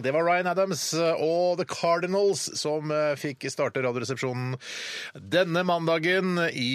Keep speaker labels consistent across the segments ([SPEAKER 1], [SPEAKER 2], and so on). [SPEAKER 1] Det var Ryan Adams og The Cardinals som eh, fikk starte Radioresepsjonen denne mandagen i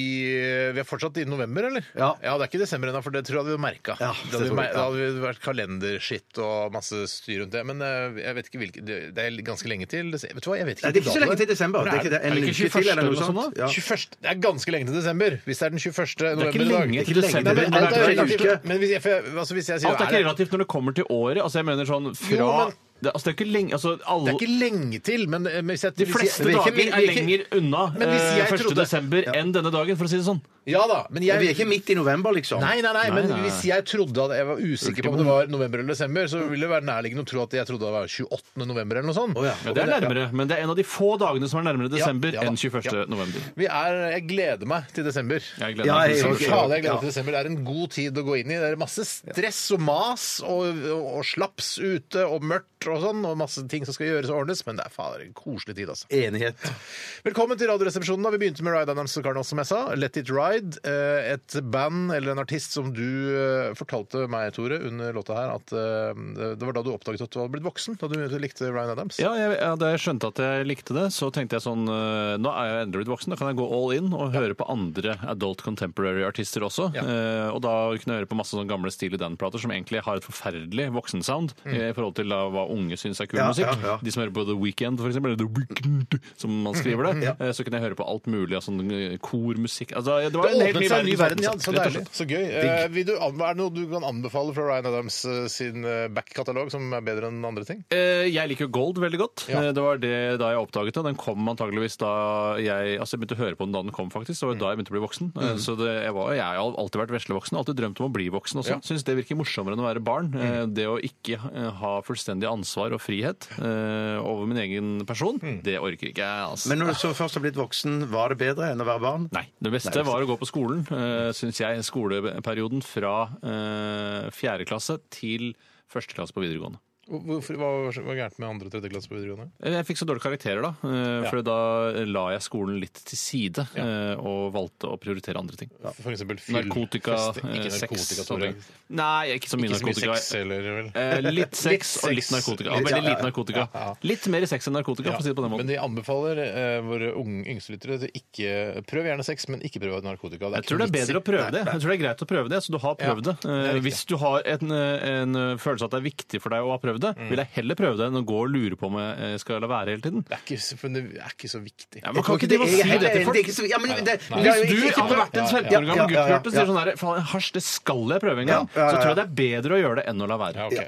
[SPEAKER 1] Vi er fortsatt i november, eller?
[SPEAKER 2] Ja.
[SPEAKER 1] Det er ikke desember ennå, for det tror jeg hadde vi merka.
[SPEAKER 2] Ja,
[SPEAKER 1] det hadde, vi
[SPEAKER 2] selvfølgelig,
[SPEAKER 1] mer-
[SPEAKER 2] ja.
[SPEAKER 1] da hadde vi vært kalenderskitt og masse styr rundt det. Men eh, jeg vet ikke hvilke Det det er ganske lenge til. dese- Vet du hva, jeg vet ikke.
[SPEAKER 2] Nei, det er ikke så
[SPEAKER 1] dato
[SPEAKER 2] lenge til desember.
[SPEAKER 1] Men
[SPEAKER 2] Det er ikke det. En
[SPEAKER 3] er det ikke
[SPEAKER 2] uke til eller
[SPEAKER 3] 21.
[SPEAKER 2] noe
[SPEAKER 3] eller noe
[SPEAKER 2] sånt. Ja.
[SPEAKER 1] 21, det er ganske lenge til desember, hvis det er den 21.
[SPEAKER 3] Det er
[SPEAKER 1] november
[SPEAKER 3] ikke
[SPEAKER 1] i dag.
[SPEAKER 3] lenge til
[SPEAKER 2] Ikke lenge,
[SPEAKER 3] desember.
[SPEAKER 1] Nei, men
[SPEAKER 2] det er
[SPEAKER 1] alt er
[SPEAKER 2] bare en uke.
[SPEAKER 1] relativt. Men hvis jeg, for jeg, altså, hvis jeg sier
[SPEAKER 3] Alt er
[SPEAKER 1] er
[SPEAKER 3] ikke
[SPEAKER 1] det-
[SPEAKER 3] relativt når det kommer til året. Altså, jeg mener sånn fra
[SPEAKER 1] Jo, men-
[SPEAKER 3] det, altså, det er ikke lenge altså, alle,
[SPEAKER 1] Det er ikke lenge til, men eh, men hvis jeg
[SPEAKER 3] De fleste
[SPEAKER 1] hvis jeg-
[SPEAKER 3] dager
[SPEAKER 1] vi
[SPEAKER 3] er lenger unna
[SPEAKER 1] Men hvis jeg
[SPEAKER 3] eh, 1.
[SPEAKER 1] trodde-
[SPEAKER 3] desember enn denne dagen, for å si det sånn.
[SPEAKER 1] Ja da, men jeg
[SPEAKER 2] Vi er ikke midt i november, liksom.
[SPEAKER 1] Nei, nei, nei, men
[SPEAKER 3] nei, nei.
[SPEAKER 1] hvis jeg trodde at jeg var usikker på om det var november eller desember, så ville det være nærliggende å tro at jeg trodde det var 28. november eller noe sånt.
[SPEAKER 2] ja.
[SPEAKER 3] Ja, det er nærmere, men det er en av de få dagene som er nærmere desember
[SPEAKER 1] ja da.
[SPEAKER 3] enn 21.
[SPEAKER 1] Ja.
[SPEAKER 3] november.
[SPEAKER 1] Vi er, jeg gleder meg til desember.
[SPEAKER 3] Jeg
[SPEAKER 2] Ja,
[SPEAKER 3] gleder meg
[SPEAKER 2] jeg-
[SPEAKER 3] til
[SPEAKER 1] Så
[SPEAKER 2] ok.
[SPEAKER 1] faen, jeg gleder meg
[SPEAKER 2] Ja.
[SPEAKER 1] til desember. Det er en god tid å gå inn i. Det er masse stress og mas og, og, og slaps ute og mørkt og sånn, og masse ting som skal gjøres og ordnes, men det er fader en koselig tid, altså.
[SPEAKER 2] Enighet.
[SPEAKER 1] Velkommen til Radioresepsjonen. da. Vi begynte med Ride Adams og Cardinals, som jeg sa. Let It Ride. eh, Et band eller en artist som du eh, fortalte meg, Tore, under låta her, at eh, det var da du oppdaget at du hadde blitt voksen, da du likte Ryan Adams.
[SPEAKER 3] Ja, jeg, ja, Da jeg skjønte at jeg likte det, så tenkte jeg sånn eh, Nå er jeg endelig blitt voksen, da kan jeg gå all in og høre på andre adult contemporary-artister også.
[SPEAKER 1] Ja.
[SPEAKER 3] Eh, og da kunne jeg høre på masse sånne gamle Steely Dan-plater som egentlig har et forferdelig voksensound
[SPEAKER 1] Mm.
[SPEAKER 3] eh, i forhold til da, hva unge syns er kul
[SPEAKER 2] Ja,
[SPEAKER 3] musikk.
[SPEAKER 2] ja, ja.
[SPEAKER 3] De som hører på The Weekend, for eksempel, eller The Weekend, som man skriver
[SPEAKER 1] Mm,
[SPEAKER 3] det. eh, så kunne jeg høre på alt mulig av sånn eh, kormusikk altså, Det var
[SPEAKER 1] Det
[SPEAKER 3] en helt ny
[SPEAKER 1] åpnet seg en
[SPEAKER 3] verden.
[SPEAKER 1] ny verden, ja. Så
[SPEAKER 3] rett og
[SPEAKER 1] deilig.
[SPEAKER 3] slett.
[SPEAKER 1] Så gøy. Eh, vil du, anbe- er det noe du kan anbefale fra Ryan Adams eh, sin eh, back-katalog som er bedre enn andre ting?
[SPEAKER 3] Eh, Jeg liker jo Gold veldig godt.
[SPEAKER 1] Ja.
[SPEAKER 3] Eh, Det var det da jeg oppdaget det. Den kom antageligvis da jeg Altså jeg begynte å høre på den da den kom, faktisk. Det var da jeg begynte å bli voksen. Eh, Så det, jeg, var, jeg har alltid vært veslevoksen. Alltid drømt om å bli voksen også.
[SPEAKER 1] Ja.
[SPEAKER 3] Syns det virker morsommere enn å være barn. Eh, Det å ikke eh, ha fullstendig ansvar og frihet eh, over min egen person, det orker ikke jeg, altså.
[SPEAKER 2] Men når du så først har blitt voksen, var det bedre enn å være barn?
[SPEAKER 3] Nei. Det beste var å gå på skolen, uh, syns jeg. Skoleperioden fra eh, fjerde klasse til første klasse på videregående.
[SPEAKER 1] Hvorfor, hva var gærent med andre og tredje klasse på videregående?
[SPEAKER 3] Jeg fikk så dårlige karakterer, da. eh,
[SPEAKER 1] Ja.
[SPEAKER 3] For da la jeg skolen litt til side eh, og valgte å prioritere andre ting.
[SPEAKER 1] For eksempel fyll,
[SPEAKER 3] Narkotika,
[SPEAKER 1] festing.
[SPEAKER 3] eh,
[SPEAKER 1] Ikke
[SPEAKER 3] sex
[SPEAKER 1] narkotika,
[SPEAKER 3] og
[SPEAKER 1] Tore.
[SPEAKER 3] det. Nei, ikke så mye
[SPEAKER 1] Ikke så mye
[SPEAKER 3] narkotika.
[SPEAKER 1] sex heller, vel?
[SPEAKER 3] Eh, Litt sex og litt
[SPEAKER 1] sex.
[SPEAKER 3] narkotika.
[SPEAKER 1] Litt,
[SPEAKER 3] Veldig
[SPEAKER 1] ja, ja,
[SPEAKER 3] lite narkotika.
[SPEAKER 1] Ja, ja.
[SPEAKER 3] Litt mer sex enn narkotika, for å si det på den
[SPEAKER 1] Men
[SPEAKER 3] måten.
[SPEAKER 1] de anbefaler eh, våre unge yngstelyttere til ikke Prøv gjerne sex, men ikke prøv narkotika.
[SPEAKER 3] Jeg tror det er bedre å prøve det. Jeg tror det er greit å prøve det, så du har prøvd
[SPEAKER 1] Ja,
[SPEAKER 3] det.
[SPEAKER 1] det er
[SPEAKER 3] Eh,
[SPEAKER 1] riktig.
[SPEAKER 3] Hvis du har en, eh, en følelse at det er viktig for deg å ha prøvd det, vil jeg heller prøve det enn å gå og lure på om jeg eh, skal la være hele tiden.
[SPEAKER 1] Det er ikke, så- for det er ikke så viktig.
[SPEAKER 3] Ja, man
[SPEAKER 2] Jeg tror
[SPEAKER 3] kan ikke drive og
[SPEAKER 2] det er-
[SPEAKER 3] si det til
[SPEAKER 2] Det er
[SPEAKER 3] folk.
[SPEAKER 2] ikke så- ja, men det-
[SPEAKER 1] Nei.
[SPEAKER 2] det er jo
[SPEAKER 3] Hvis du
[SPEAKER 2] ikke-
[SPEAKER 3] hadde vært en
[SPEAKER 1] ja, ja,
[SPEAKER 3] 15 år
[SPEAKER 2] ja,
[SPEAKER 3] gammel
[SPEAKER 2] ja,
[SPEAKER 3] gutt,
[SPEAKER 2] ja,
[SPEAKER 3] Bjarte, og sier
[SPEAKER 2] ja.
[SPEAKER 3] sånn her Faen, hasj, det skal jeg prøve en gang.
[SPEAKER 2] Ja, ja, ja,
[SPEAKER 3] Så tror jeg det
[SPEAKER 2] ja.
[SPEAKER 3] er bedre å gjøre det enn å la være.
[SPEAKER 1] Ja, ok.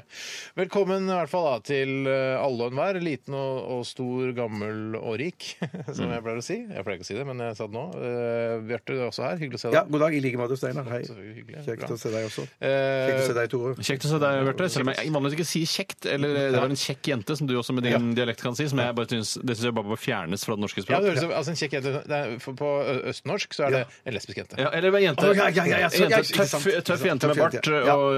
[SPEAKER 1] Velkommen i hvert fall da, til eh, alle og enhver. Liten og, og stor, gammel og rik,
[SPEAKER 3] Mm.
[SPEAKER 1] som jeg pleier å si. Jeg pleier ikke å si det, men jeg sa det nå. Eh, Bjarte, du er også her. Hyggelig å se deg.
[SPEAKER 2] Ja, god dag. I like måte, Steinar. Hei.
[SPEAKER 1] Selvfølgelig hyggelig.
[SPEAKER 2] Kjekt
[SPEAKER 1] Bra.
[SPEAKER 2] å se deg også.
[SPEAKER 1] Eh,
[SPEAKER 2] Kjekt å se deg, Tore.
[SPEAKER 3] Kjekt å se deg, Bjarte. Selv om jeg vanligvis ikke sier 'kjekt', eller eh, det var en kjekk jente, som du også med din dialekt kan si, som jeg bare syns, det syns jeg bare må fjernes fra det norske
[SPEAKER 1] ja, det
[SPEAKER 3] språk.
[SPEAKER 1] høres ut altså, en kjekk jente. Det er- for- På ø- østnorsk så er det en lesbisk jente.
[SPEAKER 3] Ja, eller en jente,
[SPEAKER 2] Å, ja, ja, ja, ja, så- ja,
[SPEAKER 3] jente
[SPEAKER 2] ikke sant,
[SPEAKER 3] tøff,
[SPEAKER 2] ikke sant.
[SPEAKER 3] tøff jente med
[SPEAKER 2] Tøff jente,
[SPEAKER 3] bart
[SPEAKER 2] ja.
[SPEAKER 3] og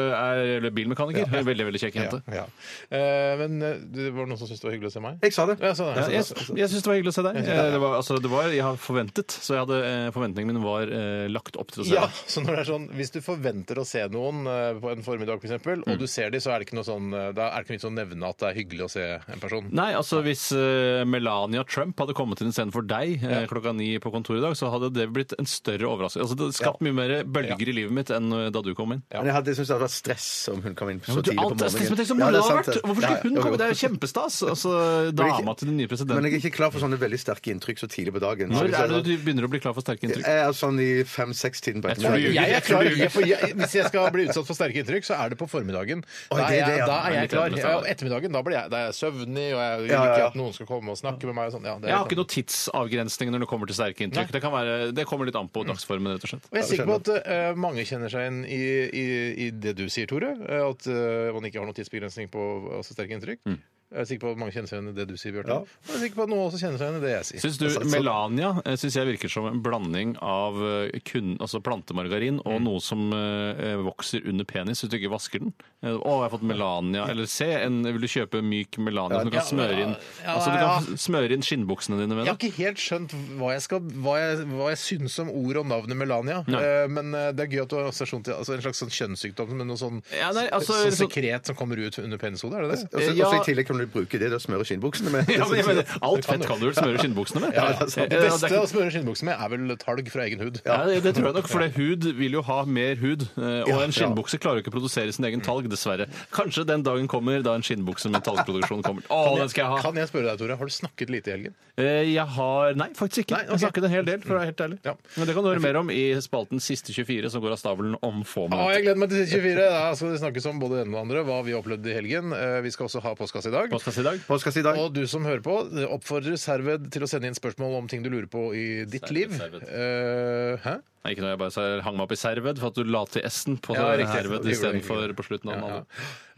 [SPEAKER 3] er bilmekaniker. Veldig, veldig kjekk jente.
[SPEAKER 1] Ja. Eh, men eh, det var noen som syntes det var hyggelig å se meg?
[SPEAKER 2] Jeg sa det.
[SPEAKER 1] Ja, sånn,
[SPEAKER 3] Ja,
[SPEAKER 1] ja,
[SPEAKER 3] jeg jeg syns det var hyggelig å se deg. Eh, Det var, altså, det var, jeg har forventet, så jeg hadde, eh, forventningen min var eh, lagt opp til å se
[SPEAKER 1] Ja,
[SPEAKER 3] deg.
[SPEAKER 1] så når det er sånn, Hvis du forventer å se noen eh, på en formiddag, f.eks., eksempel, og du ser dem, så er det ikke noe sånn, eh, da er det ikke noe vits å nevne at det er hyggelig å se en person.
[SPEAKER 3] Nei, altså hvis eh, Melania Trump hadde kommet inn istedenfor deg eh, klokka ni på kontoret i dag, så hadde det blitt en større overraskelse. Altså, det hadde skapt mye mer bølger i livet mitt enn eh, da du kom inn.
[SPEAKER 2] Men jeg hadde syntes det hadde vært stress om hun kom inn så
[SPEAKER 3] Men du,
[SPEAKER 2] tidlig på
[SPEAKER 3] alt
[SPEAKER 2] morgenen.
[SPEAKER 3] er stress, men tenk så
[SPEAKER 2] Ja,
[SPEAKER 3] moro
[SPEAKER 2] det
[SPEAKER 3] det
[SPEAKER 2] er
[SPEAKER 3] har
[SPEAKER 2] sant,
[SPEAKER 3] vært!
[SPEAKER 2] det.
[SPEAKER 3] Hvorfor
[SPEAKER 2] Ja,
[SPEAKER 3] skulle
[SPEAKER 2] ja,
[SPEAKER 3] hun
[SPEAKER 2] jo,
[SPEAKER 3] komme?
[SPEAKER 2] jo.
[SPEAKER 3] Det er jo kjempestas! Altså,
[SPEAKER 2] Men ikke-
[SPEAKER 3] dama til den nye
[SPEAKER 2] Men jeg er
[SPEAKER 3] presidenten.
[SPEAKER 2] ikke klar for sånne veldig sterke inntrykk så tidlig på dagen.
[SPEAKER 3] Når
[SPEAKER 2] Så
[SPEAKER 3] er det
[SPEAKER 2] hvis jeg-
[SPEAKER 3] du begynner å bli klar for sterke inntrykk?
[SPEAKER 2] Jeg er sånn i fem-seks-tiden på
[SPEAKER 3] Jeg tror
[SPEAKER 2] ettermiddagen.
[SPEAKER 3] du ljuger.
[SPEAKER 1] Jeg er klar, jeg, for jeg, Hvis jeg skal bli utsatt for sterke inntrykk, så er det på formiddagen. Da er
[SPEAKER 2] det er det,
[SPEAKER 1] jeg,
[SPEAKER 2] ja.
[SPEAKER 1] da er jeg
[SPEAKER 3] Litt
[SPEAKER 1] klar.
[SPEAKER 3] annerledes,
[SPEAKER 1] Ja,
[SPEAKER 3] ja.
[SPEAKER 1] og ettermiddagen da blir jeg, da er jeg søvnig, og jeg vil
[SPEAKER 2] Ja, ja,
[SPEAKER 1] ikke
[SPEAKER 2] ja.
[SPEAKER 1] at noen skal komme og snakke med meg. Og sånn. ja, det er
[SPEAKER 3] Jeg har
[SPEAKER 1] sånn.
[SPEAKER 3] ikke noen tidsavgrensning når det kommer til sterke inntrykk. Det, kan være, det kommer litt
[SPEAKER 2] Mm.
[SPEAKER 3] an på dagsformen, rett og slett.
[SPEAKER 1] Og jeg er sikker på at eh, mange kjenner seg igjen i, i, i det du sier, Tore. eh, At eh, man ikke har noen tidsbegrensning på altså, sterke inntrykk. Jeg er sikker på at mange kjenner seg igjen i det du sier, Bjarte.
[SPEAKER 2] Ja.
[SPEAKER 1] Jeg er sikker på at noen også kjenner seg igjen i det jeg sier.
[SPEAKER 3] Syns du
[SPEAKER 2] Så- så-
[SPEAKER 3] Melania eh, synes jeg virker som en blanding av eh, kun, altså plantemargarin
[SPEAKER 1] Mm.
[SPEAKER 3] og noe som eh, vokser under penis hvis du ikke vasker den? Eh, Å, jeg har fått Melania. Eller se, en, vil du kjøpe myk Melania som du kan
[SPEAKER 1] ja,
[SPEAKER 3] smøre inn
[SPEAKER 1] ja,
[SPEAKER 3] Altså, du
[SPEAKER 1] ja.
[SPEAKER 3] kan smøre inn skinnbuksene dine
[SPEAKER 1] Jeg
[SPEAKER 3] med
[SPEAKER 1] har
[SPEAKER 3] det?
[SPEAKER 1] ikke helt skjønt hva jeg, skal, hva jeg, hva jeg syns om ord og navnet Melania.
[SPEAKER 3] Nei.
[SPEAKER 1] Eh, men eh, det er gøy at du har assosiasjon til altså en slags sånn kjønnssykdom, men noe sånn,
[SPEAKER 3] Ja, nei, altså,
[SPEAKER 1] sånn
[SPEAKER 3] sånn-
[SPEAKER 1] sekret som kommer ut under penishodet, er det det?
[SPEAKER 2] Og så
[SPEAKER 3] Ja.
[SPEAKER 2] og så i tillegg kan du bruke det til å smøre skinnbuksene med.
[SPEAKER 3] Ja, men jeg mener, alt fett kan du vel smøre skinnbuksene med?
[SPEAKER 1] Ja, det, er sant.
[SPEAKER 3] Eh,
[SPEAKER 1] det
[SPEAKER 3] eh,
[SPEAKER 1] beste
[SPEAKER 3] er ikke-
[SPEAKER 1] å smøre skinnbukse med er vel talg fra egen hud.
[SPEAKER 3] Ja, det, det tror jeg nok, for det hud vil jo ha mer hud. eh, Og en skinnbukse klarer jo ikke å produsere sin egen talg, dessverre. Kanskje den dagen kommer da en skinnbukse med talgproduksjon kommer. Å, den skal jeg ha!
[SPEAKER 1] Kan jeg spørre deg, Tore, har du snakket lite i helgen?
[SPEAKER 3] Eh, Jeg har Nei, faktisk ikke.
[SPEAKER 1] Nei, ok.
[SPEAKER 3] Jeg snakket en hel del, for å være helt ærlig.
[SPEAKER 1] Ja.
[SPEAKER 3] Men det kan du høre mer om i spalten Siste 24, som går av stabelen om få
[SPEAKER 1] Ja,
[SPEAKER 3] minutter.
[SPEAKER 1] jeg gleder meg til side 24. Da skal det snakkes om både det ene og det andre, hva vi opplevde i helgen. Eh, Vi skal også ha postkasse i dag.
[SPEAKER 3] Postkasse i dag.
[SPEAKER 2] Postkasse i dag.
[SPEAKER 1] Og du som hører på, oppfordres herved til å sende inn spørsmål om ting du lurer på i ditt
[SPEAKER 3] Served,
[SPEAKER 1] liv.
[SPEAKER 3] served.
[SPEAKER 1] Eh, hæ?
[SPEAKER 3] Nei, ikke noe jeg bare sa, hang meg opp i served for at du la til S-en på
[SPEAKER 1] Ja, riktig.
[SPEAKER 3] served
[SPEAKER 1] Det gjorde jeg
[SPEAKER 3] istedenfor på slutten av den andre.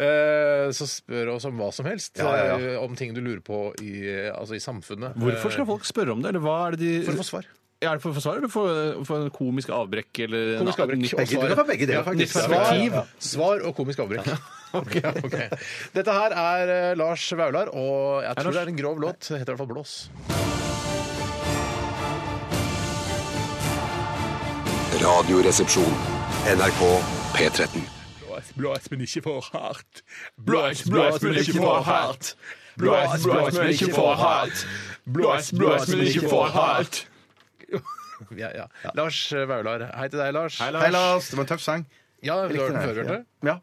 [SPEAKER 1] Eh, Så spør oss om hva som helst.
[SPEAKER 2] Ja, ja, ja.
[SPEAKER 1] eh, Om ting du lurer på i, eh, altså i samfunnet.
[SPEAKER 3] Hvorfor skal folk spørre om det? Eller hva er det de
[SPEAKER 1] For å få svar.
[SPEAKER 3] Er det for å få svar, eller for å få en komisk avbrekk? Eller en
[SPEAKER 1] Komisk avbrekk.
[SPEAKER 3] nytt-
[SPEAKER 1] Og
[SPEAKER 2] Begge deler,
[SPEAKER 1] svaret.
[SPEAKER 2] begge deler, faktisk.
[SPEAKER 3] nytt
[SPEAKER 1] Svar,
[SPEAKER 3] perspektiv.
[SPEAKER 1] svar og komisk avbrekk. Ok, ok. Dette her er eh, Lars Vaular, og jeg tror
[SPEAKER 3] Lars.
[SPEAKER 1] det er en grov låt. Det heter i hvert fall Blås.
[SPEAKER 4] Radioresepsjon. NRK P13.
[SPEAKER 5] Blås, men ikke for hardt.
[SPEAKER 3] Blås, blås, men ikke for hardt. Blås, blås, men ikke for hardt. Blås, blås, men ikke for hardt.
[SPEAKER 1] Ja, ja. Lars Vaular. Hei til deg, Lars.
[SPEAKER 2] Hei, Lars. Det var en tøff sang.
[SPEAKER 1] Ja, du har hørt den før, Bjarte?
[SPEAKER 2] Ja.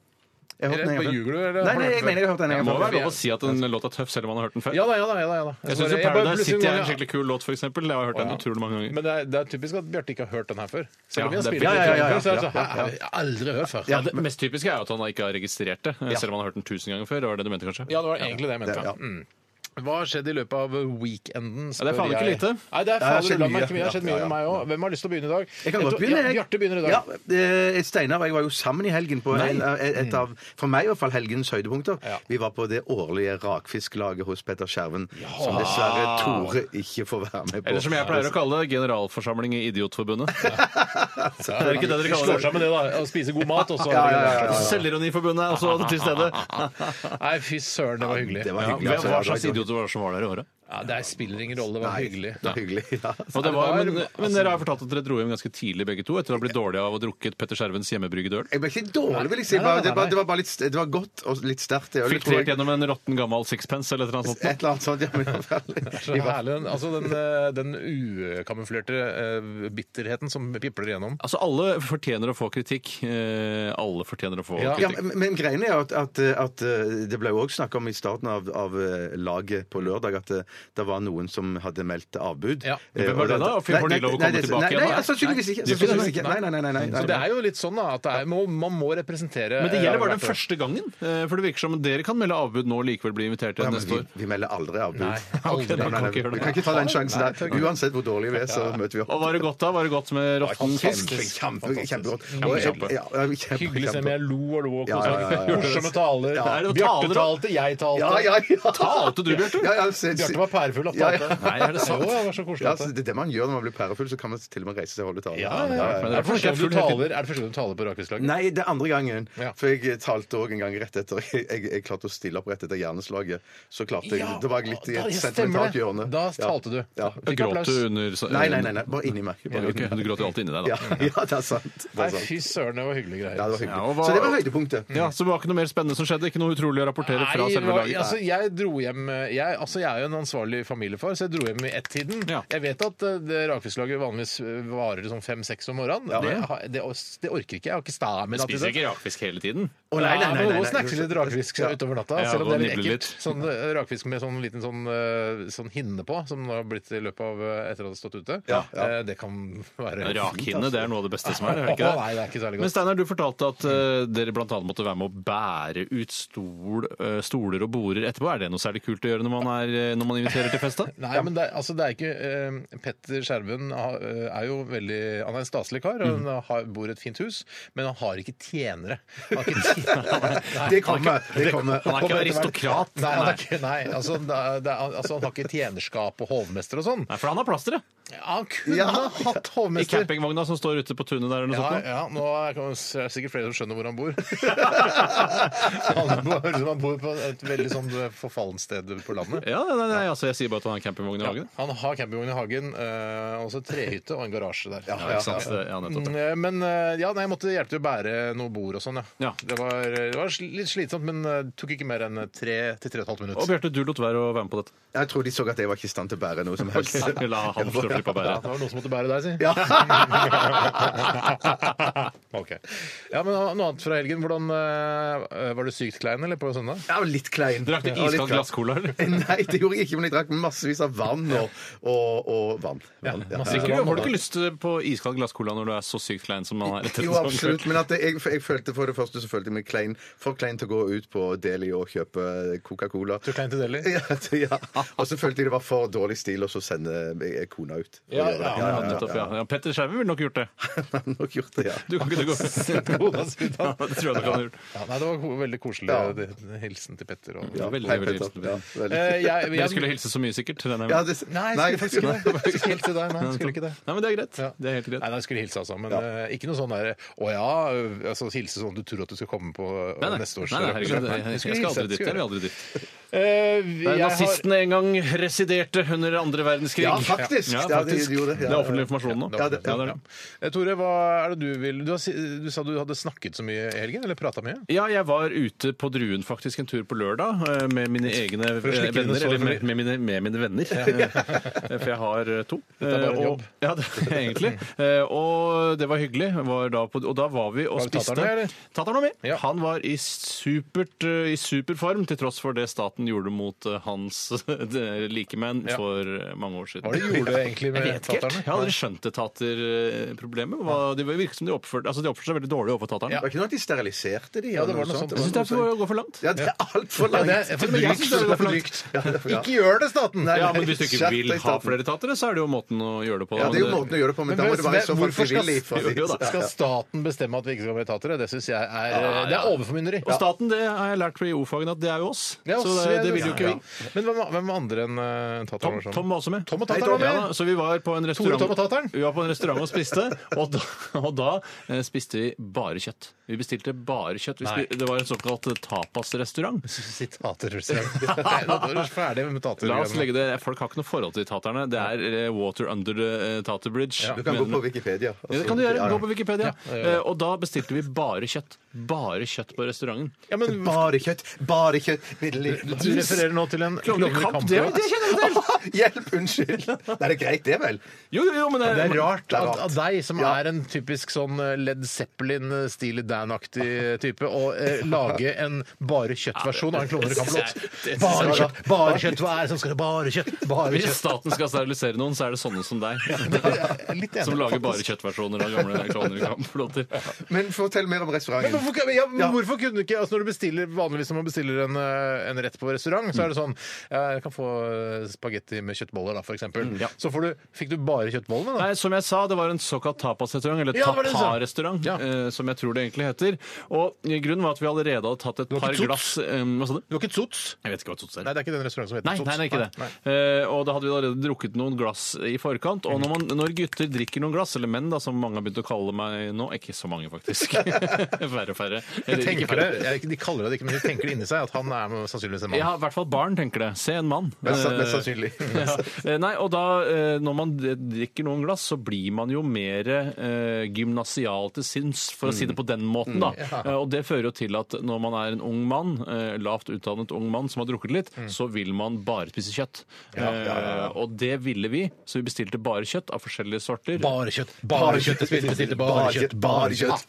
[SPEAKER 2] Jeg hørte den
[SPEAKER 1] Eller
[SPEAKER 2] en gang
[SPEAKER 1] bare
[SPEAKER 2] før.
[SPEAKER 1] ljuger du? Eller?
[SPEAKER 2] Nei, nei, jeg mener jeg har hørt den en
[SPEAKER 3] Det må
[SPEAKER 2] gang
[SPEAKER 3] være
[SPEAKER 2] før.
[SPEAKER 3] lov å si at en låt er tøff selv om man har hørt den før.
[SPEAKER 1] Ja da, ja da. ja da, ja da.
[SPEAKER 3] Jeg syns
[SPEAKER 1] bare- bare
[SPEAKER 3] Paradise
[SPEAKER 1] plutselig
[SPEAKER 3] City er
[SPEAKER 1] nå-
[SPEAKER 3] en skikkelig kul låt, for eksempel. Jeg har hørt den utrolig mange ganger.
[SPEAKER 1] Men det er, det er typisk at Bjarte ikke har hørt den her før. Selv om vi
[SPEAKER 3] Ja,
[SPEAKER 1] har
[SPEAKER 3] det er
[SPEAKER 1] spilt
[SPEAKER 3] Ja,
[SPEAKER 1] den
[SPEAKER 3] ja,
[SPEAKER 1] før,
[SPEAKER 2] ja,
[SPEAKER 1] så
[SPEAKER 2] ja,
[SPEAKER 1] er det
[SPEAKER 2] ja,
[SPEAKER 1] sånn «Hæ, jeg har aldri hørt før.
[SPEAKER 3] Ja, det mest typiske er jo at han ikke har registrert det, selv om han har hørt den tusen ganger før. Det var det du mente, kanskje?
[SPEAKER 1] Ja, det var egentlig det jeg mente.
[SPEAKER 2] Ja.
[SPEAKER 1] Mm. Hva har skjedd i løpet av weekenden?
[SPEAKER 3] Ja, det er faen ikke lite.
[SPEAKER 1] Nei, det er
[SPEAKER 2] har
[SPEAKER 1] faen, det
[SPEAKER 2] skjedd
[SPEAKER 1] la meg ikke
[SPEAKER 2] mye.
[SPEAKER 1] mye. Det har skjedd mye
[SPEAKER 2] Ja, ja,
[SPEAKER 1] med meg òg. Hvem har lyst til å begynne i dag?
[SPEAKER 2] Jeg kan godt
[SPEAKER 1] Ja,
[SPEAKER 2] begynne. jeg.
[SPEAKER 1] Bjarte begynner i dag.
[SPEAKER 2] Ja, eh, Steinar og jeg var jo sammen i helgen på en, eh, et av, for meg i hvert fall, helgens høydepunkter.
[SPEAKER 1] Mm. Ja.
[SPEAKER 2] Vi var på det årlige rakfisklaget hos Petter Skjerven, som dessverre Tore ikke får være med på.
[SPEAKER 3] Eller som jeg pleier å kalle det, generalforsamling i Idiotforbundet.
[SPEAKER 1] Det
[SPEAKER 3] er ikke det dere kaller det.
[SPEAKER 1] Slår sammen det, da. Å spise god mat, og så
[SPEAKER 2] Ja, ja, ja, ja.
[SPEAKER 3] Selvironiforbundet er også til stede.
[SPEAKER 1] Nei, fy søren, det var hyggelig.
[SPEAKER 2] det var
[SPEAKER 3] Ja,
[SPEAKER 2] hyggelig. altså.
[SPEAKER 3] Hva slags idioter var det som var der i året?
[SPEAKER 1] Ja, det spiller ingen rolle. Det var
[SPEAKER 2] Nei,
[SPEAKER 1] hyggelig.
[SPEAKER 2] Det var hyggelig, ja.
[SPEAKER 3] Og det var,
[SPEAKER 1] Ja, det
[SPEAKER 3] men,
[SPEAKER 1] var-
[SPEAKER 3] men dere har fortalt at dere dro hjem ganske tidlig begge to etter å ha blitt dårlige av å ha drukket Petter Skjervens hjemmebrygget øl.
[SPEAKER 2] Jeg ble ikke dårlig, vil jeg si.
[SPEAKER 1] Nei, nei,
[SPEAKER 2] Bare,
[SPEAKER 1] nei,
[SPEAKER 2] det, var,
[SPEAKER 1] nei.
[SPEAKER 2] det var bare litt, det var godt og litt sterkt. det ølet, tror jeg.
[SPEAKER 3] Filtrert gjennom en råtten gammel sixpence eller et eller annet sånt.
[SPEAKER 2] Et eller annet sånt. Ja, men, i hvert fall.
[SPEAKER 1] Så herlig, den- altså den, eh, den ukamuflerte eh, bitterheten som pipler igjennom.
[SPEAKER 3] Altså, alle fortjener å få kritikk. Eh, alle fortjener å få
[SPEAKER 1] Ja.
[SPEAKER 2] Ja,
[SPEAKER 3] kritikk.
[SPEAKER 2] men- men greien er jo at, at, at eh, det ble jo òg snakk om i starten av, av eh, laget på lørdag at det, det var noen som hadde meldt avbud.
[SPEAKER 1] Ja.
[SPEAKER 2] Eh,
[SPEAKER 3] Hvem var
[SPEAKER 2] og
[SPEAKER 3] det da? Og får
[SPEAKER 2] Nei,
[SPEAKER 3] de
[SPEAKER 2] nei,
[SPEAKER 3] lov å
[SPEAKER 2] nei,
[SPEAKER 3] komme
[SPEAKER 2] det-
[SPEAKER 3] tilbake
[SPEAKER 2] nei,
[SPEAKER 3] igjen da?
[SPEAKER 2] Nei, sannsynligvis ikke.
[SPEAKER 3] De får
[SPEAKER 2] Sannsynligvis
[SPEAKER 3] det.
[SPEAKER 2] ikke. Nei, nei, nei. nei, nei,
[SPEAKER 1] Så det er jo litt sånn da, at det er, må, man må representere
[SPEAKER 3] Men det gjelder bare
[SPEAKER 1] eh,
[SPEAKER 3] den første gangen. eh, For det virker som dere kan melde avbud nå og likevel bli invitert
[SPEAKER 2] Ja,
[SPEAKER 3] igjen
[SPEAKER 2] men
[SPEAKER 3] neste
[SPEAKER 2] vi,
[SPEAKER 3] år.
[SPEAKER 2] vi melder aldri avbud.
[SPEAKER 1] Nei,
[SPEAKER 3] Ok,
[SPEAKER 1] aldri.
[SPEAKER 3] da
[SPEAKER 2] Nei,
[SPEAKER 3] kan
[SPEAKER 2] nei,
[SPEAKER 3] vi ikke gjøre
[SPEAKER 2] vi kan
[SPEAKER 3] det.
[SPEAKER 2] ikke ta den sjansen
[SPEAKER 1] Nei, takk.
[SPEAKER 2] der. Uansett hvor dårlige vi er, så møter vi
[SPEAKER 3] Og
[SPEAKER 2] opp.
[SPEAKER 3] var det godt, da? Var det godt med råtten fisk?
[SPEAKER 2] Kjempe, kjempe, kjempegodt.
[SPEAKER 3] Ja,
[SPEAKER 2] Og jeg-
[SPEAKER 3] kjempe.
[SPEAKER 2] ja, ja, kjempe-
[SPEAKER 1] Hyggelig stemning. Jeg lo og lo og
[SPEAKER 2] Ja,
[SPEAKER 1] kosa
[SPEAKER 2] ja, ja,
[SPEAKER 1] meg.
[SPEAKER 2] ja.
[SPEAKER 1] Morsomme taler.
[SPEAKER 3] Ja, er det noen
[SPEAKER 1] Bjarte
[SPEAKER 3] taler, da?
[SPEAKER 1] talte, jeg talte.
[SPEAKER 2] Ja, ja, ja.
[SPEAKER 3] Talte du, Bjarte?
[SPEAKER 2] Ja, ja, se- se-
[SPEAKER 1] Bjarte var pærefull av
[SPEAKER 2] Ja, ja.
[SPEAKER 1] talte.
[SPEAKER 3] Nei, er det sant?
[SPEAKER 1] Jo, ja, det var så koselig.
[SPEAKER 2] Ja,
[SPEAKER 1] at
[SPEAKER 2] altså,
[SPEAKER 1] det-
[SPEAKER 2] det er det man gjør når man blir pærefull, så kan man til og med reise seg og holde tale.
[SPEAKER 1] Ja, ja, ja.
[SPEAKER 3] Men
[SPEAKER 1] Er
[SPEAKER 3] det
[SPEAKER 1] det
[SPEAKER 3] er
[SPEAKER 1] første gang du
[SPEAKER 3] full hele
[SPEAKER 1] taler, er det første gang du taler på Rakfisklaget?
[SPEAKER 2] Nei, det er andre gangen.
[SPEAKER 1] Ja.
[SPEAKER 2] For jeg talte òg en gang rett etter jeg, jeg klarte å stille opp rett etter hjerneslaget. Så klarte jeg Da var jeg litt i
[SPEAKER 1] da-
[SPEAKER 2] et
[SPEAKER 1] ja, stemmer
[SPEAKER 2] sentimentalt
[SPEAKER 1] det.
[SPEAKER 2] hjørne.
[SPEAKER 1] Da talte du.
[SPEAKER 2] Ja.
[SPEAKER 1] Fikk
[SPEAKER 3] Gråt
[SPEAKER 1] applaus.
[SPEAKER 3] du under
[SPEAKER 2] Nei, nei, nei, nei. Bare inni meg. Bare
[SPEAKER 3] Ok,
[SPEAKER 2] inni meg.
[SPEAKER 3] Du gråter jo alltid inni deg,
[SPEAKER 2] Ja,
[SPEAKER 3] da.
[SPEAKER 2] ja, det er sant. Det
[SPEAKER 1] Nei,
[SPEAKER 2] er sant.
[SPEAKER 1] fy søren, det var hyggelige greier.
[SPEAKER 2] Ja, det var
[SPEAKER 3] Ja, og
[SPEAKER 2] hyggelig.
[SPEAKER 3] hva-
[SPEAKER 2] Så det var høydepunktet.
[SPEAKER 3] Ja, Så det var ikke noe mer spennende som skjedde? Ikke noe utrolig å rapportere fra
[SPEAKER 1] Nei,
[SPEAKER 3] selve
[SPEAKER 1] hva-
[SPEAKER 3] laget?
[SPEAKER 1] altså, jeg dro hjem jeg, altså, jeg er jo en ansvarlig familiefar, så jeg dro hjem i ett-tiden.
[SPEAKER 3] Ja.
[SPEAKER 1] Jeg vet at eh, det rakfisklaget vanligvis eh, varer sånn fem-seks om morgenen. Det, har- det, det orker ikke jeg. Jeg har ikke stamina til
[SPEAKER 3] Spiser
[SPEAKER 1] det.
[SPEAKER 3] ikke rakfisk hele tiden?
[SPEAKER 2] Å, nei, nei, nei,
[SPEAKER 1] Ja,
[SPEAKER 2] nei,
[SPEAKER 1] men
[SPEAKER 2] nei.
[SPEAKER 1] nå snakker vi litt rakfisk utover natta,
[SPEAKER 3] Ja,
[SPEAKER 1] selv om
[SPEAKER 3] gå
[SPEAKER 1] det
[SPEAKER 3] og
[SPEAKER 1] er litt
[SPEAKER 3] nibble
[SPEAKER 1] ekkelt. Sånn, eh, rakfisk med sånn liten sånn, eh, sånn hinne på, som det har blitt i løpet av eh, etter at det har stått ute.
[SPEAKER 2] Ja, ja.
[SPEAKER 1] Eh, Det kan være
[SPEAKER 3] Rakhinne det er noe av det beste som er. er det
[SPEAKER 1] Å, nei, det
[SPEAKER 3] ikke
[SPEAKER 1] er ikke særlig
[SPEAKER 3] det? Men
[SPEAKER 1] godt.
[SPEAKER 3] Steinar, du fortalte at eh, dere blant annet måtte være med å bære ut stol, eh, stoler og borer etterpå. Er det noe særlig kult å gjøre når man, er, eh, når man inviterer til fest, da?
[SPEAKER 1] Nei, men det, er- altså, det er ikke eh, Petter Skjerven har- eh, er jo veldig Han er en staselig kar, og
[SPEAKER 2] Mm.
[SPEAKER 1] han har, bor i et fint hus, men han har ikke tjenere. Han har ikke tjenere. Nei.
[SPEAKER 2] Det kommer. Det kommer.
[SPEAKER 3] Han er ikke aristokrat.
[SPEAKER 1] Nei, han, er ikke, nei altså, det er, det er, altså, han har ikke tjenerskap og hovmester og sånn.
[SPEAKER 3] Nei, for han har plass til det.
[SPEAKER 1] Ja, han kunne hatt
[SPEAKER 3] I
[SPEAKER 1] hovmester.
[SPEAKER 3] campingvogna som står ute på tunet der. eller
[SPEAKER 1] Ja,
[SPEAKER 3] noe sånt.
[SPEAKER 1] ja,
[SPEAKER 3] nå.
[SPEAKER 1] nå er det sikkert flere som skjønner hvor han bor. han, bor han bor på et veldig sånn forfallent sted på landet.
[SPEAKER 3] Ja, nei, nei, altså, Jeg sier bare at han har campingvogn i hagen.
[SPEAKER 1] Han har campingvogn i hagen, eh, og så trehytte og en garasje der.
[SPEAKER 3] Ja, ikke sant? Det- Ja, nettopp.
[SPEAKER 1] Mm, eh, Men eh, ja, nei, jeg måtte hjelpe til å bære noe bord og sånn, ja.
[SPEAKER 3] Ja.
[SPEAKER 1] Det, var, det var sli- litt slitsomt, men eh, det tok ikke mer enn tre til tre og et halvt
[SPEAKER 3] Og
[SPEAKER 1] minutt.
[SPEAKER 3] Bjarte, du lot være å være med på dette.
[SPEAKER 2] Jeg tror de så at jeg var ikke i stand til å bære noe som helst.
[SPEAKER 3] Ok, La han få slippe å
[SPEAKER 1] Ja,
[SPEAKER 3] bære.
[SPEAKER 1] det var noen som måtte bære deg, si.
[SPEAKER 2] Ja.
[SPEAKER 1] Ok. Ja, men noe annet fra helgen. Hvordan eh, Var du sykt klein, eller, på søndag?
[SPEAKER 2] Jeg var litt klein.
[SPEAKER 3] Drakk du
[SPEAKER 2] Jeg var litt
[SPEAKER 3] iskald
[SPEAKER 2] klein.
[SPEAKER 3] glasscola, eller?
[SPEAKER 2] Nei, det gjorde jeg ikke, men jeg drakk massevis av vann og, og, og vann. vann. ja.
[SPEAKER 1] massevis av
[SPEAKER 3] Ikke,
[SPEAKER 1] vann.
[SPEAKER 3] Har du ikke lyst eh, på iskald glasscola når du er så sykt klein som han er? etter en
[SPEAKER 2] Jo,
[SPEAKER 3] sånn
[SPEAKER 2] absolutt.
[SPEAKER 3] kveld?
[SPEAKER 2] Men at jeg, jeg følte for det første så følte jeg meg klein, for klein til å gå ut på Deli og kjøpe Coca-Cola.
[SPEAKER 1] Du klein til Delhi?
[SPEAKER 2] Ja, ja. Og så følte jeg det var for dårlig stil å så sende eh, kona ut. og
[SPEAKER 1] Ja,
[SPEAKER 2] gjøre det.
[SPEAKER 1] ja,
[SPEAKER 3] Ja, nettopp, ja. ja, Petter Skjerven ville nok gjort det.
[SPEAKER 2] Han har nok gjort det, ja.
[SPEAKER 3] Du kan ikke det gå.
[SPEAKER 1] Kona si da.
[SPEAKER 3] Ja, det tror jeg nok han har gjort.
[SPEAKER 1] Ja, nei, det var ko- veldig koselig.
[SPEAKER 2] Ja.
[SPEAKER 1] det- Hilsen til Petter. Og...
[SPEAKER 3] Ja, veldig,
[SPEAKER 2] Hei,
[SPEAKER 3] veldig
[SPEAKER 2] Petter.
[SPEAKER 3] hilsen.
[SPEAKER 2] Ja, veldig.
[SPEAKER 1] Eh, jeg,
[SPEAKER 3] Dere
[SPEAKER 1] jeg,
[SPEAKER 3] skulle hilse så mye, sikkert. til denne-
[SPEAKER 2] Ja, det,
[SPEAKER 1] Nei, jeg
[SPEAKER 2] nei.
[SPEAKER 1] skulle faktisk ikke det. Jeg skulle Helt til deg, nei, jeg skulle ikke det.
[SPEAKER 3] Nei, men det er greit.
[SPEAKER 1] Ja.
[SPEAKER 3] Det er helt greit.
[SPEAKER 1] Nei, nei, jeg skulle hilse, altså. Men eh, ikke noe sånn der Å ja, ø, altså, hilse sånn du tror at du skal komme på ø,
[SPEAKER 3] Nei, nei.
[SPEAKER 1] neste års
[SPEAKER 3] Nei, nei, herregud,
[SPEAKER 1] Nei,
[SPEAKER 3] jeg, jeg,
[SPEAKER 1] du skulle
[SPEAKER 3] skal
[SPEAKER 1] hilse,
[SPEAKER 3] aldri dit.
[SPEAKER 1] skulle
[SPEAKER 3] Jeg vil
[SPEAKER 1] gjøre
[SPEAKER 3] aldri dit.
[SPEAKER 1] Eh, vi-
[SPEAKER 3] Nei,
[SPEAKER 1] jeg har-
[SPEAKER 3] Nazistene en gang residerte under andre verdenskrig.
[SPEAKER 2] Ja, faktisk.
[SPEAKER 3] Ja,
[SPEAKER 2] Ja, de
[SPEAKER 3] faktisk.
[SPEAKER 2] gjorde det. Ja,
[SPEAKER 3] det er offentlig
[SPEAKER 2] ja.
[SPEAKER 3] informasjon nå.
[SPEAKER 2] Ja, det-
[SPEAKER 3] Ja, det er det.
[SPEAKER 1] Eh, Tore, hva er det du vil du, har, si- du sa du hadde snakket så mye i helgen, eller prata mye?
[SPEAKER 3] Ja, jeg var ute på Druen faktisk en tur på lørdag eh, med mine egne eh,
[SPEAKER 1] For å slikke dine
[SPEAKER 3] venner.
[SPEAKER 1] sår,
[SPEAKER 3] Eller med,
[SPEAKER 1] fordi-
[SPEAKER 3] med, mine, med mine venner. Eh, For jeg har eh, to.
[SPEAKER 1] Dette er bare en
[SPEAKER 3] Eh, og-
[SPEAKER 1] jobb.
[SPEAKER 3] Ja, det, egentlig. Eh, Og det var hyggelig. Var da på, og da var vi og
[SPEAKER 1] Var det
[SPEAKER 3] spiste
[SPEAKER 1] Tataren med, eller?
[SPEAKER 3] Tataren var med.
[SPEAKER 1] Ja.
[SPEAKER 3] Han var i, supert, eh, i superform til tross for det staten gjorde mot eh, hans eh, likemenn
[SPEAKER 1] Ja.
[SPEAKER 3] for eh, mange år siden.
[SPEAKER 1] Hva er det du gjorde egentlig med
[SPEAKER 3] Jeg vet ikke helt.
[SPEAKER 1] taterne?
[SPEAKER 3] Jeg har aldri skjønt det taterproblemet. Hva- Det virket som de oppførte, altså de oppførte seg veldig dårlig overfor tateren.
[SPEAKER 2] Det var ikke noe at de steriliserte de?
[SPEAKER 1] Ja, det var
[SPEAKER 2] eller
[SPEAKER 1] noe sånt.
[SPEAKER 2] Det
[SPEAKER 3] Jeg syns det er
[SPEAKER 2] noe
[SPEAKER 3] for
[SPEAKER 2] sånt.
[SPEAKER 3] å gå for langt.
[SPEAKER 2] Ja, det er altfor
[SPEAKER 1] Ja,
[SPEAKER 2] langt.
[SPEAKER 1] det er- for meg synes det er for langt.
[SPEAKER 2] Ja, det er for- ja.
[SPEAKER 1] Ikke gjør det, staten!
[SPEAKER 3] Ja, men hvis du ikke
[SPEAKER 2] Skjerp
[SPEAKER 3] vil
[SPEAKER 2] deg,
[SPEAKER 3] ha
[SPEAKER 2] staten.
[SPEAKER 3] flere tatere, så er det jo måten å gjøre det på. da.
[SPEAKER 2] Ja, det er jo
[SPEAKER 3] Men
[SPEAKER 2] måten å gjøre det på, men da må det være i så fall
[SPEAKER 1] hvorfor skal,
[SPEAKER 2] frivillig. for
[SPEAKER 3] Jo, jo da.
[SPEAKER 2] Ja, sånn. ja.
[SPEAKER 1] skal staten bestemme at vi ikke skal bli tatere? Det syns jeg er,
[SPEAKER 3] Ja,
[SPEAKER 1] det er
[SPEAKER 3] ja.
[SPEAKER 1] overformynderi.
[SPEAKER 3] eh, Og staten, det har jeg lært i O-fagene, at det er jo oss.
[SPEAKER 1] Ja,
[SPEAKER 3] så det,
[SPEAKER 1] vi-
[SPEAKER 3] det vil jo ikke vi.
[SPEAKER 1] Men hvem, hvem andre enn uh, tateren? var sammen?
[SPEAKER 3] Tom, Tom var også med.
[SPEAKER 1] Tom og Tataren var
[SPEAKER 3] Ja,
[SPEAKER 1] med.
[SPEAKER 3] da, så vi var på en restaurant
[SPEAKER 1] Tom og Tataren.
[SPEAKER 3] Vi var på en restaurant og spiste, og da, og da eh, spiste vi bare kjøtt. Vi bestilte bare kjøtt. Vi
[SPEAKER 1] Nei.
[SPEAKER 3] spi- det var en såkalt eh, tapasrestaurant.
[SPEAKER 1] Sitaterrusseren. Nå er du ferdig med tater.
[SPEAKER 3] La oss legge det, Folk har ikke noe forhold til taterne. Det er eh, water under the eh, tater bridge.
[SPEAKER 2] Du kan gå
[SPEAKER 3] Men-
[SPEAKER 2] på Wikipedia. og
[SPEAKER 3] Ja, det
[SPEAKER 2] så-
[SPEAKER 3] kan du gjøre.
[SPEAKER 2] ja, ja.
[SPEAKER 3] Gå på Wikipedia. Eh, Og da bestilte vi bare kjøtt. Bare kjøtt på restauranten.
[SPEAKER 1] ja, men,
[SPEAKER 2] Bare kjøtt, bare kjøtt middelig-
[SPEAKER 1] du refererer nå til en
[SPEAKER 3] Klovner i kamp, det, det kjenner jeg til!
[SPEAKER 2] Hjelp! Unnskyld! Nei, det er greit, det, vel?
[SPEAKER 3] Jo, jo, jo, men det,
[SPEAKER 1] Det er rart
[SPEAKER 2] Det er
[SPEAKER 1] at,
[SPEAKER 2] rart.
[SPEAKER 1] at deg, som
[SPEAKER 2] Ja.
[SPEAKER 1] er en typisk sånn eh, Led Zeppelin, eh, Steely Dan-aktig type, å eh, lage en bare kjøtt-versjon av en Klovner i kamp-låt.
[SPEAKER 3] Det- det-
[SPEAKER 1] Bare kjøtt, bare kjøtt, hva er det som skal Bare kjøtt, bare
[SPEAKER 3] Hvis
[SPEAKER 1] kjøtt.
[SPEAKER 3] staten skal sterilisere noen, så er det sånne som deg.
[SPEAKER 1] Jeg er Litt enig.
[SPEAKER 3] Som lager bare kjøttversjoner av gamle Klovner i kamp-låter.
[SPEAKER 2] Men fortell mer om
[SPEAKER 1] Men
[SPEAKER 2] restauranten.
[SPEAKER 1] hvorfor, kan- ja, men hvorfor kunne du ikke altså når du bestiller, Vanligvis når man bestiller en, eh, en rett på restaurant, så er det sånn ja, Jeg kan få eh, spagetti med kjøttboller, da, for eksempel. Så får du, fikk du bare kjøttbollene, da?
[SPEAKER 3] Nei, som jeg sa, det var en såkalt tapasrestaurant, eller
[SPEAKER 1] Ja, det var det du sa.
[SPEAKER 3] tatarrestaurant,
[SPEAKER 1] Ja.
[SPEAKER 3] eh, som jeg tror det egentlig heter. Og grunnen var at vi allerede hadde tatt et
[SPEAKER 1] var
[SPEAKER 3] par
[SPEAKER 1] ikke
[SPEAKER 3] glass eh, Hva sa du?
[SPEAKER 1] Du har ikke Tots?
[SPEAKER 3] Jeg vet ikke hva tots er.
[SPEAKER 1] Nei, det er ikke den restauranten som heter
[SPEAKER 3] Nei,
[SPEAKER 1] Tots.
[SPEAKER 3] nei, nei, ikke det. Eh, og da hadde vi allerede drukket noen glass i forkant. Og når, man,
[SPEAKER 1] Mm.
[SPEAKER 3] når gutter drikker noen glass, eller menn, da, som mange har begynt å kalle meg nå Ikke så mange, faktisk. færre og færre.
[SPEAKER 1] De,
[SPEAKER 3] Eller, ikke
[SPEAKER 1] tenker det,
[SPEAKER 3] færre.
[SPEAKER 1] jeg, de kaller det det ikke, men de tenker det inni seg at han er sannsynligvis en mann.
[SPEAKER 3] Ja, i hvert fall barn tenker det. Se en mann.
[SPEAKER 2] Mest
[SPEAKER 3] Eh,
[SPEAKER 2] mest sannsynlig.
[SPEAKER 3] ja. Eh, Nei, og da, eh, når man d- drikker noen glass, så blir man jo mer eh, gymnasial til sinns, for å si det
[SPEAKER 1] Mm.
[SPEAKER 3] på den måten, da. Eh, Og det fører jo til at når man er en ung mann, eh, lavt utdannet ung mann som har drukket litt,
[SPEAKER 1] Mm.
[SPEAKER 3] så vil man bare spise kjøtt. Eh, Og det ville vi, så vi bestilte bare kjøtt av forskjellige sorter.
[SPEAKER 1] Bare kjøtt, bare kjøtt, jeg spilte, spilte bare kjøtt, bare kjøtt.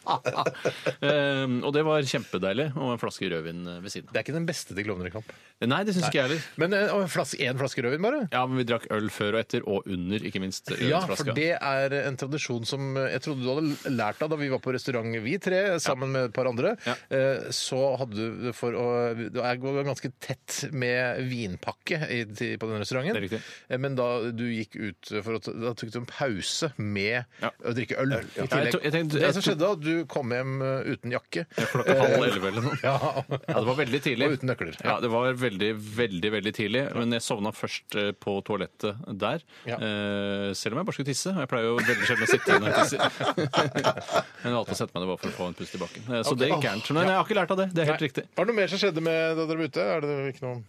[SPEAKER 3] Eh, og det var kjempedeilig, og en flaske rødvin eh, ved siden av.
[SPEAKER 1] Det er ikke den beste til klovner i kamp. eh,
[SPEAKER 3] Nei, det syns ikke jeg heller.
[SPEAKER 1] Men én flaske, en flaske rødvin, bare?
[SPEAKER 3] Ja, men vi drakk øl før og etter, og under, ikke minst, eh,
[SPEAKER 1] Ja,
[SPEAKER 3] ølflaska.
[SPEAKER 1] for det er en tradisjon som jeg trodde du hadde lært av da vi var på restaurant, vi tre, sammen med et par andre.
[SPEAKER 3] Ja.
[SPEAKER 1] Eh, Så hadde du det for å Du er var ganske tett med vinpakke i, til- på den restauranten.
[SPEAKER 3] Det er riktig.
[SPEAKER 1] Eh, Men da du gikk ut for å ta- Da tok du en pause med
[SPEAKER 3] Ja.
[SPEAKER 1] å drikke øl. i
[SPEAKER 3] Ja, jeg
[SPEAKER 1] tillegg.
[SPEAKER 3] tok- jeg tenkte-
[SPEAKER 1] det som
[SPEAKER 3] jeg
[SPEAKER 1] skjedde da, du kom hjem eh, uten jakke.
[SPEAKER 3] Klokka halv elleve eller noe.
[SPEAKER 1] Ja.
[SPEAKER 3] Eh, Ja, det var veldig tidlig.
[SPEAKER 1] Og uten nøkler.
[SPEAKER 3] Ja, det var veldig, veldig veldig tidlig. Men jeg sovna først eh, på toalettet der.
[SPEAKER 1] Ja.
[SPEAKER 3] Eh, selv om jeg bare skulle tisse. og Jeg pleier jo veldig sjelden å sitte når jeg tisser. Men jeg valgte å sette meg ned bare for å få en pust i bakken. Eh, så det gikk gærent. Men jeg har ikke lært av det. Det er helt riktig.
[SPEAKER 1] Var det noe mer som skjedde med da dere var ute? Er det ikke noe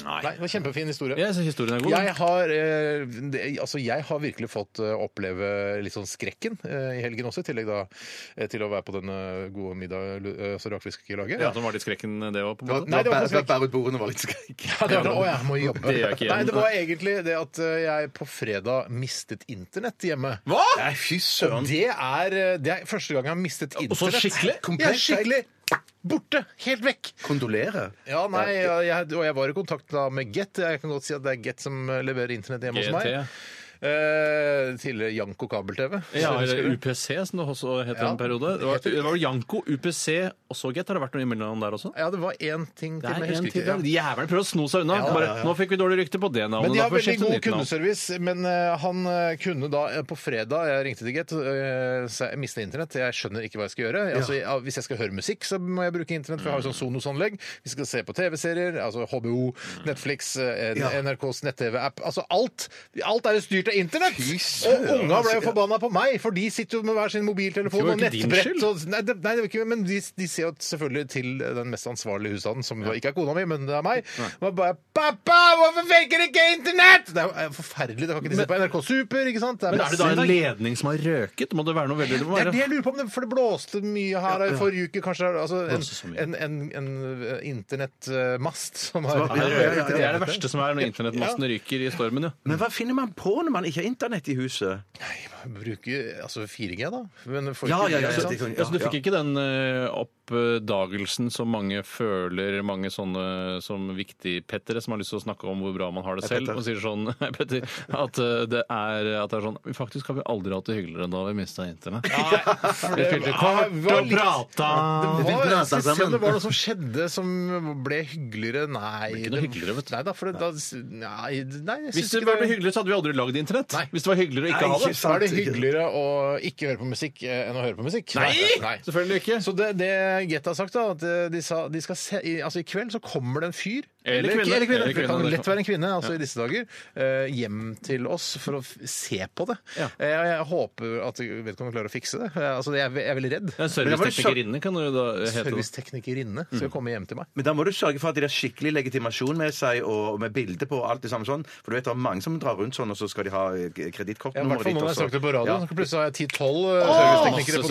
[SPEAKER 3] Nei.
[SPEAKER 1] Nei, det var en kjempefin historie.
[SPEAKER 3] Jeg synes historien er god.
[SPEAKER 1] Jeg har, eh, det- altså jeg har virkelig fått eh, oppleve litt sånn skrekken eh, i helgen også, i tillegg da, eh, til å være på den eh, gode middag, lu- eh, altså rakfisklaget.
[SPEAKER 3] Ja, som var litt skrekken eh, det òg, på en måte.
[SPEAKER 1] Nei, det var
[SPEAKER 2] Bæ-
[SPEAKER 1] faktisk-
[SPEAKER 2] bæ- Bær ut bordene var litt skrekk.
[SPEAKER 1] Ja, det var det. Å, jeg må jobbe.
[SPEAKER 3] Det gjør jeg ikke igjen.
[SPEAKER 1] Nei, det var egentlig det at eh, jeg på fredag mistet internett hjemme.
[SPEAKER 2] Hva?! Nei, fy søren.
[SPEAKER 1] Det er, eh, det er første gang jeg har mistet
[SPEAKER 3] Og så
[SPEAKER 1] internett.
[SPEAKER 3] skikkelig?
[SPEAKER 1] Ja, skikkelig. Borte. Helt vekk.
[SPEAKER 2] Kondolerer.
[SPEAKER 1] Ja, nei, jeg, jeg, og jeg var i kontakt da med Get. Jeg kan godt si at det er Get som eh, leverer internett hjemme hos meg.
[SPEAKER 3] GT.
[SPEAKER 1] Eh, tidligere Janko kabel-TV.
[SPEAKER 3] Ja,
[SPEAKER 1] Husker
[SPEAKER 3] eller
[SPEAKER 1] du?
[SPEAKER 3] UPC, som det også het
[SPEAKER 1] Ja.
[SPEAKER 3] en periode. Det var, det var Janko, UPC og så Get. Har det vært noe imellom der også?
[SPEAKER 1] Ja, det var én ting til.
[SPEAKER 3] Det
[SPEAKER 1] men
[SPEAKER 3] er
[SPEAKER 1] jeg
[SPEAKER 3] en
[SPEAKER 1] husker
[SPEAKER 3] til.
[SPEAKER 1] ikke.
[SPEAKER 3] der.
[SPEAKER 1] Ja.
[SPEAKER 3] Jævelen prøver å sno seg unna.
[SPEAKER 1] Ja,
[SPEAKER 3] Bare, nå fikk vi dårlig rykte på det navnet.
[SPEAKER 1] Men de
[SPEAKER 3] da
[SPEAKER 1] har
[SPEAKER 3] får vi
[SPEAKER 1] veldig
[SPEAKER 3] skifte
[SPEAKER 1] god
[SPEAKER 3] nytt navn.
[SPEAKER 1] kundeservice. Men eh, han eh, kunne da eh, på fredag Jeg ringte til Get, eh, sa jeg mistet internett. Jeg skjønner ikke hva jeg skal gjøre. Altså, ja, hvis jeg skal høre musikk, så må jeg bruke internett, for jeg har jo sånn
[SPEAKER 3] Mm.
[SPEAKER 1] Sonos-anlegg. Vi skal se på TV-serier, altså HBO, Netflix, eh, NRKs nett-TV-app. Altså alt! Alt er jo styrt av internett! Og unga ble jo forbanna på meg, for de sitter jo med hver sin
[SPEAKER 3] altså, Det
[SPEAKER 1] mobiltelefon
[SPEAKER 3] var
[SPEAKER 1] og
[SPEAKER 3] jo ikke din
[SPEAKER 1] nettbrett.
[SPEAKER 3] skyld.
[SPEAKER 1] Og, Altså, nei, det, nei, det var ikke, men de, de ser jo selvfølgelig til den mest ansvarlige husstanden, som da ikke er kona mi, men det er meg. Og jeg bare 'Pappa, hvorfor funker ikke Internett?!' Det er jo eh, forferdelig. Det kan ikke de se på NRK Super, ikke sant? Det
[SPEAKER 3] Men er det da en
[SPEAKER 1] masse-
[SPEAKER 3] ledning som har røket? Må det være noe veldig det må
[SPEAKER 1] det er det
[SPEAKER 3] være-
[SPEAKER 1] jeg lurer på, om det- for det blåste mye her i forrige uke. Kanskje det er altså,
[SPEAKER 3] Blåste så
[SPEAKER 1] en,
[SPEAKER 3] mye.
[SPEAKER 1] en, en, en eh, internettmast som har
[SPEAKER 3] Ja, det er- Det er det
[SPEAKER 1] verste.
[SPEAKER 3] verste som er når internettmasten ryker i stormen, ja.
[SPEAKER 2] Men hva finner man på når man ikke har internett i huset?
[SPEAKER 1] Bruker altså 4G, da. Men får
[SPEAKER 2] Ja,
[SPEAKER 1] ikke-
[SPEAKER 2] ja, ja,
[SPEAKER 1] ikke sant?
[SPEAKER 2] det kan-
[SPEAKER 3] Altså, du fikk
[SPEAKER 2] ja.
[SPEAKER 3] ikke den eh, oppdagelsen som mange føler, mange sånne som viktig-pettere som har lyst til å snakke om hvor bra man har det selv,
[SPEAKER 2] Petter.
[SPEAKER 3] og sier sånn Hei, Petter, at eh, det er, at det er sånn Faktisk har vi aldri hatt det hyggeligere enn da vi mista internett. Vi
[SPEAKER 1] Ja,
[SPEAKER 3] spilte
[SPEAKER 1] det
[SPEAKER 3] kort
[SPEAKER 1] var
[SPEAKER 3] og
[SPEAKER 1] litt-
[SPEAKER 3] prata.
[SPEAKER 1] Det
[SPEAKER 2] Vi
[SPEAKER 1] var,
[SPEAKER 2] pratet
[SPEAKER 1] jeg synes ikke
[SPEAKER 2] sammen.
[SPEAKER 1] det var noe som skjedde som ble hyggeligere. Nei.
[SPEAKER 3] Det ble ikke noe hyggeligere, vet du.
[SPEAKER 1] Nei, da, for det, da, nei, nei jeg synes
[SPEAKER 3] Hvis det
[SPEAKER 1] ikke
[SPEAKER 3] var hyggelig, så hadde vi aldri lagd internett.
[SPEAKER 1] Nei.
[SPEAKER 3] Hvis det var hyggeligere å ikke
[SPEAKER 2] Nei,
[SPEAKER 3] ha det.
[SPEAKER 2] ikke
[SPEAKER 1] Så er det hyggeligere å ikke høre på musikk eh, enn å høre på musikk. Nei.
[SPEAKER 3] Selvfølgelig ikke.
[SPEAKER 1] Så det, det Get har sagt, da, at eh, de sa de skal se, i, altså i kveld så kommer det en fyr
[SPEAKER 3] Eller kvinne.
[SPEAKER 1] eller
[SPEAKER 3] Eller
[SPEAKER 1] Det kan
[SPEAKER 3] kvinne,
[SPEAKER 1] lett være en kvinne altså i disse dager. eh, hjem til oss for å f se på det.
[SPEAKER 3] Ja.
[SPEAKER 1] Eh, jeg håper at jeg vet ikke om de klarer å fikse det. Eh, Altså, jeg, er ve- jeg er veldig redd.
[SPEAKER 3] En serviceteknikerinne kan jo Mm. da hete det.
[SPEAKER 1] Serviceteknikerinne skal komme hjem til meg.
[SPEAKER 2] Men da må du sørge for at de har skikkelig legitimasjon med seg, og med bilde på og alt det samme sånn. For du vet det er mange som drar rundt sånn, og så skal de ha eh,
[SPEAKER 1] Ja, I hvert
[SPEAKER 2] kredittkortnummeret
[SPEAKER 1] fall nå når jeg snakket på radioen. så Plutselig har jeg 10-12 serviceteknikere på
[SPEAKER 3] Masse
[SPEAKER 1] døra.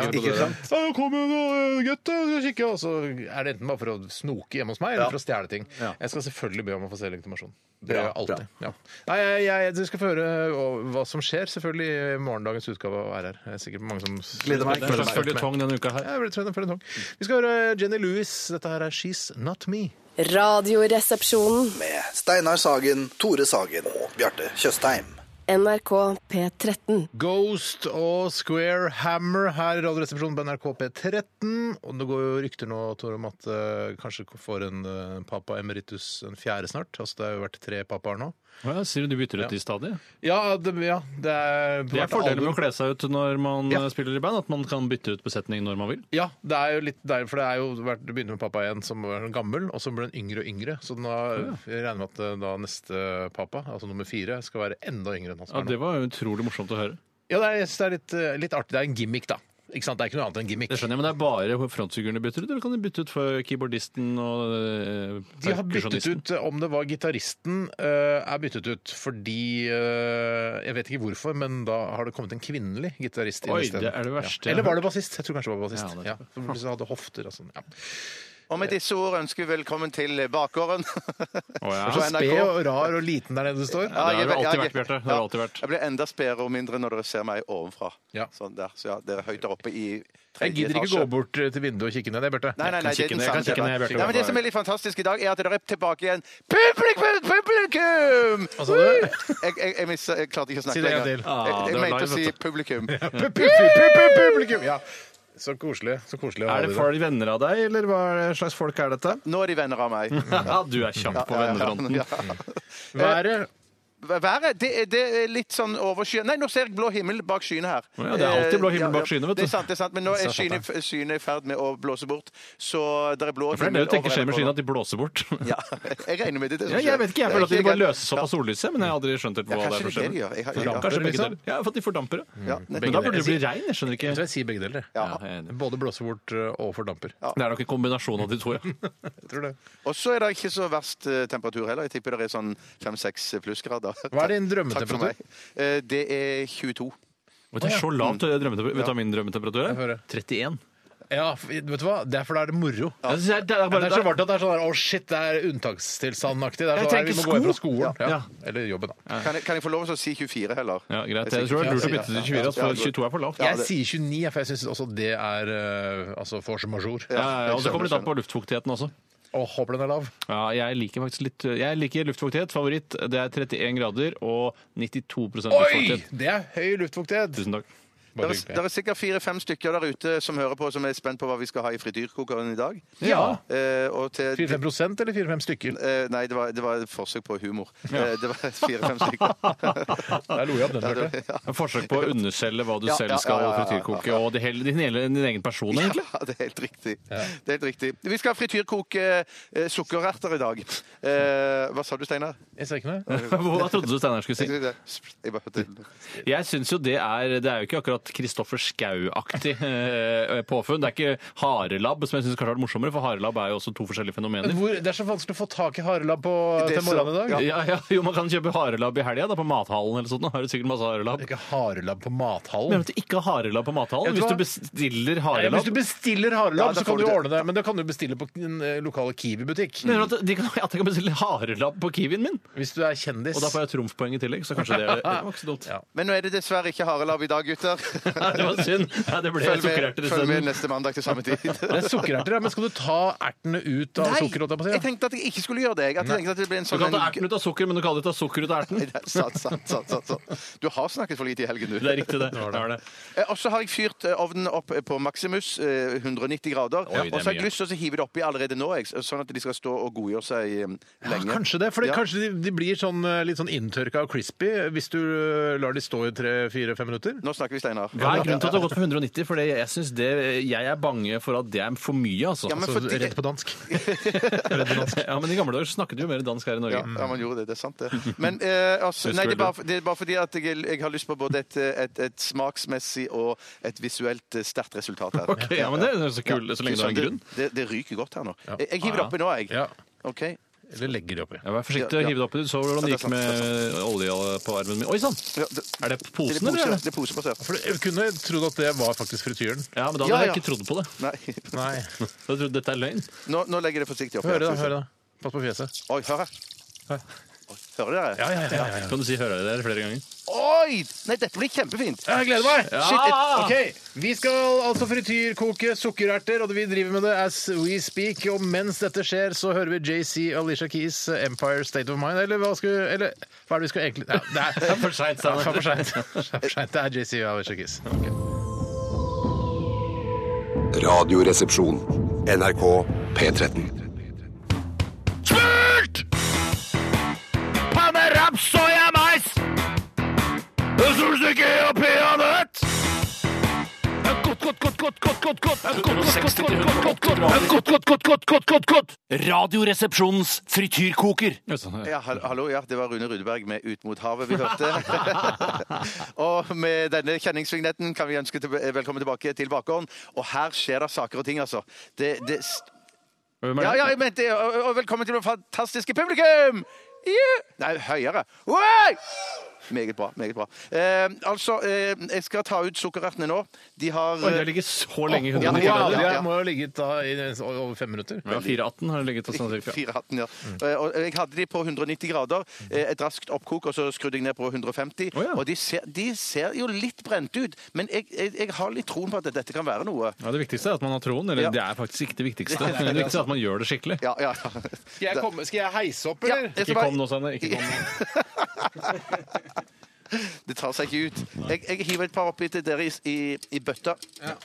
[SPEAKER 2] Ikke sant? Ikke sant?
[SPEAKER 1] Ja, kom igjen, da, gutt, da, eh, skal jeg kikke. Og så er det enten bare for å snoke hjemme hos meg, eller for å stjele ting. Jeg skal selvfølgelig be om å få se legitimasjon. Det gjør jeg
[SPEAKER 2] Bra,
[SPEAKER 1] alltid. Ja. Nei, jeg, jeg, du skal få høre og, hva som skjer, selvfølgelig, i morgendagens utgave av RR. Det er sikkert mange som
[SPEAKER 2] Gleder meg.
[SPEAKER 3] Det er en slags føljetong denne uka her.
[SPEAKER 1] Ja, jeg blir trøtt av føljetong. Vi skal høre Jenny Lewis. Dette her er She's Not Me.
[SPEAKER 6] Radioresepsjonen.
[SPEAKER 7] med Steinar Sagen, Tore Sagen og Bjarte Tjøstheim.
[SPEAKER 6] NRK P13.
[SPEAKER 1] Ghost og Square Hammer her i Radioresepsjonen på NRK P13. Og det går jo rykter nå Tore, om at eh, kanskje får en eh, papa emeritus en fjerde snart. Altså Det har jo vært tre papaer nå.
[SPEAKER 3] Ja, sier du du bytter ut de stadig?
[SPEAKER 1] Ja, det, ja, det er på
[SPEAKER 3] Det er
[SPEAKER 1] hvert
[SPEAKER 3] fordelen
[SPEAKER 1] album.
[SPEAKER 3] med å kle seg ut når man
[SPEAKER 1] Ja.
[SPEAKER 3] eh, spiller i band, at man kan bytte ut besetning når man vil.
[SPEAKER 1] Ja, det er jo litt deilig, for det er jo vært, det begynner med pappa igjen som var gammel, og så ble han yngre og yngre. Så da jeg regner med at eh, da neste pappa, altså nummer fire, skal være enda yngre enn han som
[SPEAKER 3] Ja,
[SPEAKER 1] er nå.
[SPEAKER 3] det var jo utrolig morsomt å høre.
[SPEAKER 1] Ja, det er, jeg synes det er litt, eh, litt artig. Det er en gimmick, da. Ikke sant? Det er ikke noe annet enn gimmick.
[SPEAKER 3] Det skjønner jeg, Men det er bare frontfigurene bytter ut, eller kan de bytte ut for keyboardisten og eh,
[SPEAKER 1] De har byttet
[SPEAKER 3] perkusjonisten?
[SPEAKER 1] ut eh, om det var gitaristen eh, er byttet ut fordi eh, Jeg vet ikke hvorfor, men da har det kommet en kvinnelig gitarist inn
[SPEAKER 3] Oi,
[SPEAKER 1] isteden.
[SPEAKER 3] det er det verste jeg
[SPEAKER 1] Ja. Eller
[SPEAKER 3] har
[SPEAKER 1] var det bassist? Jeg tror kanskje det var bassist.
[SPEAKER 3] Ja, det-
[SPEAKER 1] Ja, for de hadde hofter og sånn. Ja.
[SPEAKER 2] Og med disse ord ønsker vi velkommen til Bakgården.
[SPEAKER 3] Å, ja.
[SPEAKER 1] Så
[SPEAKER 2] På NRK.
[SPEAKER 1] sped og rar og liten der nede du står.
[SPEAKER 2] Ja,
[SPEAKER 3] det har
[SPEAKER 2] jeg-
[SPEAKER 3] du
[SPEAKER 2] jeg-
[SPEAKER 3] alltid vært, Bjarte. Det har du alltid vært.
[SPEAKER 2] Jeg blir enda spedere og mindre når dere ser meg ovenfra.
[SPEAKER 1] Ja.
[SPEAKER 2] Sånn der. Så ja, dere er høyt der oppe i tredje
[SPEAKER 1] Jeg gidder ikke
[SPEAKER 2] etasje.
[SPEAKER 1] gå bort eh, til vinduet og kikke ned, jeg, Bjarte.
[SPEAKER 2] Nei, nei, nei,
[SPEAKER 3] Jeg
[SPEAKER 2] det er den
[SPEAKER 3] kan kikke ned, jeg kan
[SPEAKER 2] samme.
[SPEAKER 3] kikke ned, jeg, Bjarte.
[SPEAKER 2] Nei, men det som er litt fantastisk i dag, er at dere er tilbake igjen. Publikum! Publikum!
[SPEAKER 1] Hva sa du?
[SPEAKER 2] Jeg, jeg, jeg, misser- jeg klarte ikke å
[SPEAKER 1] Si
[SPEAKER 2] snakke
[SPEAKER 1] det en til.
[SPEAKER 2] lenger. Jeg,
[SPEAKER 3] Ah, det
[SPEAKER 2] jeg
[SPEAKER 3] var
[SPEAKER 2] mente å
[SPEAKER 3] live,
[SPEAKER 2] si
[SPEAKER 3] vet
[SPEAKER 2] publikum.
[SPEAKER 1] Pu- pu- pu- pu- Publikum! Ja. Så koselig. Så koselig å ha
[SPEAKER 3] Er det
[SPEAKER 1] dere.
[SPEAKER 3] folk venner av deg, eller hva slags folk er dette?
[SPEAKER 2] Nå er de venner av meg.
[SPEAKER 3] Ja, du er kjapp på
[SPEAKER 2] Ja, ja, ja.
[SPEAKER 3] vennefronten.
[SPEAKER 2] Ja.
[SPEAKER 1] Været
[SPEAKER 2] Været det er, det er litt sånn overskyet. Nei, nå ser jeg blå himmel bak skyene her.
[SPEAKER 3] Å ja, det er alltid blå himmel
[SPEAKER 2] Eh, ja,
[SPEAKER 3] bak
[SPEAKER 2] ja.
[SPEAKER 3] skyene, vet du.
[SPEAKER 2] Det er sant, det er sant, men nå
[SPEAKER 1] Så
[SPEAKER 2] er
[SPEAKER 1] sant,
[SPEAKER 2] skyene skyene i ferd med å blåse bort, så det er blå
[SPEAKER 3] For det er det
[SPEAKER 2] himmel
[SPEAKER 3] du tenker
[SPEAKER 2] over
[SPEAKER 3] skjer med
[SPEAKER 2] hele
[SPEAKER 3] skyene, at de blåser bort.
[SPEAKER 2] Ja, jeg regner med det. det som
[SPEAKER 3] Ja, jeg vet ikke, jeg
[SPEAKER 2] skjer.
[SPEAKER 3] føler at
[SPEAKER 2] Det er
[SPEAKER 3] de bare
[SPEAKER 2] helt-
[SPEAKER 3] løses opp av sollyset, men jeg har aldri skjønt helt
[SPEAKER 2] Ja,
[SPEAKER 3] hva det
[SPEAKER 2] kanskje
[SPEAKER 3] er
[SPEAKER 2] det er det de gjør.
[SPEAKER 3] for skjønn.
[SPEAKER 2] Jeg har- jeg har-
[SPEAKER 3] Kanskje begge
[SPEAKER 1] liksom?
[SPEAKER 3] deler. Ja, for at de fordamper. ja.
[SPEAKER 2] Ja,
[SPEAKER 3] Men da burde det bli
[SPEAKER 1] Jeg sier-
[SPEAKER 3] regn, jeg skjønner
[SPEAKER 1] Jeg
[SPEAKER 3] ikke.
[SPEAKER 1] tror jeg sier begge deler. jeg.
[SPEAKER 2] Ja.
[SPEAKER 3] Ja, jeg er enig.
[SPEAKER 1] Både blåser bort ø, og fordamper.
[SPEAKER 3] Det er nok en kombinasjon av de to, ja.
[SPEAKER 1] Jeg tror det.
[SPEAKER 2] Og så er det ikke så verst eh, temperatur heller. Jeg tipper det er sånn 5-6 plussgrader.
[SPEAKER 1] Hva er din
[SPEAKER 2] Takk for
[SPEAKER 1] drømmetemperatur?
[SPEAKER 2] meg. Eh, Det er 22.
[SPEAKER 3] Og Det er så lavt eh, drømmetemperatur. Vet du hva min drømmetemperatur
[SPEAKER 1] Jeg
[SPEAKER 3] er?
[SPEAKER 1] hører.
[SPEAKER 3] 31.
[SPEAKER 1] Ja, f- vet du hva? Det er for da er det moro.
[SPEAKER 3] Jeg synes jeg- det er
[SPEAKER 1] Men
[SPEAKER 3] bare
[SPEAKER 1] det er så varmt at det er sånn der, å shit, det er unntakstilstandaktig. Det er
[SPEAKER 3] Jeg
[SPEAKER 1] sånn, der, vi
[SPEAKER 3] tenker
[SPEAKER 1] må gå hjem fra
[SPEAKER 3] sko.
[SPEAKER 1] skolen. Ja.
[SPEAKER 3] Ja.
[SPEAKER 1] Eller jobben, da.
[SPEAKER 2] Kan jeg, kan jeg få lov til å si 24 heller?
[SPEAKER 3] Ja, greit. Jeg tror det er lurt å bytte til 24, altså, for 22 er for lavt.
[SPEAKER 1] Jeg sier 29, for jeg syns også det er ø, altså force majeure.
[SPEAKER 3] Ja, ja, og så kommer det litt an på luftfuktigheten også.
[SPEAKER 1] Og håper den er lav.
[SPEAKER 3] Ja, jeg liker faktisk litt Jeg liker luftfuktighet. Favoritt det er 31 grader og
[SPEAKER 1] Oi!
[SPEAKER 3] 92 luftfuktighet.
[SPEAKER 1] Det er høy luftfuktighet.
[SPEAKER 3] Tusen takk.
[SPEAKER 1] Bare
[SPEAKER 2] Det
[SPEAKER 1] hyggelig.
[SPEAKER 2] er, sikkert fire-fem stykker der ute som hører på, som er spent på hva vi skal ha i frityrkokeren i dag.
[SPEAKER 1] Ja.
[SPEAKER 2] Eh, og til,
[SPEAKER 1] 4-5 prosent eller 4-5 stykker?
[SPEAKER 2] eh, nei, det var, det var et forsøk på humor. Eh, det var fire-fem stykker.
[SPEAKER 1] Der lo jeg av den, hørte jeg.
[SPEAKER 3] En forsøk på å underselge hva du
[SPEAKER 2] Ja,
[SPEAKER 3] selv
[SPEAKER 2] ja,
[SPEAKER 3] skal
[SPEAKER 2] ja, ja, ja, ja.
[SPEAKER 3] frityrkoke, og det hele, din, hele, din egen person, egentlig.
[SPEAKER 2] Ja, det er helt riktig. Det er helt riktig. Vi skal frityrkoke eh, sukkererter i dag. Eh, hva sa du, Steinar?
[SPEAKER 1] Jeg sa ikke noe.
[SPEAKER 3] Hva trodde du Steinar skulle si?
[SPEAKER 2] Jeg bare hørte
[SPEAKER 3] Jeg syns jo det er Det er jo ikke akkurat Kristoffer Schou-aktig eh, påfunn. Det er ikke harelabb, som jeg syns kanskje har vært morsommere, for harelabb er jo også to forskjellige fenomener.
[SPEAKER 1] Hvor, det er så vanskelig å få tak i harelabb på
[SPEAKER 2] Det er
[SPEAKER 1] til morgenen i
[SPEAKER 2] så-
[SPEAKER 1] dag.
[SPEAKER 2] ja.
[SPEAKER 3] Ja, ja, jo, man kan kjøpe harelabb i helga, da, på mathallen eller sånt. Nå har du sikkert masse harelabb.
[SPEAKER 1] Ikke harelabb på
[SPEAKER 3] Men
[SPEAKER 1] mathallen.
[SPEAKER 3] at du ikke har harelabb på mathallen?
[SPEAKER 1] Jeg tror-
[SPEAKER 3] Hvis du bestiller
[SPEAKER 1] Nei,
[SPEAKER 3] harelabb
[SPEAKER 1] Hvis du bestiller harelabb,
[SPEAKER 2] Ja, da
[SPEAKER 1] så
[SPEAKER 2] får
[SPEAKER 1] kan du
[SPEAKER 2] du det.
[SPEAKER 1] ordne det. Men da kan du bestille på den eh, lokale Kiwi-butikk.
[SPEAKER 3] Mener du at, de kan, at jeg kan bestille harelabb på Kiwien min?
[SPEAKER 1] Hvis du er kjendis.
[SPEAKER 3] Og da får jeg trumfpoeng i tillegg, så kanskje det er det var ikke så dumt.
[SPEAKER 1] Ja.
[SPEAKER 2] Men nå er det dessverre ikke harelabb i dag, gutter.
[SPEAKER 3] Nei, det var synd. Nei, det ble
[SPEAKER 2] Følg med,
[SPEAKER 3] sukkererter
[SPEAKER 2] følg med
[SPEAKER 3] isteden.
[SPEAKER 2] neste mandag til samme tid.
[SPEAKER 1] Det er sukkererter, ja. Men skal du ta ertene ut av sukkeret? holdt
[SPEAKER 2] jeg
[SPEAKER 1] jeg på å si,
[SPEAKER 2] tenkte at jeg ikke skulle gjøre det. Jeg tenkte at det ble en
[SPEAKER 3] Du
[SPEAKER 2] sånn...
[SPEAKER 3] kan ta erten ut av sukker, men du kan ikke ta sukker ut av erten.
[SPEAKER 2] Nei, det er sant, sant, sant, sant, sant. Du har snakket for lite i helgen, du.
[SPEAKER 3] Det er riktig, det. det, er det.
[SPEAKER 2] Eh, Og så har jeg fyrt eh, ovnen opp eh, på maksimus, eh, 190 grader.
[SPEAKER 3] Oi, det er
[SPEAKER 2] og så har
[SPEAKER 3] mye.
[SPEAKER 2] jeg lyst til å hive det oppi allerede nå, jeg, sånn at de skal stå og godgjøre seg eh,
[SPEAKER 1] Ja,
[SPEAKER 2] lenge.
[SPEAKER 1] kanskje det, for det,
[SPEAKER 2] Ja.
[SPEAKER 1] kanskje de, de blir sånn, eh, litt sånn inntørka og crispy hvis du eh, lar de stå i tre-fire-fem minutter.
[SPEAKER 2] Nå snakker vi, Steinar.
[SPEAKER 3] Hva er grunnen til at det har gått for 190? For det- jeg synes det, jeg er bange for at det er for mye, altså.
[SPEAKER 2] Ja, men
[SPEAKER 1] Så
[SPEAKER 2] fordi-
[SPEAKER 1] rett på dansk.
[SPEAKER 3] Ja, men I gamle dager snakket vi jo mer dansk her i Norge.
[SPEAKER 2] Ja, ja, man gjorde det. Det er sant, det. Men eh, altså,
[SPEAKER 3] Husker
[SPEAKER 2] nei, det,
[SPEAKER 3] vel
[SPEAKER 2] er bare, det er bare fordi at jeg, jeg har lyst på både et, et, et smaksmessig og et visuelt eh, sterkt resultat her.
[SPEAKER 3] Ok, ja, men Det er så kult, så lenge det har en grunn.
[SPEAKER 2] Det, det ryker godt her nå. Jeg, jeg hiver det oppi nå, jeg.
[SPEAKER 1] Ja.
[SPEAKER 2] OK?
[SPEAKER 1] Eller legger de oppi.
[SPEAKER 3] Ja, Vær forsiktig,
[SPEAKER 2] Ja, ja.
[SPEAKER 3] hiv det oppi. Du så
[SPEAKER 2] Ja,
[SPEAKER 3] hvordan
[SPEAKER 2] det
[SPEAKER 3] det
[SPEAKER 2] er
[SPEAKER 3] gikk med olja på armen min. Oi sann!
[SPEAKER 2] Ja, det,
[SPEAKER 3] Er det
[SPEAKER 2] det
[SPEAKER 3] posen,
[SPEAKER 2] er
[SPEAKER 3] eller?
[SPEAKER 2] pose,
[SPEAKER 3] er det-
[SPEAKER 2] det er posebasert.
[SPEAKER 1] For jeg kunne trodd at det var faktisk frityren.
[SPEAKER 3] Ja, men da
[SPEAKER 2] Ja,
[SPEAKER 3] hadde jeg
[SPEAKER 2] ja.
[SPEAKER 3] ikke trodd på det.
[SPEAKER 2] Nei.
[SPEAKER 1] Nei.
[SPEAKER 3] Da trodde jeg dette er løgn.
[SPEAKER 2] Nå, nå legger jeg det forsiktig oppi.
[SPEAKER 1] Hør da,
[SPEAKER 2] her, skal vi se.
[SPEAKER 1] hør da. Pass på fjeset.
[SPEAKER 2] Oi, hør her. Oi, Hører dere?
[SPEAKER 1] Ja, ja, ja.
[SPEAKER 3] Kan du si 'hører jeg dere' flere ganger?
[SPEAKER 2] Oi! Nei, dette blir kjempefint.
[SPEAKER 1] Jeg gleder meg!
[SPEAKER 2] Shit, it-
[SPEAKER 1] Ok, Vi skal altså frityrkoke sukkererter, og vi driver med det as we speak. Og mens dette skjer, så hører vi JC Alicia Keys' 'Empire State of Mind'. Eller hva, skal, eller, hva er det vi skal egentlig ja, Det er,
[SPEAKER 3] for seint,
[SPEAKER 1] Ja, det er for seint. Det er for sent. Det er JC og Alicia Keys.
[SPEAKER 4] Radioresepsjon. NRK P13.
[SPEAKER 3] Panne, raps, soya, mais! Solstykke og peanøtt! Radioresepsjonens frityrkoker.
[SPEAKER 2] Ja, hall- hallo, ja, det var Rune Rudeberg med Ut mot havet vi hørte. og med denne kjenningsvignetten kan vi ønske til, velkommen tilbake til bakgården. Og her skjer det saker og ting, altså. Det, det,
[SPEAKER 3] Hvem
[SPEAKER 2] ja, ja, jeg mente, og, og velkommen til det fantastiske publikum! Nei, høyere. Oi! Meget bra. meget bra. Eh, altså, eh, jeg skal ta ut sukkerertene nå. De har
[SPEAKER 3] Oi, det har ligget så lenge i
[SPEAKER 2] Ja,
[SPEAKER 3] hundene.
[SPEAKER 2] det er-
[SPEAKER 3] Ja,
[SPEAKER 2] ja, ja.
[SPEAKER 1] Det må jo ha ligget da i over fem minutter.
[SPEAKER 3] ja, 418 har det ligget og sånn cirka.
[SPEAKER 2] Fire hatten, ja.
[SPEAKER 3] Mm.
[SPEAKER 2] Eh, Og jeg hadde de på 190 grader. eh, Et raskt oppkok, og så skrudde jeg ned på 150.
[SPEAKER 3] Å, ja.
[SPEAKER 2] Og de ser, de ser jo litt brent ut, men jeg, jeg, jeg har litt troen på at dette kan være noe.
[SPEAKER 3] Ja, det viktigste er at man har troen. Eller
[SPEAKER 2] Ja.
[SPEAKER 3] det er faktisk ikke det viktigste. Men det viktigste er at man gjør det skikkelig.
[SPEAKER 2] Ja, ja.
[SPEAKER 1] Skal jeg, komme, skal jeg heise opp,
[SPEAKER 2] Ja,
[SPEAKER 1] eller?
[SPEAKER 2] jeg skal
[SPEAKER 3] Ikke
[SPEAKER 2] bare-
[SPEAKER 3] kom nå, Sanne. Ikke kom nå.
[SPEAKER 2] Det tar seg ikke ut. Jeg, jeg hiver et par oppi til dere i, i, i bøtta,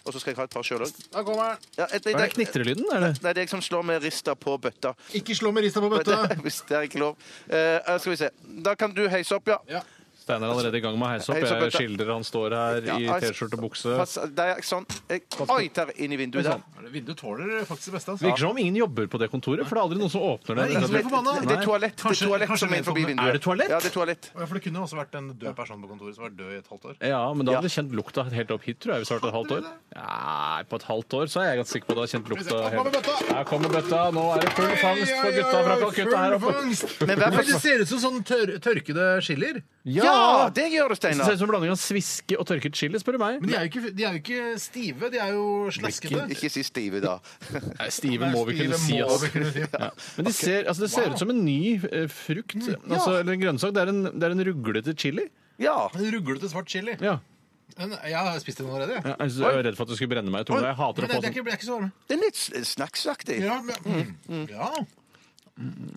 [SPEAKER 2] og så skal jeg ha et par sjøl òg.
[SPEAKER 1] Da kommer den.
[SPEAKER 2] Ja, et- et-
[SPEAKER 3] Hva er det knitrelyden? Er det?
[SPEAKER 2] Nei, det er jeg som slår med rista på bøtta.
[SPEAKER 1] Ikke slå med rista på bøtta.
[SPEAKER 2] Hvis det er ikke lov. Eh, skal vi se. Da kan du heise opp, ja.
[SPEAKER 1] Altså,
[SPEAKER 3] Steinar er allerede i gang med å heise opp.
[SPEAKER 2] Heis opp,
[SPEAKER 3] Jeg
[SPEAKER 2] bøtta.
[SPEAKER 3] skildrer han står her i
[SPEAKER 2] Ja, altså,
[SPEAKER 3] T-skjorte og bukse.
[SPEAKER 2] Pass, der, sånn. Jeg, oi, der inn i vinduet
[SPEAKER 1] Sånn.
[SPEAKER 2] der.
[SPEAKER 1] Vinduet tåler faktisk det beste. altså.
[SPEAKER 3] Det virker som om ingen jobber på det kontoret, for det er aldri noen som åpner
[SPEAKER 1] Nei, ingen som
[SPEAKER 3] det.
[SPEAKER 1] blir forbanna.
[SPEAKER 2] Det er toalett, det
[SPEAKER 1] Kanskje-
[SPEAKER 2] er toalett
[SPEAKER 1] kanskje
[SPEAKER 2] som er forbi
[SPEAKER 1] vedkommende-
[SPEAKER 2] vinduet.
[SPEAKER 3] Er det toalett?
[SPEAKER 2] Ja, det er toalett.
[SPEAKER 1] Ja, for det kunne også vært en død person på kontoret som var død i et halvt år.
[SPEAKER 3] Ja, men da hadde du kjent lukta helt opp hit, tror jeg. Hvis det hadde vært et halvt år. Nei, på et halvt år så er jeg ganske sikker på at du hadde kjent lukta
[SPEAKER 1] Kom med
[SPEAKER 3] helt
[SPEAKER 1] bøtta!
[SPEAKER 3] Her kommer bøtta. Nå er det full fangst for gutta fra Calcutta her oppe.
[SPEAKER 2] Men hver
[SPEAKER 1] Men det
[SPEAKER 2] person-
[SPEAKER 1] ser ut som sånn tør tørkede chilier.
[SPEAKER 2] Ja, det gjør det,
[SPEAKER 3] Det ser
[SPEAKER 2] Steinar!
[SPEAKER 3] ut som en blanding av sviske og tørket chili, spør du meg.
[SPEAKER 1] Men de er jo ikke, de er jo ikke stive, de er jo slaskete.
[SPEAKER 2] Ikke si stive, da.
[SPEAKER 3] Nei, Stiven må vi
[SPEAKER 1] Stive
[SPEAKER 3] kunne si,
[SPEAKER 1] må
[SPEAKER 3] altså.
[SPEAKER 1] vi kunne si.
[SPEAKER 3] Ja. Men de ser, altså, det ser ut som en ny eh, frukt,
[SPEAKER 1] Mm,
[SPEAKER 3] altså, eller en grønnsak. Det er en, det er en ruglete chili.
[SPEAKER 2] Ja.
[SPEAKER 1] En ruglete svart chili.
[SPEAKER 3] Ja.
[SPEAKER 1] Men jeg har spist den allerede. jeg.
[SPEAKER 3] Jeg, jeg, jeg er redd for at du skulle brenne meg i
[SPEAKER 1] altså- Men
[SPEAKER 3] tåa. Jeg hater å
[SPEAKER 1] det
[SPEAKER 3] få
[SPEAKER 1] er
[SPEAKER 3] sånn. Mm,
[SPEAKER 1] ikke, det er ikke så varme.
[SPEAKER 2] Det er litt s- snacksaktig.
[SPEAKER 1] Ja, men, Mm. ja.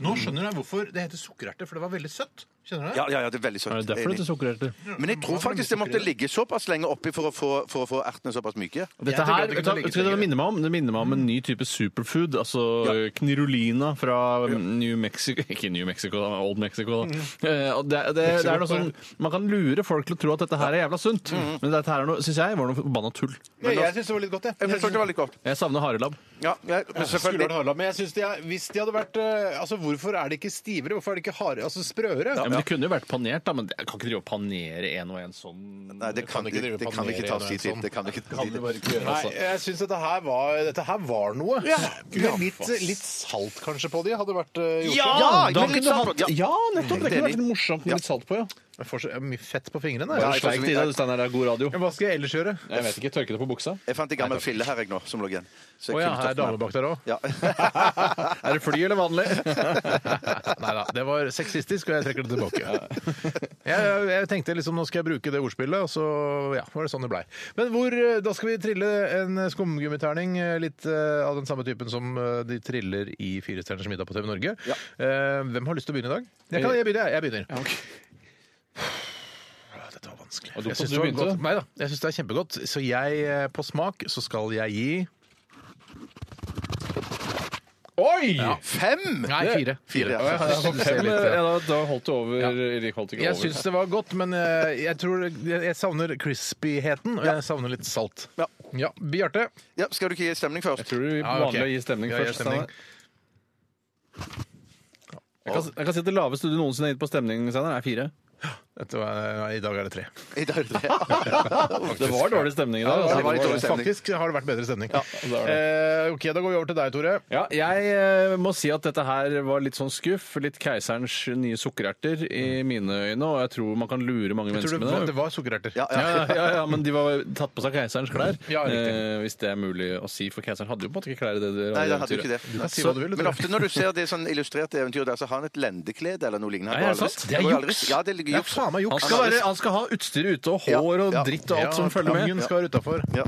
[SPEAKER 1] Nå skjønner jeg hvorfor det heter sukkererte, for det var veldig søtt. Skjønner du det?
[SPEAKER 2] Ja, ja, ja, det er veldig
[SPEAKER 3] Er det
[SPEAKER 2] søtt.
[SPEAKER 3] derfor det
[SPEAKER 2] Enig.
[SPEAKER 3] er sukkererte?
[SPEAKER 2] Men jeg tror faktisk det måtte ligge såpass lenge oppi for å få, for å få ertene såpass myke.
[SPEAKER 3] Dette
[SPEAKER 1] tenker at
[SPEAKER 3] her,
[SPEAKER 1] det kunne
[SPEAKER 3] vet du hva-
[SPEAKER 1] ligget
[SPEAKER 3] vet du hva det
[SPEAKER 1] lenger.
[SPEAKER 3] minner meg om Det minner meg om en ny type superfood. Altså knirulina fra mm, New Mexico Ikke New Mexico, da, Old Mexico. Da. Eh, og Det, det, det er noe sånn, man kan lure folk til å tro at dette her er jævla sunt, men dette her er noe, synes jeg var noe forbanna tull.
[SPEAKER 1] jeg syns det var litt godt,
[SPEAKER 2] Jeg forstår det var litt godt.
[SPEAKER 3] Jeg savner harelabb.
[SPEAKER 2] Ja, ja, men
[SPEAKER 3] Altså,
[SPEAKER 1] Skulle vært
[SPEAKER 2] selvfølgelig.
[SPEAKER 1] hardlabb, men jeg synes de er, hvis de hadde vært eh, Altså, hvorfor er det ikke stivere? Hvorfor er det ikke hardere? Altså sprøere?
[SPEAKER 3] Ja, men Det kunne jo vært panert, da, men jeg kan ikke drive og panere en og en sånn.
[SPEAKER 2] Nei, det kan,
[SPEAKER 1] Kan ikke drive
[SPEAKER 2] det, det kan
[SPEAKER 1] panere
[SPEAKER 2] ikke ta
[SPEAKER 1] gjennom
[SPEAKER 2] si
[SPEAKER 1] en
[SPEAKER 2] til.
[SPEAKER 1] sånn.
[SPEAKER 2] Det kan ikke ta si til.
[SPEAKER 1] Nei, jeg syns dette her var Dette her var noe. Med litt, litt salt kanskje på de hadde vært eh, gjort.
[SPEAKER 2] Ja,
[SPEAKER 3] Ja, da
[SPEAKER 2] ikke
[SPEAKER 3] kunne
[SPEAKER 2] litt
[SPEAKER 3] du
[SPEAKER 2] salt på-
[SPEAKER 3] hatt, ja, nettopp! Det kunne vært litt morsomt med litt salt på, ja.
[SPEAKER 1] Jeg får så mye fett på fingrene.
[SPEAKER 2] Ja,
[SPEAKER 1] Jeg.
[SPEAKER 2] jeg får så mye-
[SPEAKER 3] Steinar. Det er god radio.
[SPEAKER 1] Hva skal jeg ellers gjøre?
[SPEAKER 3] Jeg vet ikke. Tørke det på buksa.
[SPEAKER 2] Jeg fant en gammel fille her jeg nå, som lå igjen. Så
[SPEAKER 3] Å
[SPEAKER 2] jeg
[SPEAKER 3] ja,
[SPEAKER 2] kunne
[SPEAKER 3] her er
[SPEAKER 2] tatt den.
[SPEAKER 3] dame bak der òg.
[SPEAKER 2] Ja.
[SPEAKER 3] Er det fly eller vanlig?
[SPEAKER 1] Nei da, det var sexistisk, og jeg trekker det tilbake. Jeg, jeg tenkte liksom nå skal jeg bruke det ordspillet, og så ja, var det sånn det blei. Men hvor, eh, da skal vi trille en skumgummiterning eh, litt eh, av den samme typen som eh, de triller i Firestjerners middag på TV Norge. Eh, Hvem har lyst til å begynne i dag? Jeg, kan, jeg begynner. Jeg, jeg begynner. Åh, Dette var vanskelig.
[SPEAKER 3] Og du-
[SPEAKER 1] Jeg synes
[SPEAKER 3] du
[SPEAKER 1] det var
[SPEAKER 3] begynte.
[SPEAKER 1] godt. Nei da, jeg syns det er kjempegodt. Så jeg, eh, på smak, så skal jeg gi
[SPEAKER 3] Oi!
[SPEAKER 2] Fem!
[SPEAKER 1] Nei, fire.
[SPEAKER 2] Fire, ja.
[SPEAKER 1] Å, jeg har- jeg ser
[SPEAKER 3] Men,
[SPEAKER 1] litt, ja.
[SPEAKER 3] eh, ja, da, da holdt det over. Erik holdt ikke
[SPEAKER 1] Jeg
[SPEAKER 3] over.
[SPEAKER 1] syns det var godt, men eh, jeg tror jeg jeg savner crispyheten, og jeg savner litt salt.
[SPEAKER 2] Ja.
[SPEAKER 1] Ja, Bjarte.
[SPEAKER 2] Ja, skal du ikke gi stemning først?
[SPEAKER 3] Jeg tror vi
[SPEAKER 1] Ja, ok.
[SPEAKER 3] vanlig å gi stemning
[SPEAKER 1] Ja, gi
[SPEAKER 3] først.
[SPEAKER 1] stemning.
[SPEAKER 3] Steinar. Jeg kan, jeg kan si at Det laveste du noensinne har gitt på stemning, Steinar, er fire.
[SPEAKER 1] Dette var, nei, I dag er det tre.
[SPEAKER 2] I dag er det
[SPEAKER 3] Det var dårlig stemning i dag.
[SPEAKER 2] det
[SPEAKER 3] altså.
[SPEAKER 2] var litt dårlig stemning.
[SPEAKER 1] Faktisk har det vært bedre stemning.
[SPEAKER 3] det er
[SPEAKER 1] Eh, ok, Da går vi over til deg, Tore.
[SPEAKER 3] Ja, jeg eh, må si at dette her var litt sånn skuff. Litt Keiserens nye sukkererter i mine øyne, og jeg tror man kan lure mange
[SPEAKER 1] Mm. Jeg tror
[SPEAKER 3] mennesker
[SPEAKER 1] det,
[SPEAKER 3] med
[SPEAKER 1] var,
[SPEAKER 3] det.
[SPEAKER 1] det var sukkererter.
[SPEAKER 2] Ja, ja.
[SPEAKER 3] Ja, ja, ja, men de var tatt på seg keiserens klær.
[SPEAKER 1] Ja, riktig.
[SPEAKER 3] eh, hvis det er mulig å si, for keiseren hadde jo på en måte ikke klær i det.
[SPEAKER 2] Nei, jeg hadde jo ikke det.
[SPEAKER 1] Du kan si hva du vil.
[SPEAKER 2] Men
[SPEAKER 1] Tore.
[SPEAKER 2] ofte når du ser det sånn illustrerte eventyr, der, så har han et lendeklede eller noe lignende.
[SPEAKER 3] Nei, er det
[SPEAKER 2] Aldri-
[SPEAKER 3] sant? Det er
[SPEAKER 2] går aldri-
[SPEAKER 3] juks.
[SPEAKER 2] Ja, det ligger
[SPEAKER 1] Ja,
[SPEAKER 2] juks.
[SPEAKER 1] faen meg
[SPEAKER 3] Han
[SPEAKER 1] juks.
[SPEAKER 3] skal, være, han skal ha utstyr ute, og hår og
[SPEAKER 2] Ja, ja.
[SPEAKER 3] dritt og alt som følger med.
[SPEAKER 1] Tangen skal være utafor.
[SPEAKER 2] Ja.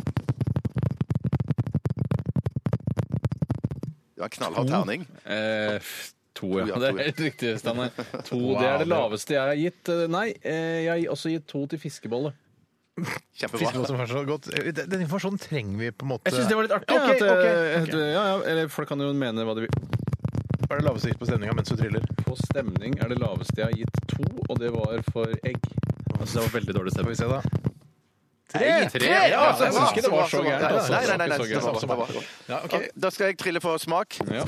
[SPEAKER 2] Ja, knallhard terning.
[SPEAKER 3] Eh, f- to, ja.
[SPEAKER 2] ja, to,
[SPEAKER 3] Det er
[SPEAKER 2] ja.
[SPEAKER 3] helt riktig, Steinar. To, Det er det laveste jeg har gitt. Eh, Nei, eh, jeg har også gitt to til fiskebolle.
[SPEAKER 2] Kjempebra.
[SPEAKER 1] Eh, Den den informasjonen trenger vi på en måte
[SPEAKER 3] Jeg syns det var litt artig.
[SPEAKER 1] Ja, ok,
[SPEAKER 3] at, eh,
[SPEAKER 1] ok, ok.
[SPEAKER 3] at, ja, ja, eller Folk kan jo mene hva de vil.
[SPEAKER 1] Hva er det laveste på stemninga mens du triller?
[SPEAKER 3] På stemning er det laveste jeg har gitt to, og det var for egg. Altså, det var veldig dårlig
[SPEAKER 1] Får vi
[SPEAKER 3] stemning.
[SPEAKER 1] se, da.
[SPEAKER 2] Tre! Tre! Ja,
[SPEAKER 3] altså, jeg
[SPEAKER 2] så bra,
[SPEAKER 3] synes ikke det var så
[SPEAKER 2] bra,
[SPEAKER 3] gærent, altså.
[SPEAKER 2] Nei, nei, nei, nei,
[SPEAKER 3] Det var ikke
[SPEAKER 2] det
[SPEAKER 3] så
[SPEAKER 2] var- det var-
[SPEAKER 1] Ja, ok.
[SPEAKER 2] Da skal jeg trille for smak.
[SPEAKER 3] Ja.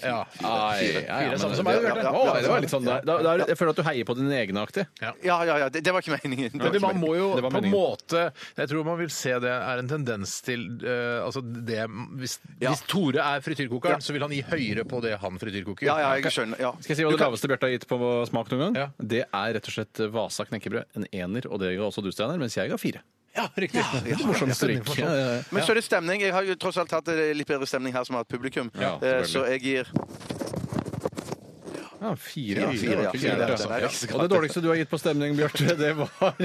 [SPEAKER 2] Ja.
[SPEAKER 1] Ja.
[SPEAKER 3] Ai, ja, ja,
[SPEAKER 1] Fire er
[SPEAKER 3] men-
[SPEAKER 1] samme som meg,
[SPEAKER 3] ja,
[SPEAKER 1] Bjarte.
[SPEAKER 3] ja, ja, det var litt sånn der. Da, da, er det- jeg føler at du heier på dine egne aktig.
[SPEAKER 8] Ja, ja, ja. Det, det var ikke meningen. Det var
[SPEAKER 1] Men
[SPEAKER 8] ikke
[SPEAKER 1] man må jo
[SPEAKER 3] Det var
[SPEAKER 1] på en
[SPEAKER 3] meningen.
[SPEAKER 1] måte Jeg tror man vil se det er en tendens til eh, Altså det Hvis,
[SPEAKER 8] Ja.
[SPEAKER 1] hvis Tore er frityrkokeren, så vil han gi høyere på det han frityrkoker.
[SPEAKER 8] Ja, ja, jeg skjønner. Ja.
[SPEAKER 3] Skal jeg si hva det laveste Bjarte har gitt på smak noen gang?
[SPEAKER 1] Ja.
[SPEAKER 3] Det er rett og slett Vasa knekkebrød. En ener, og det ga også du, Steinar, mens jeg ga fire.
[SPEAKER 1] Ja, riktig.
[SPEAKER 3] Det er morsom historikk. Ja, ja, ja.
[SPEAKER 8] Men så er det stemning. Jeg har jo tross alt hatt eh, litt bedre stemning her som har hatt publikum.
[SPEAKER 3] Ja,
[SPEAKER 8] Eh,
[SPEAKER 3] selvfølgelig.
[SPEAKER 8] så jeg gir
[SPEAKER 3] Ja, fire. ja,
[SPEAKER 8] fire, ja,
[SPEAKER 3] fire,
[SPEAKER 8] fire,
[SPEAKER 3] fire,
[SPEAKER 8] altså.
[SPEAKER 3] ja. Og det dårligste du har gitt på stemning, Bjarte, det var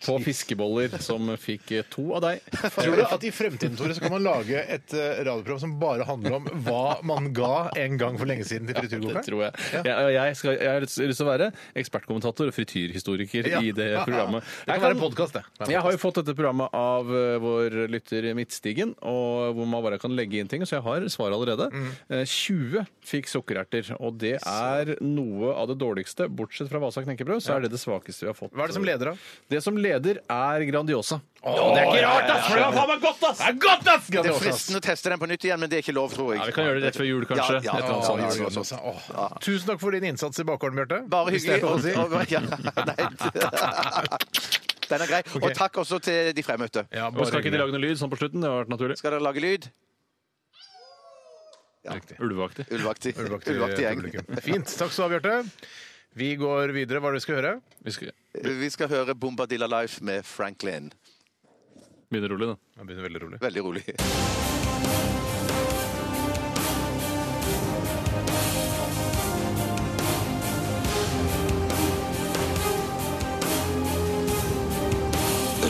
[SPEAKER 3] på fiskeboller, som fikk to av deg.
[SPEAKER 1] Tror du at i fremtiden Tore, så kan man lage et eh, radioprogram som bare handler om hva man ga en gang for lenge siden til
[SPEAKER 3] Det
[SPEAKER 1] frityrkokeren?
[SPEAKER 3] tror jeg. Jeg, jeg, skal, jeg har lyst lyst til å være ekspertkommentator og frityrhistoriker
[SPEAKER 1] Ja.
[SPEAKER 3] i det programmet.
[SPEAKER 1] Det kan
[SPEAKER 3] Jeg
[SPEAKER 1] være en podkast, det.
[SPEAKER 3] Jeg har jo fått dette programmet av eh, vår lytter Midtstigen, og hvor man bare kan legge inn ting, så jeg har svar allerede.
[SPEAKER 1] Mm.
[SPEAKER 3] Eh, 20 fikk sukkererter, og det er noe av det dårligste. Bortsett fra Vasa knekkebrød, så er det det svakeste vi har fått.
[SPEAKER 1] Hva er det som leder, da?
[SPEAKER 3] Det som leder er Grandiosa.
[SPEAKER 1] det er ikke rart, ass! For det var faen meg godt, ass! Det er godt, ass!
[SPEAKER 8] Det er fristende å teste den på nytt igjen, men det er ikke lov, tror jeg.
[SPEAKER 3] Ja, vi kan gjøre det rett før jul,
[SPEAKER 8] Ja,
[SPEAKER 3] kanskje.
[SPEAKER 8] ja,
[SPEAKER 3] Et eller annet
[SPEAKER 8] ja,
[SPEAKER 3] sånt.
[SPEAKER 8] ja, ja.
[SPEAKER 1] Åh. Tusen takk for din innsats i bakgården, Bjarte.
[SPEAKER 8] Bare
[SPEAKER 1] Hvis det
[SPEAKER 8] hyggelig.
[SPEAKER 1] er lov å
[SPEAKER 8] Og, og,
[SPEAKER 1] si.
[SPEAKER 8] ja, nei. Den er grei. Og takk også til de fremmøtte.
[SPEAKER 1] Ja,
[SPEAKER 3] Og skal
[SPEAKER 1] bare
[SPEAKER 3] ikke de
[SPEAKER 1] hyggelig.
[SPEAKER 3] lage noe lyd sånn på slutten? Det har vært naturlig.
[SPEAKER 8] Skal dere lage lyd?
[SPEAKER 3] Ulveaktig.
[SPEAKER 8] Ulveaktig.
[SPEAKER 3] eh,
[SPEAKER 1] Ulvaktig
[SPEAKER 8] Ulveaktig gjeng.
[SPEAKER 1] publikum. Fint. Takk skal du ha, Bjarte. Vi går videre. Hva er det vi skal høre?
[SPEAKER 3] Vi skal
[SPEAKER 8] Vi skal høre Bombadilla Life med Franklin.
[SPEAKER 3] begynne rolig, da.
[SPEAKER 1] Det begynner veldig rolig.
[SPEAKER 8] Veldig rolig.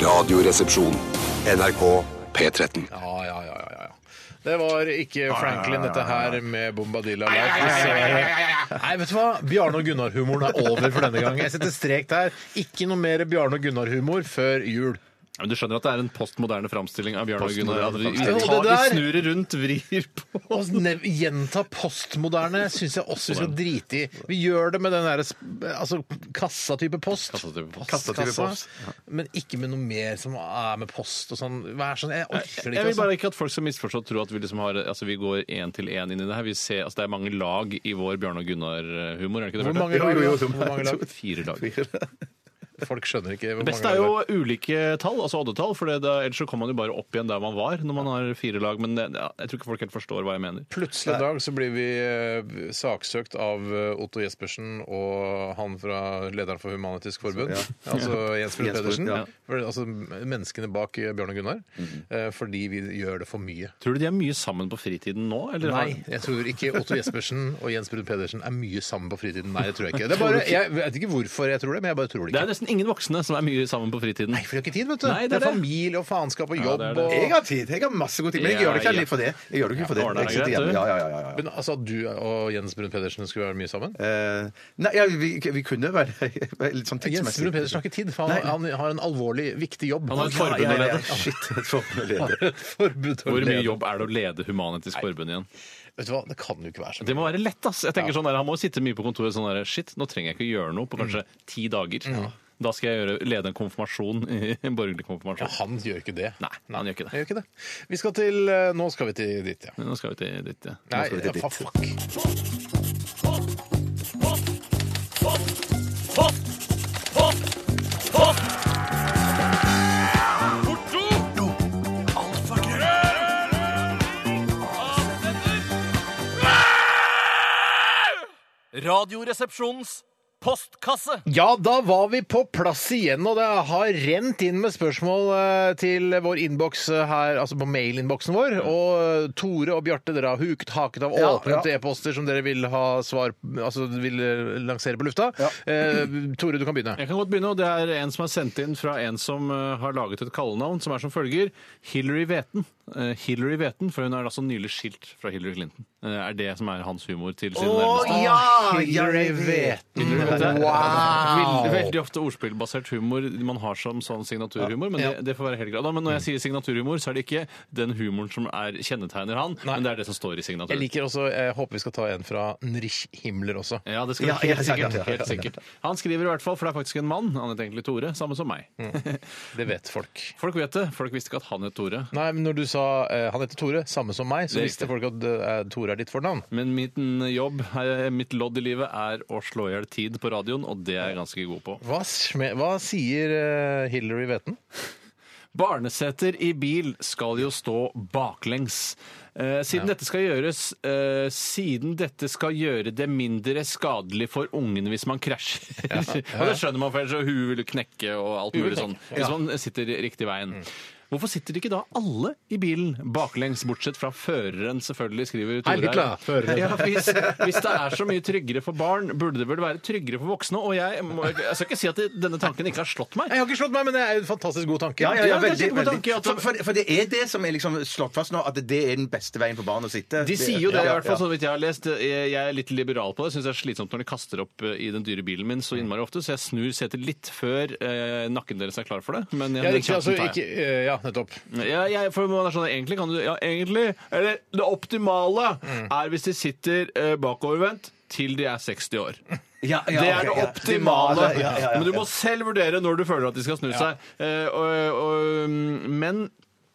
[SPEAKER 4] Radioresepsjon. NRK P13.
[SPEAKER 1] Ja, ja, ja, ja, ja. Det var ikke Franklin, dette her med Bombadilla Life. Så- Nei, vet du hva? Bjarne og Gunnar-humoren er over for denne gang. Jeg setter strek der. Ikke noe mer Bjarne og Gunnar-humor før jul.
[SPEAKER 3] Men du skjønner at det er en postmoderne framstilling av Bjarne og Gunnar? at De, de,
[SPEAKER 1] Jo, det
[SPEAKER 3] tar- de
[SPEAKER 1] der-
[SPEAKER 3] snur det rundt, vrir på
[SPEAKER 1] Å nev- gjenta postmoderne syns jeg også vi skal drite i. Vi gjør det med den derre sp- altså, kassatype post.
[SPEAKER 3] Kassatype post.
[SPEAKER 1] Postkassa.
[SPEAKER 2] Kassatype post,
[SPEAKER 1] Men ikke med noe mer som er med post og sånn. Vær sånn, Jeg orker det
[SPEAKER 3] Jeg
[SPEAKER 1] ikke.
[SPEAKER 3] vil
[SPEAKER 1] Altså.
[SPEAKER 3] bare ikke at folk skal misforstå og tro at vi, liksom har, altså, vi går én til én inn i det her. Vi ser, altså, det er mange lag i vår Bjarne og Gunnar-humor. er det ikke det,
[SPEAKER 1] Hvor
[SPEAKER 3] Bjarte?
[SPEAKER 1] mange lag? da? Hvor mange
[SPEAKER 3] Jeg
[SPEAKER 1] lag?
[SPEAKER 3] tror Fire lag.
[SPEAKER 1] Folk skjønner ikke hvor
[SPEAKER 3] Det beste
[SPEAKER 1] mange
[SPEAKER 3] er
[SPEAKER 1] lag.
[SPEAKER 3] jo ulike tall, altså oddetall, for det, da, ellers så kommer man jo bare opp igjen der man var når man har fire lag. Men det, ja, jeg tror ikke folk helt forstår hva jeg mener.
[SPEAKER 1] Plutselig en dag så blir vi eh, saksøkt av eh, Otto Jespersen og han fra lederen for Humanitisk Forbund, altså Jens Brun
[SPEAKER 2] Jens Brun,
[SPEAKER 1] Pedersen.
[SPEAKER 2] ja. Mhm.
[SPEAKER 1] For, altså menneskene bak eh, Bjørn og Gunnar. eh, Fordi vi gjør det for mye.
[SPEAKER 3] Tror du de er mye sammen på fritiden nå? Eller har-
[SPEAKER 1] Nei, jeg tror ikke Otto Jespersen og Jens Brun Pedersen er mye sammen på fritiden. Nei, det tror jeg ikke. Det er bare, jeg vet ikke hvorfor jeg tror det, men jeg bare tror det
[SPEAKER 3] Det er
[SPEAKER 1] ikke.
[SPEAKER 3] nesten ingen voksne som er mye sammen på fritiden.
[SPEAKER 1] For de har ikke tid, vet du.
[SPEAKER 3] Nei, det er
[SPEAKER 1] det, er
[SPEAKER 3] det.
[SPEAKER 1] familie og faenskap og jobb
[SPEAKER 3] det er det.
[SPEAKER 1] og
[SPEAKER 2] Jeg har tid. Jeg har masse god tid. Men jeg gjør det ikke
[SPEAKER 3] Ja, ja.
[SPEAKER 2] for det. Jeg gjør det ikke for det.
[SPEAKER 3] ordner
[SPEAKER 2] Jeg
[SPEAKER 3] deg
[SPEAKER 2] sitter
[SPEAKER 3] greit,
[SPEAKER 2] hjemme.
[SPEAKER 3] du.
[SPEAKER 2] Ja, ja, ja, ja, ja.
[SPEAKER 1] Men altså, du og Jens Brun Pedersen skulle være mye sammen?
[SPEAKER 2] Eh, nei, ja, vi, vi kunne være være litt sånn
[SPEAKER 1] Jens
[SPEAKER 2] tidsmessig.
[SPEAKER 1] Brun Pedersen har ikke tid, for han, han har en alvorlig, viktig jobb.
[SPEAKER 3] Han har et forbund å lede.
[SPEAKER 2] Shit, et forbund å lede.
[SPEAKER 1] forbud å
[SPEAKER 3] Hvor mye
[SPEAKER 1] lede.
[SPEAKER 3] jobb er det å lede Human-Etisk Forbund igjen?
[SPEAKER 1] Vet du hva, det kan jo ikke være sånn.
[SPEAKER 3] Det må være lett, ass. Jeg tenker sånn der, Han må jo sitte mye på kontoret sånn der Shit, nå trenger jeg ikke gjøre noe på kanskje ti dager. Da skal jeg gjøre, lede en konfirmasjon. En borgerlig
[SPEAKER 1] Ja,
[SPEAKER 3] konfirmasjon.
[SPEAKER 1] han gjør ikke det.
[SPEAKER 3] Nei, han gjør ikke det.
[SPEAKER 1] Han gjør ikke det. Vi skal til eh, Nå skal vi til ditt, ja.
[SPEAKER 3] Men Nå skal vi til ditt. Ja.
[SPEAKER 1] Nei,
[SPEAKER 2] skal vi til
[SPEAKER 1] ja,
[SPEAKER 2] ditt.
[SPEAKER 1] fa- fuck.
[SPEAKER 9] Radioresepsjonens postkasse.
[SPEAKER 1] Ja, da var vi på plass igjen, og det har rent inn med spørsmål eh, til vår innboks eh, her, altså på mailinnboksen vår.
[SPEAKER 3] Mm.
[SPEAKER 1] Og eh, Tore og Bjarte, dere har huket haket av åpnet e-poster som dere vil ha svar Altså vil eh, lansere på lufta. Eh, Tore, du kan begynne.
[SPEAKER 3] Jeg kan godt begynne, og Det er en som er sendt inn fra en som eh, har laget et kallenavn, som er som følger Hillary Veten. Eh, Hillary Veten, For hun er altså nylig skilt fra Hillary Clinton. Eh, er det som er hans humor til sine nærmeste? Ah,
[SPEAKER 1] ja! Hillary Veten.
[SPEAKER 3] Veldig,
[SPEAKER 1] Wow!
[SPEAKER 3] veldig ofte ordspillbasert humor man har som sånn signaturhumor. Men det, det får være helt greit. Da, Men når jeg sier signaturhumor, så er det ikke den humoren som er kjennetegner han, men det er det som står i
[SPEAKER 1] Jeg
[SPEAKER 3] signaturen.
[SPEAKER 1] liker også, jeg håper vi skal ta en fra Nrich Himmler også.
[SPEAKER 3] Ja, det skal
[SPEAKER 2] Ja,
[SPEAKER 3] vi
[SPEAKER 2] ja, ja, ja,
[SPEAKER 3] helt sikkert.
[SPEAKER 2] ja, ja.
[SPEAKER 3] Helt sikkert. Han skriver i hvert fall, for det er faktisk en mann. Han heter egentlig Tore, samme som meg.
[SPEAKER 2] Mm.
[SPEAKER 1] Det vet folk.
[SPEAKER 3] Folk vet det. Folk visste ikke at han het Tore.
[SPEAKER 1] Nei, men når du sa eh, han heter Tore, samme som meg, så
[SPEAKER 3] Det er
[SPEAKER 1] visste folk
[SPEAKER 3] riktig.
[SPEAKER 1] at eh, Tore er er ditt fornavn.
[SPEAKER 3] Men mitt jobb, eh, mitt lodd i livet, er å slå i hjel tid på radioen, og det er jeg ganske god på.
[SPEAKER 1] Hva, sme- hva sier eh, Hillary Veten?
[SPEAKER 3] Barneseter i bil skal jo stå baklengs. Eh, siden dette skal gjøres eh, Siden dette skal gjøre det mindre skadelig for ungen hvis man krasjer. og det skjønner man, for ellers så huet vil jo knekke og alt mulig sånn. Hvis man sitter riktig veien.
[SPEAKER 1] Mm.
[SPEAKER 3] Hvorfor sitter ikke da alle i bilen baklengs, bortsett fra føreren, selvfølgelig, skriver Tore.
[SPEAKER 1] Heil Hitler, føreren.
[SPEAKER 3] Ja, hvis, hvis det er så mye tryggere for barn, burde det vel være tryggere for voksne? Og jeg, må, jeg skal ikke si at det, denne tanken ikke har slått meg.
[SPEAKER 1] Jeg har ikke slått meg, men det er en fantastisk god tanke.
[SPEAKER 2] Ja, ja, ja,
[SPEAKER 3] Ja, det er
[SPEAKER 2] veldig,
[SPEAKER 3] kjempegod
[SPEAKER 2] veldig.
[SPEAKER 3] tanke at-
[SPEAKER 2] For, for, for det er det som er liksom slått fast nå, at det er den beste veien for barn å sitte.
[SPEAKER 3] De sier jo det, i hvert fall,
[SPEAKER 2] ja.
[SPEAKER 3] så vidt jeg har lest. Jeg jeg er litt liberal på det. Syns det er slitsomt når de kaster opp eh, i den dyre bilen min så innmari ofte, så jeg snur setet litt før eh, nakken deres er klar for det. Men jeg,
[SPEAKER 1] Ja,
[SPEAKER 3] den
[SPEAKER 1] riktig, altså,
[SPEAKER 3] sjansen tar jeg.
[SPEAKER 1] ikke, eh, ja, nettopp.
[SPEAKER 3] Ja, jeg, for man er sånn, egentlig kan du Ja, egentlig Eller det optimale
[SPEAKER 2] Mm.
[SPEAKER 3] er hvis de sitter eh, bakovervendt til de er 60 år.
[SPEAKER 2] Ja, ja,
[SPEAKER 3] det er
[SPEAKER 2] ok,
[SPEAKER 3] det
[SPEAKER 2] ja.
[SPEAKER 3] optimale.
[SPEAKER 2] Ja, ja, ja, ja.
[SPEAKER 3] Men du må selv vurdere når du føler at de skal snu seg. Eh, og, og, mm, men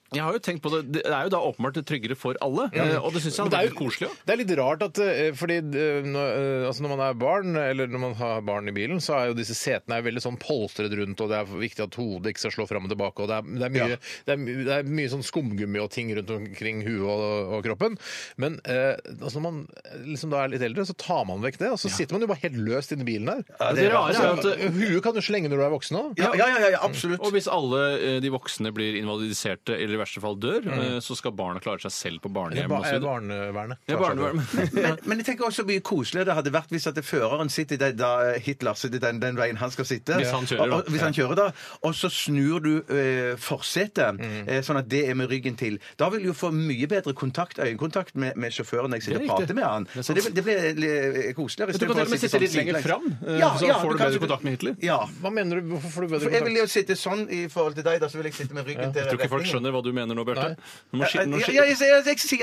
[SPEAKER 3] jeg har jo tenkt på det, det er jo da åpenbart tryggere for alle. eh, Og det syns jeg
[SPEAKER 1] Men
[SPEAKER 3] er,
[SPEAKER 1] det er
[SPEAKER 3] veldig
[SPEAKER 1] jo-
[SPEAKER 3] koselig òg.
[SPEAKER 1] Det er litt rart at eh, fordi eh, når, eh, altså når man er barn, eller når man har barn i bilen, så er jo disse setene er veldig sånn polstret rundt, og det er viktig at hodet ikke skal slå fram og tilbake, og det er, det er, mye, det er, my- det er mye sånn skumgummi og ting rundt omkring huet og, og kroppen. Men eh, altså når man liksom da er litt eldre, så tar man vekk det, og så sitter man jo bare helt løst inni bilen der.
[SPEAKER 2] Ja,
[SPEAKER 3] Det rare er jo
[SPEAKER 1] Altså,
[SPEAKER 3] at
[SPEAKER 1] huet kan du slenge når du er voksen òg.
[SPEAKER 2] Ja, ja, ja, ja, absolutt.
[SPEAKER 3] Og hvis alle eh, de voksne blir invalidiserte, eller i verste fall dør,
[SPEAKER 1] Mm.
[SPEAKER 3] eh, så skal barna klare seg selv på barnehjem. og så videre.
[SPEAKER 1] Barnevernet.
[SPEAKER 3] Ja, barnevern.
[SPEAKER 2] Men, men jeg tenker også mye koseligere det hadde vært hvis at det føreren sitter der, da Hitler sitter den, den veien han skal sitte.
[SPEAKER 3] Hvis han kjører, da.
[SPEAKER 2] og, og, hvis han kjører da. Og så snur du eh, forsetet,
[SPEAKER 3] Mm.
[SPEAKER 2] eh, sånn at det er med ryggen til. Da vil du jo få mye bedre kontakt, øyekontakt med, med sjåføren når jeg sitter
[SPEAKER 3] Det
[SPEAKER 2] og
[SPEAKER 3] er riktig.
[SPEAKER 2] prater med han.
[SPEAKER 3] er
[SPEAKER 2] så det, det blir eh, koseligere.
[SPEAKER 3] Du kan til og med
[SPEAKER 2] sånn
[SPEAKER 1] sånn
[SPEAKER 3] sitte litt lenger fram, eh, så får du bedre kontakt med Hitler.
[SPEAKER 2] Ja.
[SPEAKER 1] Hva mener du? Hvorfor får du bedre
[SPEAKER 2] For jeg vil
[SPEAKER 1] kontakt?
[SPEAKER 2] jo sitte sånn i forhold til deg, da, så vil jeg sitte med ryggen til
[SPEAKER 3] Jeg tror ikke folk skjønner hva du mener nå, Bjarte. Du må
[SPEAKER 2] Ja,
[SPEAKER 3] skille- nå
[SPEAKER 2] ja,
[SPEAKER 3] skille-
[SPEAKER 2] jeg, jeg, jeg, sier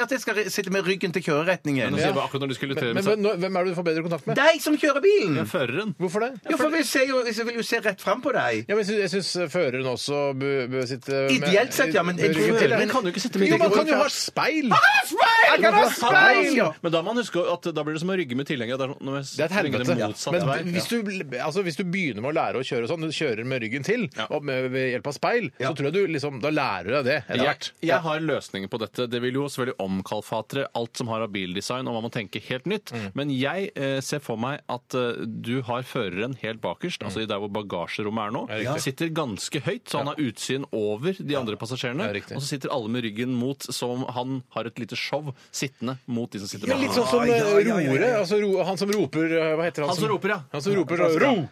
[SPEAKER 2] at jeg skal sitte med ryggen til kjøreretningen.
[SPEAKER 3] Nå sier jeg bare akkurat når du skulle
[SPEAKER 1] Men,
[SPEAKER 3] irritere
[SPEAKER 1] men,
[SPEAKER 3] med
[SPEAKER 1] hvem er det du får bedre kontakt med?
[SPEAKER 2] Deg som kjører bilen!
[SPEAKER 3] føreren.
[SPEAKER 1] Hvorfor det?
[SPEAKER 2] Jo, for vi ser jo, jeg vil jo se rett fram på deg.
[SPEAKER 1] Ja, men jeg syns- Jeg syns føreren også bø- bør sitte med-
[SPEAKER 2] Ideelt sett, ja, men-
[SPEAKER 1] bør ikke
[SPEAKER 2] Føreren
[SPEAKER 1] til, men-
[SPEAKER 3] kan jo ikke sitte med
[SPEAKER 1] Jo, man
[SPEAKER 3] ryggen.
[SPEAKER 1] kan jo ha speil!
[SPEAKER 2] Jeg kan ha speil!
[SPEAKER 3] Men da må man huske at da blir det som å rygge med tilhenger. Det er, sånn, nå må jeg
[SPEAKER 1] Det er et
[SPEAKER 3] svinge
[SPEAKER 1] helvete.
[SPEAKER 3] det motsatt
[SPEAKER 1] Men
[SPEAKER 3] vei.
[SPEAKER 1] hvis du, altså, hvis du begynner med å lære å kjøre sånn, du kjører med ryggen til og med, ved hjelp av speil, så tror jeg du liksom Da lærer du deg det etter hvert.
[SPEAKER 3] Jeg, jeg har løsninger på dette. Det vil jo selvfølgelig omkalfatre alt som har av bildesign, og man må tenke helt nytt.
[SPEAKER 1] Mm.
[SPEAKER 3] Men jeg eh, ser for meg at eh, du har føreren helt bakerst,
[SPEAKER 1] Mm.
[SPEAKER 3] altså i der hvor bagasjerommet er nå. Sitter ganske høyt, så han har utsyn over de andre passasjerene.
[SPEAKER 1] Ja, riktig.
[SPEAKER 3] Og så sitter alle med ryggen mot, som han har et lite show sittende mot de som sitter
[SPEAKER 1] Ja,
[SPEAKER 3] bak.
[SPEAKER 1] litt sånn som
[SPEAKER 2] Ja, ja, ja, ja, ja.
[SPEAKER 1] roere. Altså, ro, han som roper eh, Hva heter han?
[SPEAKER 3] Han som roper, ja.
[SPEAKER 1] Han som roper så, Ro!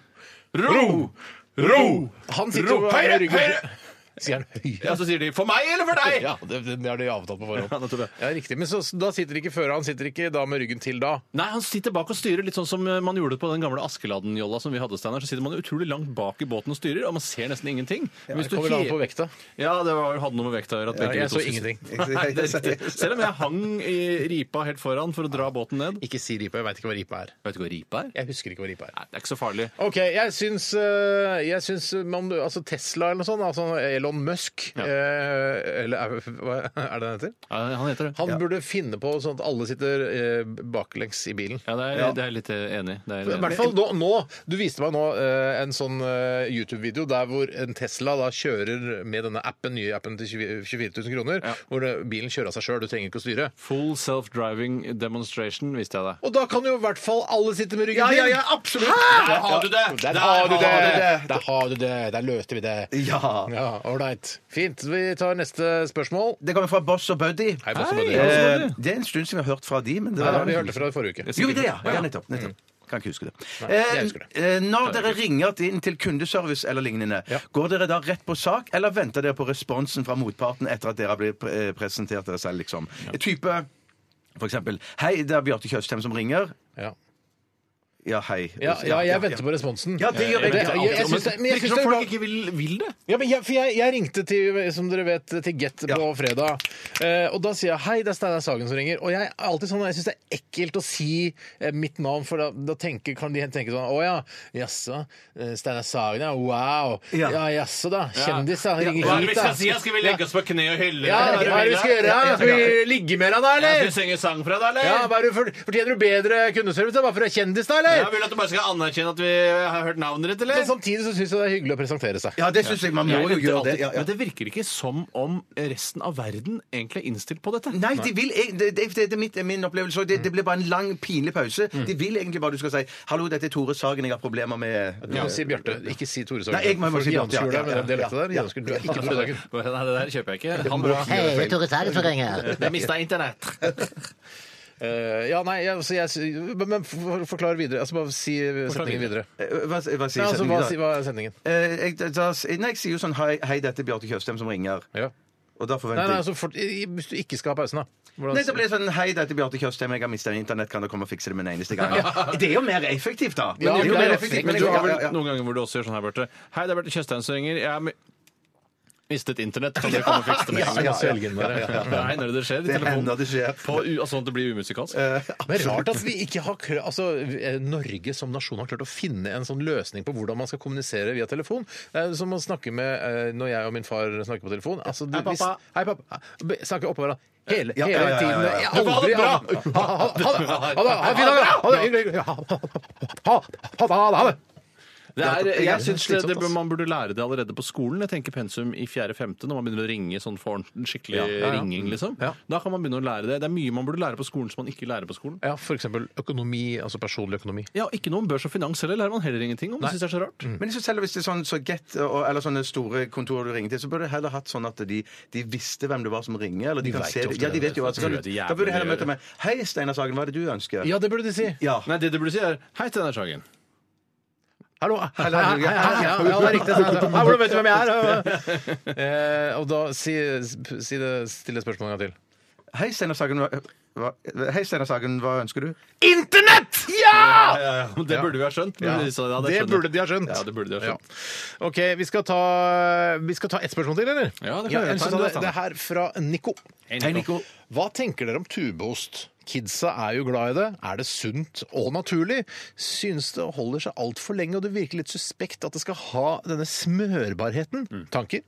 [SPEAKER 3] Ro! Ro!
[SPEAKER 1] Han sitter
[SPEAKER 3] Rop,
[SPEAKER 1] jo med
[SPEAKER 3] høyre,
[SPEAKER 1] ryggen
[SPEAKER 3] høyre!
[SPEAKER 1] Sier han høyre?
[SPEAKER 3] Ja, så sier de 'for meg eller for deg'?
[SPEAKER 1] Ja, det, det har de avtalt på
[SPEAKER 3] Ja, det tror
[SPEAKER 1] forhånd.
[SPEAKER 3] jeg.
[SPEAKER 1] Ja, riktig. Men så, da sitter ikke føreren han sitter ikke da med ryggen til da.
[SPEAKER 3] Nei, han sitter bak og styrer, litt sånn som eh, man gjorde på den gamle Askeladden-jolla som vi hadde, Steinar. Så sitter man utrolig langt bak i båten og styrer, og man ser nesten ingenting. Men hvis
[SPEAKER 1] Det
[SPEAKER 3] du
[SPEAKER 1] kommer an
[SPEAKER 3] he-
[SPEAKER 1] på vekta.
[SPEAKER 3] Ja, det var, hadde noe med vekta å gjøre. at
[SPEAKER 1] Jeg
[SPEAKER 3] begge vi to
[SPEAKER 1] så
[SPEAKER 3] synes-
[SPEAKER 1] ingenting.
[SPEAKER 3] Nei, det er riktig. Selv om jeg hang i ripa helt foran for å dra båten ned.
[SPEAKER 1] Ikke si ripa. Jeg veit ikke hva ripa er.
[SPEAKER 3] Vet du hva ripa er?
[SPEAKER 1] Jeg husker ikke hva ripa er.
[SPEAKER 3] Nei, det er ikke så farlig.
[SPEAKER 1] OK, jeg syns, øh, jeg syns øh, om du, altså Tesla eller noe sånt, altså Elon Musk
[SPEAKER 3] Ja.
[SPEAKER 1] eh, Eller er, hva er det han heter?
[SPEAKER 3] Ja, han heter det.
[SPEAKER 1] Han burde finne på sånn at alle sitter eh, baklengs i bilen.
[SPEAKER 3] Ja, det er, det er jeg litt eh, enig i. Det er jeg
[SPEAKER 1] I
[SPEAKER 3] litt
[SPEAKER 1] hvert
[SPEAKER 3] enig i.
[SPEAKER 1] fall nå, nå. Du viste meg nå eh, en sånn eh, YouTube-video der hvor en Tesla da kjører med denne appen, nye appen til 20 24 000 kroner, hvor eh, bilen kjører av seg sjøl, du trenger ikke å styre.
[SPEAKER 3] Full self-driving demonstration, visste jeg det.
[SPEAKER 1] Og da kan jo i hvert fall alle sitte med ryggen
[SPEAKER 2] Ja,
[SPEAKER 1] til.
[SPEAKER 2] ja, ja, absolutt!
[SPEAKER 3] Der har du det!
[SPEAKER 1] Der har du det! Der har du det! Der løste vi det.
[SPEAKER 2] Ja.
[SPEAKER 1] Ja, Ålreit. Fint. Vi tar neste spørsmål.
[SPEAKER 2] Det kommer fra Boss og Buddy.
[SPEAKER 1] Hei, Bosse
[SPEAKER 3] Hei.
[SPEAKER 1] Buddy.
[SPEAKER 3] Boss og
[SPEAKER 2] Eh,
[SPEAKER 3] Buddy.
[SPEAKER 2] det er en stund siden vi har hørt fra de, men det
[SPEAKER 1] Nei,
[SPEAKER 2] var
[SPEAKER 1] Vi hørte fra forrige uke.
[SPEAKER 2] Jo, det, ja. ja nettopp. nettopp. Kan ikke huske det.
[SPEAKER 1] jeg husker det.
[SPEAKER 2] Eh, eh, når dere ringer inn til kundeservice eller lignende,
[SPEAKER 1] Ja.
[SPEAKER 2] går dere da rett på sak, eller venter dere på responsen fra motparten etter at dere har blitt pre- eh, presentert dere selv, liksom? Type for eksempel Hei, det er Bjarte Tjøstheim som ringer.
[SPEAKER 1] Ja.
[SPEAKER 2] Ja, hei.
[SPEAKER 1] Ja, ja, jeg venter på responsen.
[SPEAKER 2] Ja, det gjør jeg.
[SPEAKER 1] jeg, jeg, jeg synes det, men jeg
[SPEAKER 3] Virker
[SPEAKER 1] synes
[SPEAKER 3] som
[SPEAKER 1] det er
[SPEAKER 3] folk
[SPEAKER 1] bra-
[SPEAKER 3] ikke vil, vil det.
[SPEAKER 1] ja, men jeg, for jeg, jeg ringte til som dere vet, til Get på
[SPEAKER 2] Ja.
[SPEAKER 1] fredag. Eh, og da sier jeg hei, det er Steinar Sagen som ringer. Og jeg er alltid sånn, jeg syns det er ekkelt å si eh, mitt navn, for da, da tenker, kan de tenke sånn Å ja, jaså. eh, Steinar Sagen, ja. Wow.
[SPEAKER 2] Ja.
[SPEAKER 1] Ja, jaså da. Kjendis, da. Ringer
[SPEAKER 3] Hva er det
[SPEAKER 1] hit,
[SPEAKER 3] vi skal si?
[SPEAKER 1] da.
[SPEAKER 3] Skal vi legge oss på kne og hylle?
[SPEAKER 1] Ja,
[SPEAKER 3] deg?
[SPEAKER 1] hva er det vi skal gjøre? da? Skal vi ligge med deg, da,
[SPEAKER 3] Ja, Skal vi
[SPEAKER 1] eller?
[SPEAKER 3] synge sang fra deg, eller?
[SPEAKER 1] Ja, hva er det, for, Fortjener du bedre kundeservice da, bare for å være kjendis, da,
[SPEAKER 3] Jeg
[SPEAKER 1] eller?
[SPEAKER 3] vil du at du bare skal anerkjenne at vi har hørt navnet ditt, eller?
[SPEAKER 1] Men samtidig så syns jeg det er hyggelig å presentere seg.
[SPEAKER 2] Ja, det syns jeg. Man må
[SPEAKER 3] Jeg
[SPEAKER 2] jo
[SPEAKER 3] venter
[SPEAKER 2] gjøre
[SPEAKER 3] alltid.
[SPEAKER 2] det. Ja, ja.
[SPEAKER 3] Men det virker ikke som om resten av verden egentlig er innstilt på dette.
[SPEAKER 2] Nei, de vil, eg- det, det, det er mitt, min opplevelse.
[SPEAKER 1] Mm.
[SPEAKER 2] og Det, det blir bare en lang, pinlig pause. De vil egentlig bare du skal si 'Hallo, dette er Tore Sagen. Jeg har problemer med
[SPEAKER 1] Du må si Bjarte, ikke si Tore Sagen.
[SPEAKER 2] Nei, jeg må- jeg må
[SPEAKER 1] For
[SPEAKER 2] si Bjarte,
[SPEAKER 1] Jansrud
[SPEAKER 2] ja,
[SPEAKER 1] er med
[SPEAKER 2] ja,
[SPEAKER 1] den dialekten der.
[SPEAKER 2] ja,
[SPEAKER 1] Jansrud, du er ikke Tore Sagen.
[SPEAKER 3] Nei, det der kjøper jeg ikke. Han
[SPEAKER 10] Hei, det er Tore Sagen som ringer.
[SPEAKER 3] Jeg mista internett.
[SPEAKER 1] Eh, ja, nei, jeg, så jeg, sy- men men for, forklar videre. Altså, bare si setningen videre.
[SPEAKER 2] Eh, Hva, hva sier
[SPEAKER 1] Nei, altså,
[SPEAKER 2] setningen
[SPEAKER 1] hva,
[SPEAKER 2] da?
[SPEAKER 1] si- hva er sendingen?
[SPEAKER 2] Eh, jeg, da, nei, jeg sier jo sånn Hei, hei dette er Bjarte Tjøstheim som ringer.
[SPEAKER 1] Ja.
[SPEAKER 2] Og da
[SPEAKER 1] Nei,
[SPEAKER 2] forventer
[SPEAKER 1] nei,
[SPEAKER 2] jeg
[SPEAKER 1] altså, for, i- i- hvis du ikke skal ha pausen, da. Hvordan,
[SPEAKER 2] Nei, det blir sånn Hei, dette er Bjarte Tjøstheim. Jeg har mista internett. Kan dere komme og fikse det med en eneste gang? Ja. Det er jo mer effektivt, da.
[SPEAKER 1] Ja,
[SPEAKER 2] det er jo
[SPEAKER 1] det er
[SPEAKER 2] mer
[SPEAKER 1] effektivt,
[SPEAKER 2] effektivt.
[SPEAKER 3] Men du har vel
[SPEAKER 2] ja, ja, ja.
[SPEAKER 3] noen ganger hvor du også gjør sånn her, Bjarte. Hei, det er Bjarte Tjøstheim som ringer. Jeg har mi- mistet internett. Kan dere komme og fikse det med
[SPEAKER 1] Ja,
[SPEAKER 3] en
[SPEAKER 1] ja,
[SPEAKER 3] gang?
[SPEAKER 1] ja, ja, ja, ja.
[SPEAKER 3] Det hender det det skjer. i
[SPEAKER 2] Det
[SPEAKER 3] telefonen.
[SPEAKER 2] hender det skjer.
[SPEAKER 3] På, u- altså, at det blir umusikalsk.
[SPEAKER 1] Men rart at vi ikke har klart altså, eh, Norge som nasjon har klart å finne en sånn løsning på hvordan man skal kommunisere via telefon. Det er som å snakke med eh, Når jeg og min far snakker på telefon altså, du,
[SPEAKER 3] Hei,
[SPEAKER 1] hvis-
[SPEAKER 3] pappa.
[SPEAKER 1] Hei, pappa. Be- Snakker oppå hverandre. Hele,
[SPEAKER 2] Ja,
[SPEAKER 1] hele
[SPEAKER 2] ja, ja, ja,
[SPEAKER 1] tiden.
[SPEAKER 2] ja.
[SPEAKER 1] Jeg
[SPEAKER 3] Du, ha det
[SPEAKER 1] aldri-
[SPEAKER 3] bra!
[SPEAKER 1] Ha ha- ha det! Ha det! Ha en fin dag, da! Ha det! hyggelig, hyggelig. Ha- ha- ha- ha- ha- ha det!
[SPEAKER 3] Det er,
[SPEAKER 2] det er
[SPEAKER 3] jeg synes det,
[SPEAKER 2] slitsomt,
[SPEAKER 3] det,
[SPEAKER 2] ass.
[SPEAKER 3] man burde lære det allerede på skolen. Jeg tenker pensum i 4.-5. når man begynner å ringe sånn for ordentlig- skikkelig
[SPEAKER 1] Ja, ja, ja.
[SPEAKER 3] ringing, liksom.
[SPEAKER 1] Ja.
[SPEAKER 3] Da kan man begynne å lære det. Det er mye man burde lære på skolen som man ikke lærer på skolen.
[SPEAKER 1] Ja, f.eks. økonomi, altså personlig økonomi.
[SPEAKER 3] Ja, Ikke noe om børs og finans heller. Lærer man heller ingenting om. Det synes jeg er så rart.
[SPEAKER 1] Mm.
[SPEAKER 2] Men jeg synes heller hvis det er sånn så Get og- eller sånne store kontorer du ringer til, så burde du heller hatt sånn at de, de visste hvem det var som ringer. Eller
[SPEAKER 1] De
[SPEAKER 2] de, kan
[SPEAKER 1] vet
[SPEAKER 2] se
[SPEAKER 1] ofte
[SPEAKER 2] det. Ja, de
[SPEAKER 1] det.
[SPEAKER 2] vet jo at,
[SPEAKER 3] Det tror jeg de
[SPEAKER 2] Da burde
[SPEAKER 3] jævlig
[SPEAKER 2] jeg heller
[SPEAKER 3] gjør.
[SPEAKER 2] møte meg. Hei, Steinar Sagen, hva er det du ønsker?
[SPEAKER 1] Ja, det burde de si.
[SPEAKER 2] Ja.
[SPEAKER 3] Nei, det du burde si, er Hei, Steinar Sagen.
[SPEAKER 1] Hallo! Hei, hei, hei, hei. Ja, ja, det er riktig. Hei, hei, Hvordan vet du hvem jeg er? Eh, Og da si, si det stille spørsmålet en gang til.
[SPEAKER 2] Hei, Steinar Sagen, hva, hva, hei, Steinar Sagen, hva ønsker du?
[SPEAKER 1] Internett! Ja!
[SPEAKER 3] Det burde vi ha skjønt. Men de sa, ja,
[SPEAKER 1] Det
[SPEAKER 3] skjønner jeg.
[SPEAKER 1] burde de ha skjønt.
[SPEAKER 3] Ja, det burde de ha
[SPEAKER 1] Ja.
[SPEAKER 3] skjønt.
[SPEAKER 1] OK, vi skal ta, vi skal ta ett spørsmål til, eller?
[SPEAKER 3] Ja, det kan vi
[SPEAKER 1] ja,
[SPEAKER 3] gjøre.
[SPEAKER 1] jeg
[SPEAKER 3] Ta en
[SPEAKER 1] synes
[SPEAKER 3] da,
[SPEAKER 1] det,
[SPEAKER 3] ta en.
[SPEAKER 1] det er her fra Nico.
[SPEAKER 3] Hei, Nico.
[SPEAKER 1] Hva tenker dere om tubeost? Kidsa er jo glad i det. Er det sunt og naturlig? Synes det holder seg altfor lenge, og det virker litt suspekt at det skal ha denne smørbarheten.
[SPEAKER 3] Mm.
[SPEAKER 1] Tanker?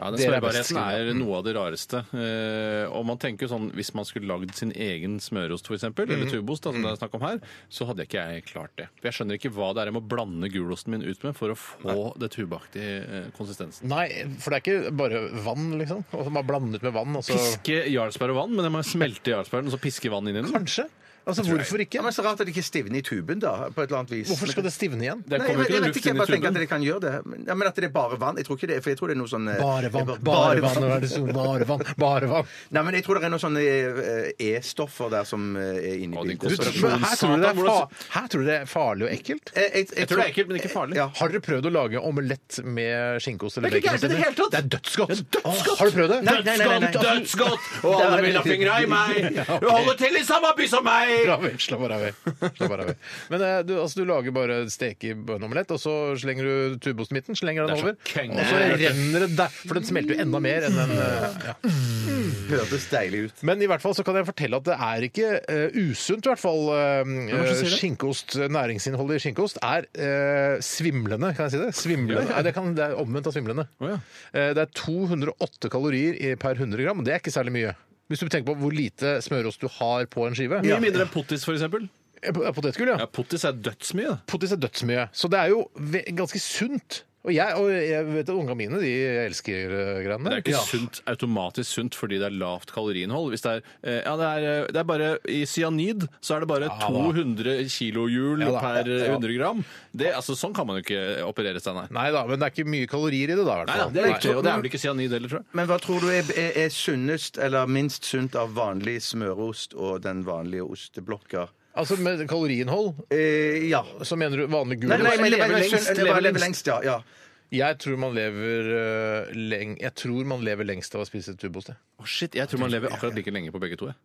[SPEAKER 3] Ja, den
[SPEAKER 1] Dere er best,
[SPEAKER 3] smørbarheten
[SPEAKER 1] skriver
[SPEAKER 3] er noe av det rareste. Eh, og man tenker jo sånn, Hvis man skulle lagd sin egen smørost, f.eks., eksempel eller tubeost, da, som det er snakk om her, så hadde ikke jeg klart det. For Jeg skjønner ikke hva det er jeg må blande gulosten min ut med for å få det tubeaktige eh, konsistensen.
[SPEAKER 1] Nei, for det er ikke bare vann, liksom. Og så bare blandet med vann, og så
[SPEAKER 3] Piske jarlsberg og vann, men jeg må smelte jarlsbergen og så piske vann inn i den.
[SPEAKER 1] Kanskje? Altså, hvorfor
[SPEAKER 2] Ja,
[SPEAKER 1] ikke?
[SPEAKER 2] men Så rart at det ikke stivner i tuben, da. På et eller annet vis.
[SPEAKER 1] Hvorfor skal det stivne igjen?
[SPEAKER 3] Det
[SPEAKER 2] Nei, jeg,
[SPEAKER 3] kommer jo
[SPEAKER 2] jeg
[SPEAKER 3] ikke
[SPEAKER 2] vet
[SPEAKER 3] luft
[SPEAKER 2] ikke, jeg
[SPEAKER 3] inn i
[SPEAKER 2] bare tenker at
[SPEAKER 3] tuben.
[SPEAKER 2] det kan gjøre det. Men, ja, men at det er bare vann. Jeg tror ikke det, for jeg tror det er noe sånn eh,
[SPEAKER 1] Bare vann,
[SPEAKER 2] ba-
[SPEAKER 1] bare vann, hva er det som- bare vann, bare vann.
[SPEAKER 2] Nei, men jeg tror det er noen sånne eh, E-stoffer der som eh, er inne
[SPEAKER 3] Å,
[SPEAKER 2] i
[SPEAKER 3] din
[SPEAKER 1] Du,
[SPEAKER 2] bildet.
[SPEAKER 3] konsentrasjon.
[SPEAKER 2] Så-
[SPEAKER 1] men her, tror dere det er fa her tror dere det er farlig og ekkelt?
[SPEAKER 2] Jeg, jeg,
[SPEAKER 3] Jeg tror det er ekkelt, men ikke farlig.
[SPEAKER 2] Ja.
[SPEAKER 1] Har dere prøvd å lage omelett med skinkeost eller
[SPEAKER 3] Det er ikke
[SPEAKER 1] bacon?
[SPEAKER 3] gærent i det hele tatt.
[SPEAKER 1] Det er dødsgodt!
[SPEAKER 3] Det er dødsgodt.
[SPEAKER 1] Åh, Har du prøvd det?
[SPEAKER 2] Nei, nei, nei, nei.
[SPEAKER 3] Dødsgodt, dødsgodt! Og alle vil ha fingra i meg! Du holder til i samme by som meg!
[SPEAKER 1] Slapp av, slapp bare av. Slapp bare av. Men eh, du, altså, du lager bare steke i bønneomelett, og så slenger du tubeosten i midten, slenger den
[SPEAKER 3] Det er så
[SPEAKER 1] over,
[SPEAKER 3] køng.
[SPEAKER 1] og så renner det der, for den smelter jo enda mer enn den eh, ja.
[SPEAKER 2] hørtes deilig ut.
[SPEAKER 1] Men i hvert fall så kan jeg fortelle at det er ikke eh, usunt, i hvert fall. eh,
[SPEAKER 3] hva er det som sier det?
[SPEAKER 1] skinkeost, Næringsinnholdet i skinkeost er eh, svimlende, kan jeg si det? Svimlende. Nei, det, kan, det er omvendt av svimlende.
[SPEAKER 3] Å, ja.
[SPEAKER 1] Eh, det er 208 kalorier i, per 100 gram, og det er ikke særlig mye. Hvis du tenker på hvor lite smørost du har på en skive.
[SPEAKER 3] Mye mindre enn pottis, f.eks.
[SPEAKER 1] Eh, po- eh, Potetgull, ja.
[SPEAKER 3] Ja, pottis er dødsmye. da.
[SPEAKER 1] Pottis er dødsmye. Så det er jo ve- ganske sunt. Og jeg, og jeg vet at ungene mine de elsker eh, greiene der.
[SPEAKER 3] Det er ikke sunt, automatisk sunt fordi det er lavt kaloriinnhold. Hvis det er, eh, ja, det er, eh, det er bare, I cyanid så er det bare 200 kilohjul
[SPEAKER 1] Ja da.
[SPEAKER 3] per eh,
[SPEAKER 1] Ja.
[SPEAKER 3] 100 gram. Det, altså, sånn kan man jo ikke operere, Steinar.
[SPEAKER 1] Nei da, men det er ikke mye kalorier i det, da. i hvert
[SPEAKER 3] Nei,
[SPEAKER 1] fall.
[SPEAKER 3] da, det er riktig, og det er vel ikke cyanid heller, tror jeg.
[SPEAKER 2] Men hva tror du er, er, er sunnest eller minst sunt av vanlig smørost og den vanlige osteblokka?
[SPEAKER 1] Altså med kaloriinnhold
[SPEAKER 2] Eh, ja.
[SPEAKER 1] så mener du vanlig gul
[SPEAKER 2] Nei, nei, men
[SPEAKER 3] Leve
[SPEAKER 2] leve
[SPEAKER 3] lengst,
[SPEAKER 2] lengst.
[SPEAKER 3] leve
[SPEAKER 2] Leve
[SPEAKER 3] lengst.
[SPEAKER 2] lengst, ja. ja.
[SPEAKER 1] Jeg tror man lever eh, leng Jeg tror man lever lengst av å spise tubost. jeg.
[SPEAKER 3] Å, shit, jeg tror man lever akkurat like lenge på begge to. jeg.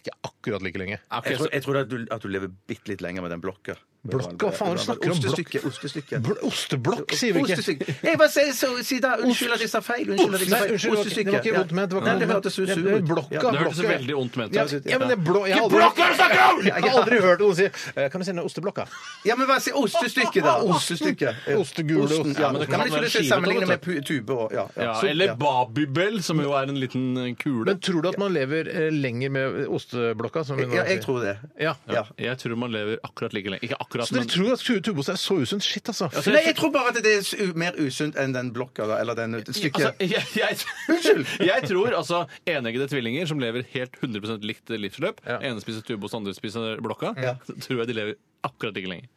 [SPEAKER 1] Ikke akkurat like lenge.
[SPEAKER 3] Ok,
[SPEAKER 2] Jeg tror,
[SPEAKER 3] så-
[SPEAKER 2] jeg tror at, du, at du lever bitte litt lenger med den blokka.
[SPEAKER 1] Blokk? Hva faen er det du snakker om? Blokk?
[SPEAKER 2] Ostestykke. ostestykke.
[SPEAKER 1] Bl- Osteblokk, sier vi ikke.
[SPEAKER 2] Ostestykke. Jeg bare sier så, si da, unnskyld at jeg sa feil. Unnskyld at jeg sa
[SPEAKER 1] Nei,
[SPEAKER 2] feil.
[SPEAKER 1] unnskyld, det var ikke- det var ikke vondt ment. Det var
[SPEAKER 2] Nei,
[SPEAKER 1] ikke
[SPEAKER 2] det
[SPEAKER 1] vondt
[SPEAKER 2] hørtes
[SPEAKER 1] ment. Ja,
[SPEAKER 2] ut
[SPEAKER 1] det- blokka,
[SPEAKER 2] Ja,
[SPEAKER 3] Det hørtes
[SPEAKER 1] blokka.
[SPEAKER 3] veldig ondt ment
[SPEAKER 1] Ja,
[SPEAKER 3] ut.
[SPEAKER 1] ja, men det er blå, jeg, har aldri, jeg har aldri hørt noen si eh, Kan du si den osteblokka?
[SPEAKER 2] Ja, men hva sier ostestykke, da? Ostestykke. Ja.
[SPEAKER 1] Ostegule
[SPEAKER 2] Osten,
[SPEAKER 1] ost.
[SPEAKER 2] Ja, men det kan
[SPEAKER 3] være
[SPEAKER 2] man ikke
[SPEAKER 3] skivet,
[SPEAKER 2] sammenligne med pu-
[SPEAKER 3] vet
[SPEAKER 2] tube og ja,
[SPEAKER 3] Ja,
[SPEAKER 2] Så-
[SPEAKER 3] eller babybel, som jo er en liten eh, kule.
[SPEAKER 1] Men tror du at man lever eh, lenger med osteblokka? Som vi nå
[SPEAKER 2] ja, jeg
[SPEAKER 1] sier?
[SPEAKER 2] tror det.
[SPEAKER 1] ja.
[SPEAKER 2] Ja.
[SPEAKER 3] Jeg tror man lever akkurat like lenge. Ikke akkurat,
[SPEAKER 1] Så dere
[SPEAKER 3] men
[SPEAKER 1] tror at tubost er så usunt? Shit, altså.
[SPEAKER 3] Altså,
[SPEAKER 2] Nei, jeg tror bare at det er su- mer usunt enn den blokka, da, eller den
[SPEAKER 3] Altså,
[SPEAKER 2] stykket.
[SPEAKER 3] jeg, jeg,
[SPEAKER 2] Unnskyld.
[SPEAKER 3] jeg tror altså eneggede tvillinger som lever helt 100 likt livsløp, ene spiser tubost, andre spiser blokka, så tror jeg de lever akkurat like lenge.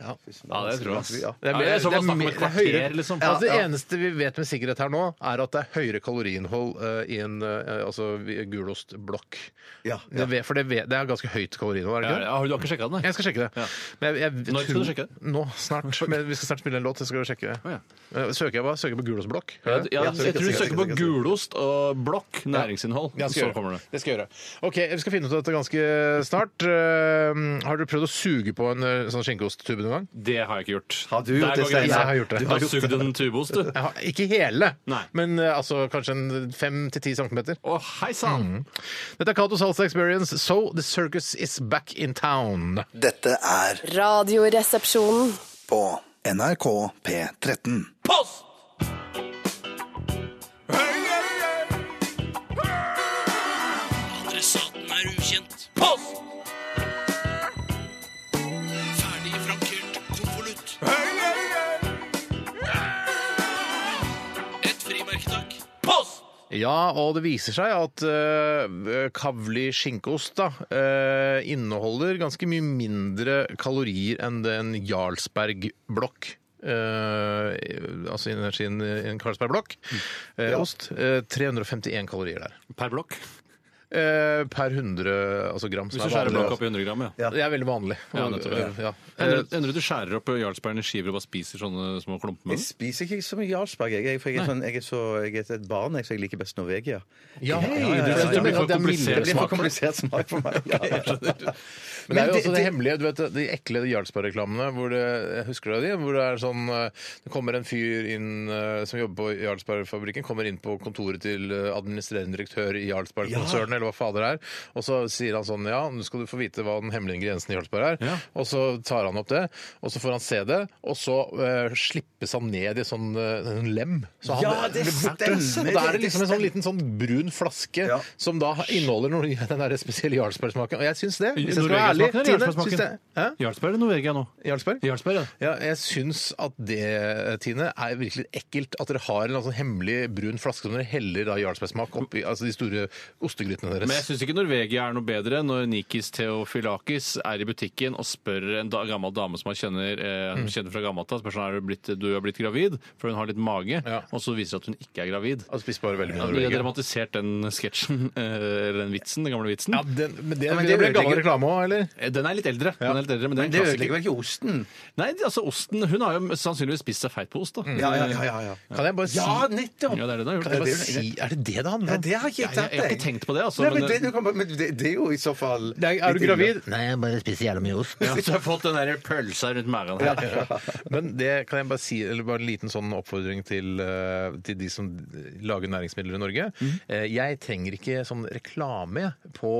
[SPEAKER 1] Ja.
[SPEAKER 3] Ja, det tror jeg. ass.
[SPEAKER 2] altså, Ja.
[SPEAKER 3] Ja, det er som å snakke om
[SPEAKER 1] mer-
[SPEAKER 3] et
[SPEAKER 1] det er høyere-
[SPEAKER 3] kvarter, liksom.
[SPEAKER 1] altså, det eneste vi vet med sikkerhet her nå, er at det er høyere kaloriinnhold eh, i en eh, altså, vi- gulostblokk.
[SPEAKER 2] Ja,
[SPEAKER 1] Det vet- For det, vet, det er ganske høyt kaloriinnhold, er det
[SPEAKER 3] Ja,
[SPEAKER 1] ikke? det?
[SPEAKER 3] ja, du har ikke sjekka den, nei?
[SPEAKER 1] Jeg skal sjekke det. Men jeg, jeg,
[SPEAKER 3] Når skal du sjekke det?
[SPEAKER 1] Nå, snart. Men vi skal snart spille en låt. Jeg skal sjekke det.
[SPEAKER 3] Å, ja.
[SPEAKER 1] Eh, Søker jeg bare? Søker jeg på gulostblokk?
[SPEAKER 3] Ja,
[SPEAKER 1] Gjør jeg det?
[SPEAKER 3] ja, jeg tror du søker på
[SPEAKER 2] sikkert, sikkert.
[SPEAKER 3] gulost og blokk, næringsinnhold,
[SPEAKER 1] Jeg skal
[SPEAKER 3] så
[SPEAKER 1] gjøre
[SPEAKER 3] kommer det.
[SPEAKER 1] Det skal jeg gjøre. Ok, Vi skal finne ut av dette ganske snart. Eh, har du prøvd å suge på en eh, sånn skinkeosttube noen gang?
[SPEAKER 3] Det har jeg ikke gjort.
[SPEAKER 2] Har du gjort
[SPEAKER 3] Der
[SPEAKER 2] det,
[SPEAKER 3] går
[SPEAKER 2] Stein?
[SPEAKER 3] grensen.
[SPEAKER 1] Jeg har gjort det.
[SPEAKER 3] Du har sugd en tubost, du.
[SPEAKER 1] Jeg har, ikke hele,
[SPEAKER 3] Nei.
[SPEAKER 1] men eh, altså, kanskje en fem til ti centimeter.
[SPEAKER 3] Å, hei sann!
[SPEAKER 1] Dette er Cato Salsa Experience, So The Circus Is Back In Town.
[SPEAKER 7] Dette er
[SPEAKER 6] Radioresepsjonen.
[SPEAKER 7] på NRK P13.
[SPEAKER 1] Ja, og det viser seg at uh, kavli skinkeost da, eh, inneholder ganske mye mindre kalorier enn den Jarlsberg-blokk. eh, altså energien i en Carlsberg-blokk.
[SPEAKER 3] Mm.
[SPEAKER 1] eh, Ost. eh, 351 kalorier der.
[SPEAKER 3] Per blokk.
[SPEAKER 1] Eh, per 100 altså gram. som
[SPEAKER 3] Hvis du
[SPEAKER 1] er
[SPEAKER 3] skjærer
[SPEAKER 1] vanlig.
[SPEAKER 3] blokk opp i 100 gram, ja.
[SPEAKER 1] Det er veldig vanlig. eh,
[SPEAKER 3] Ja, nettopp, ja.
[SPEAKER 1] Ja.
[SPEAKER 3] Ender det- ender det at du skjærer opp Jarlsbergen i skiver og bare spiser sånne små klumper med
[SPEAKER 2] Jeg
[SPEAKER 3] den?
[SPEAKER 2] spiser ikke så mye Jarlsberg, jeg, jeg- for jeg er, sånn, jeg, er så, jeg er et barn, jeg, så jeg liker best Norvegia.
[SPEAKER 1] Ja,
[SPEAKER 2] Hei,
[SPEAKER 1] ja, ja, ja.
[SPEAKER 2] det-
[SPEAKER 1] Så du
[SPEAKER 2] det blir
[SPEAKER 1] mener
[SPEAKER 3] for
[SPEAKER 1] at det er
[SPEAKER 2] Det
[SPEAKER 3] komplisert.
[SPEAKER 1] mildere
[SPEAKER 2] blir for
[SPEAKER 1] smak.
[SPEAKER 2] komplisert smak for meg. Ja, ja.
[SPEAKER 1] Men det er jo
[SPEAKER 2] Men
[SPEAKER 1] også
[SPEAKER 2] det-
[SPEAKER 1] det
[SPEAKER 2] det-
[SPEAKER 1] hemmelige, du vet, de ekle Jarlsberg-reklamene. hvor det, jeg Husker du de? Hvor det er sånn eh, Det kommer en fyr inn eh, som jobber på Jarlsberg-fabrikken, kommer inn på kontoret til eh, administrerende direktør i Jarlsberg-konsernet, eller hva fader det er, og så sier han sånn Ja, nå skal du få vite hva den hemmelige ingrediensen i Jarlsberg er.
[SPEAKER 3] Ja.
[SPEAKER 1] Og så tar han opp det, og så får han se det, og så eh, slippes han ned i sånn eh, en lem. Så han
[SPEAKER 2] Ja, det
[SPEAKER 1] blir borte.
[SPEAKER 2] stemmer,
[SPEAKER 1] Og da er
[SPEAKER 2] det
[SPEAKER 1] det liksom en sånn liten sånn brun flaske
[SPEAKER 2] Ja.
[SPEAKER 1] som da inneholder noe i den der spesielle Jarlsberg-smaken. Og jeg syns det. Hvis jeg skal være ærlig,
[SPEAKER 3] Norvegia-smaken eller
[SPEAKER 1] Tine, syns
[SPEAKER 3] Jarlsberg-smaken?
[SPEAKER 1] jeg Hæ?
[SPEAKER 3] Jarlsberg eller Norvegia nå?
[SPEAKER 1] Jarlsberg?
[SPEAKER 3] Jarlsberg, ja.
[SPEAKER 1] Ja, jeg syns at det, Tine, er virkelig ekkelt at dere har en sånn hemmelig brun flaske som dere heller da Jarlsberg-smak oppi altså de store ostegrytene
[SPEAKER 3] Men jeg
[SPEAKER 1] deres.
[SPEAKER 3] syns ikke Norvegia er noe bedre når Nikis Theofilakis er i butikken og spør en da, gammel dame som han kjenner, eh, kjenner fra gammelt av, spør sånn, er du, blitt, du har blitt gravid, for hun har litt mage,
[SPEAKER 1] Ja.
[SPEAKER 3] og så viser det at hun ikke er gravid.
[SPEAKER 1] Og spiser Altså, bare veldig mye
[SPEAKER 3] Ja, de har
[SPEAKER 1] Norvegia.
[SPEAKER 3] dramatisert den sketsjen, eh, eller den vitsen, den gamle vitsen.
[SPEAKER 1] Ja, den, men det,
[SPEAKER 2] Ja, men
[SPEAKER 1] det
[SPEAKER 2] det
[SPEAKER 1] ble gammel
[SPEAKER 2] ødelegger-
[SPEAKER 1] reklame òg, eller?
[SPEAKER 3] Eh, Den er litt eldre. Den er litt eldre men
[SPEAKER 2] Men
[SPEAKER 3] det er en
[SPEAKER 2] det
[SPEAKER 3] klassiker.
[SPEAKER 2] ødelegger vel ikke osten?
[SPEAKER 3] Nei, altså osten Hun har jo sannsynligvis spist seg feit på ost, da.
[SPEAKER 2] Ja, ja, ja. ja, ja.
[SPEAKER 1] Kan jeg bare si
[SPEAKER 2] ja nettopp!
[SPEAKER 3] Ja, det er det den har
[SPEAKER 1] kan jeg
[SPEAKER 3] gjort.
[SPEAKER 1] bare si, Er det det det handler
[SPEAKER 2] Nei,
[SPEAKER 1] om?
[SPEAKER 2] det har ikke jeg
[SPEAKER 3] Jeg, jeg,
[SPEAKER 2] tatt,
[SPEAKER 3] jeg har ikke tenkt på det, altså.
[SPEAKER 2] Nei, men
[SPEAKER 3] men,
[SPEAKER 2] det, du kan bare- men det, det er jo i så fall
[SPEAKER 1] Det eh, er, er du gravid?
[SPEAKER 10] Nei, jeg bare spiser jævla mye ost.
[SPEAKER 3] ja, så jeg har fått den der pølsa rundt magen her.
[SPEAKER 1] Men det kan jeg bare si, eller bare en liten sånn oppfordring til, eh, til de som lager næringsmidler i Norge.
[SPEAKER 3] Mhm.
[SPEAKER 1] Eh, Jeg trenger ikke sånn reklame på,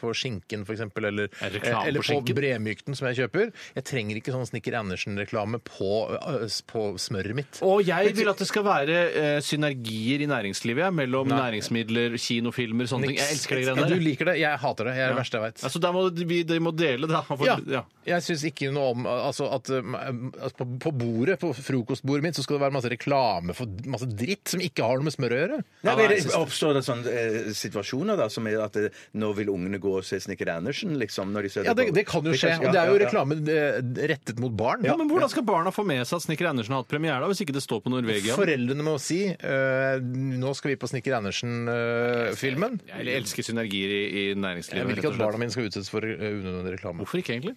[SPEAKER 1] på skinken f.eks., eller, eh,
[SPEAKER 3] Er det reklame
[SPEAKER 1] eller
[SPEAKER 3] på
[SPEAKER 1] på,
[SPEAKER 3] skinken?
[SPEAKER 1] bremykten som jeg kjøper. Jeg trenger ikke sånn Snikker Andersen-reklame på, eh, på smøret mitt.
[SPEAKER 3] Og jeg vil at det skal være eh, synergier i næringslivet ja, mellom næringsmidler, kinofilmer, sånne ting. Jeg elsker de
[SPEAKER 1] Ja, du
[SPEAKER 3] greiene der.
[SPEAKER 1] liker det. Jeg hater det. Jeg er det verste jeg veit.
[SPEAKER 3] Altså, der må de, vi- de må dele, da. For,
[SPEAKER 1] Ja.
[SPEAKER 3] ja.
[SPEAKER 1] Jeg syns ikke noe om altså at um, altså på- på bordet, på frokostbordet mitt, så skal det være masse reklame for masse dritt som ikke har noe med smør å gjøre.
[SPEAKER 2] Nei,
[SPEAKER 3] Ja,
[SPEAKER 2] men
[SPEAKER 3] jeg
[SPEAKER 2] det
[SPEAKER 3] synes det.
[SPEAKER 2] Oppstår det sånne eh, situasjoner da, som er at eh, nå vil ungene gå og se Snikker Andersen? liksom? Når de ser
[SPEAKER 1] Ja, det,
[SPEAKER 2] på-
[SPEAKER 1] det kan jo skje.
[SPEAKER 2] skje,
[SPEAKER 1] Og det er
[SPEAKER 2] ja,
[SPEAKER 1] jo
[SPEAKER 2] ja, ja.
[SPEAKER 1] reklame eh, rettet mot barn.
[SPEAKER 3] Ja, men Hvordan skal barna få med seg at Snekker Andersen har hatt premiere da, hvis ikke det står på Norvegia?
[SPEAKER 1] Foreldrene må si eh, nå skal vi på Snikker Andersen-filmen.
[SPEAKER 3] Jeg elsker synergier i, i næringslivet.
[SPEAKER 1] jeg vil
[SPEAKER 3] rett
[SPEAKER 1] ikke
[SPEAKER 3] og
[SPEAKER 1] at
[SPEAKER 3] slett.
[SPEAKER 1] barna mine skal utsettes for eh, unødvendig reklame.
[SPEAKER 3] Hvorfor ikke, egentlig?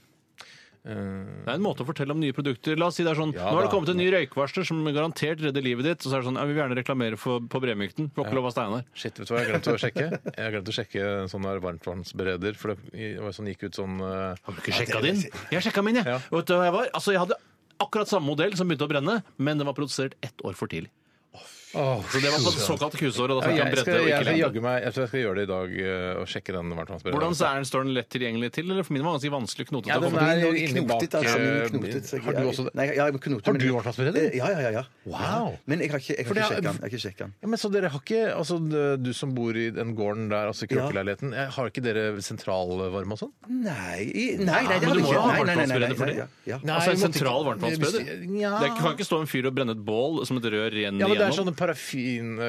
[SPEAKER 3] Det er en måte å fortelle om nye produkter. La oss si det er sånn, Nå har det
[SPEAKER 1] da.
[SPEAKER 3] kommet en ny røykvarsler som garantert redder livet ditt. Og så er det sånn, ja, vi vil gjerne reklamere for, på Bremykten. Får ikke lov av Steinar.
[SPEAKER 1] Shit, vet du hva jeg glemte å sjekke? Jeg har glemt å sjekke en sånn der varmtvannsbereder, for det var sånn, gikk ut sånn eh,
[SPEAKER 3] Har du ikke sjekka din? Jeg sjekka min, jeg. Og Vet du hva jeg var? Altså, jeg hadde akkurat samme modell som begynte å brenne, men den var produsert ett år for tidlig. Så det var på det såkalte kusåret. og Da fikk
[SPEAKER 1] jeg,
[SPEAKER 3] han
[SPEAKER 1] skal,
[SPEAKER 3] bredde og
[SPEAKER 1] jeg,
[SPEAKER 3] ikke
[SPEAKER 1] skal
[SPEAKER 3] lengde.
[SPEAKER 1] jaggu meg, jeg tror jeg skal gjøre det i dag eh, og sjekke den varmtvannsberederen.
[SPEAKER 3] Hvordan så er den, står den lett tilgjengelig til? Eller for min var den ganske vanskelig og knotete.
[SPEAKER 1] Ja,
[SPEAKER 3] å
[SPEAKER 1] den
[SPEAKER 3] komme
[SPEAKER 1] er-
[SPEAKER 3] til.
[SPEAKER 1] jo
[SPEAKER 2] Noe
[SPEAKER 1] inni bak,
[SPEAKER 2] knotet, altså,
[SPEAKER 1] eh,
[SPEAKER 2] noe knotet, så jeg-
[SPEAKER 1] har du også det?
[SPEAKER 2] Nei, jeg- jeg har knotet,
[SPEAKER 1] Har
[SPEAKER 2] men- Eh,
[SPEAKER 1] du varmtvannsbereder?
[SPEAKER 2] Ja, ja, ja, ja.
[SPEAKER 1] Wow.
[SPEAKER 2] Men jeg har ikke, jeg har
[SPEAKER 1] For det er-
[SPEAKER 2] ikke sjekket den. Jeg har ikke sjekket den.
[SPEAKER 1] Ja, men så dere har ikke, altså Du som bor i den gården der, altså kråkeleiligheten, har ikke dere sentralvarme og sånn?
[SPEAKER 2] Nei, i- nei, nei, det
[SPEAKER 3] men
[SPEAKER 2] har
[SPEAKER 3] du
[SPEAKER 2] jeg
[SPEAKER 3] må
[SPEAKER 2] ikke.
[SPEAKER 3] jo ha
[SPEAKER 2] Nei, nei, nei, nei,
[SPEAKER 3] varmtvannsbereder for
[SPEAKER 2] nei,
[SPEAKER 3] det.
[SPEAKER 2] ja, ja.
[SPEAKER 3] Altså en
[SPEAKER 1] Nei, måtte
[SPEAKER 3] sentral
[SPEAKER 1] ikke-
[SPEAKER 3] varmtbereder?
[SPEAKER 1] Ja.
[SPEAKER 3] Det kan ikke stå en fyr og brenne et bål som et rør renner
[SPEAKER 1] Ja, men det er sånn-
[SPEAKER 3] igjennom.
[SPEAKER 1] sånne parafinbål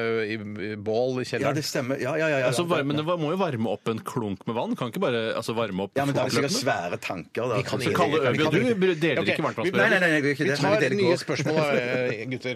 [SPEAKER 1] i
[SPEAKER 2] Ja,
[SPEAKER 1] kjelleren.
[SPEAKER 2] det stemmer. Ja, ja, ja, ja,
[SPEAKER 3] Altså,
[SPEAKER 2] ja.
[SPEAKER 3] varme, det var- må jo varme opp en klunk med vann. Kan ikke bare altså, varme opp
[SPEAKER 2] Ja, men det er vel sikkert
[SPEAKER 3] avløpene?
[SPEAKER 2] svære tanker, da.
[SPEAKER 1] kan
[SPEAKER 2] Så
[SPEAKER 1] ikke-
[SPEAKER 2] kaller
[SPEAKER 3] Kalle
[SPEAKER 2] Øby
[SPEAKER 3] Øby og
[SPEAKER 2] og du-
[SPEAKER 3] du deler
[SPEAKER 1] Ok,
[SPEAKER 3] ikke
[SPEAKER 1] vi-
[SPEAKER 2] Nei,
[SPEAKER 3] varmtvannsbereder.
[SPEAKER 2] nei, nei, jeg gjør ikke
[SPEAKER 1] Vi
[SPEAKER 2] det. men
[SPEAKER 1] tar
[SPEAKER 2] deler ikke
[SPEAKER 1] nye
[SPEAKER 2] også.
[SPEAKER 1] spørsmål, da, eh, gutter.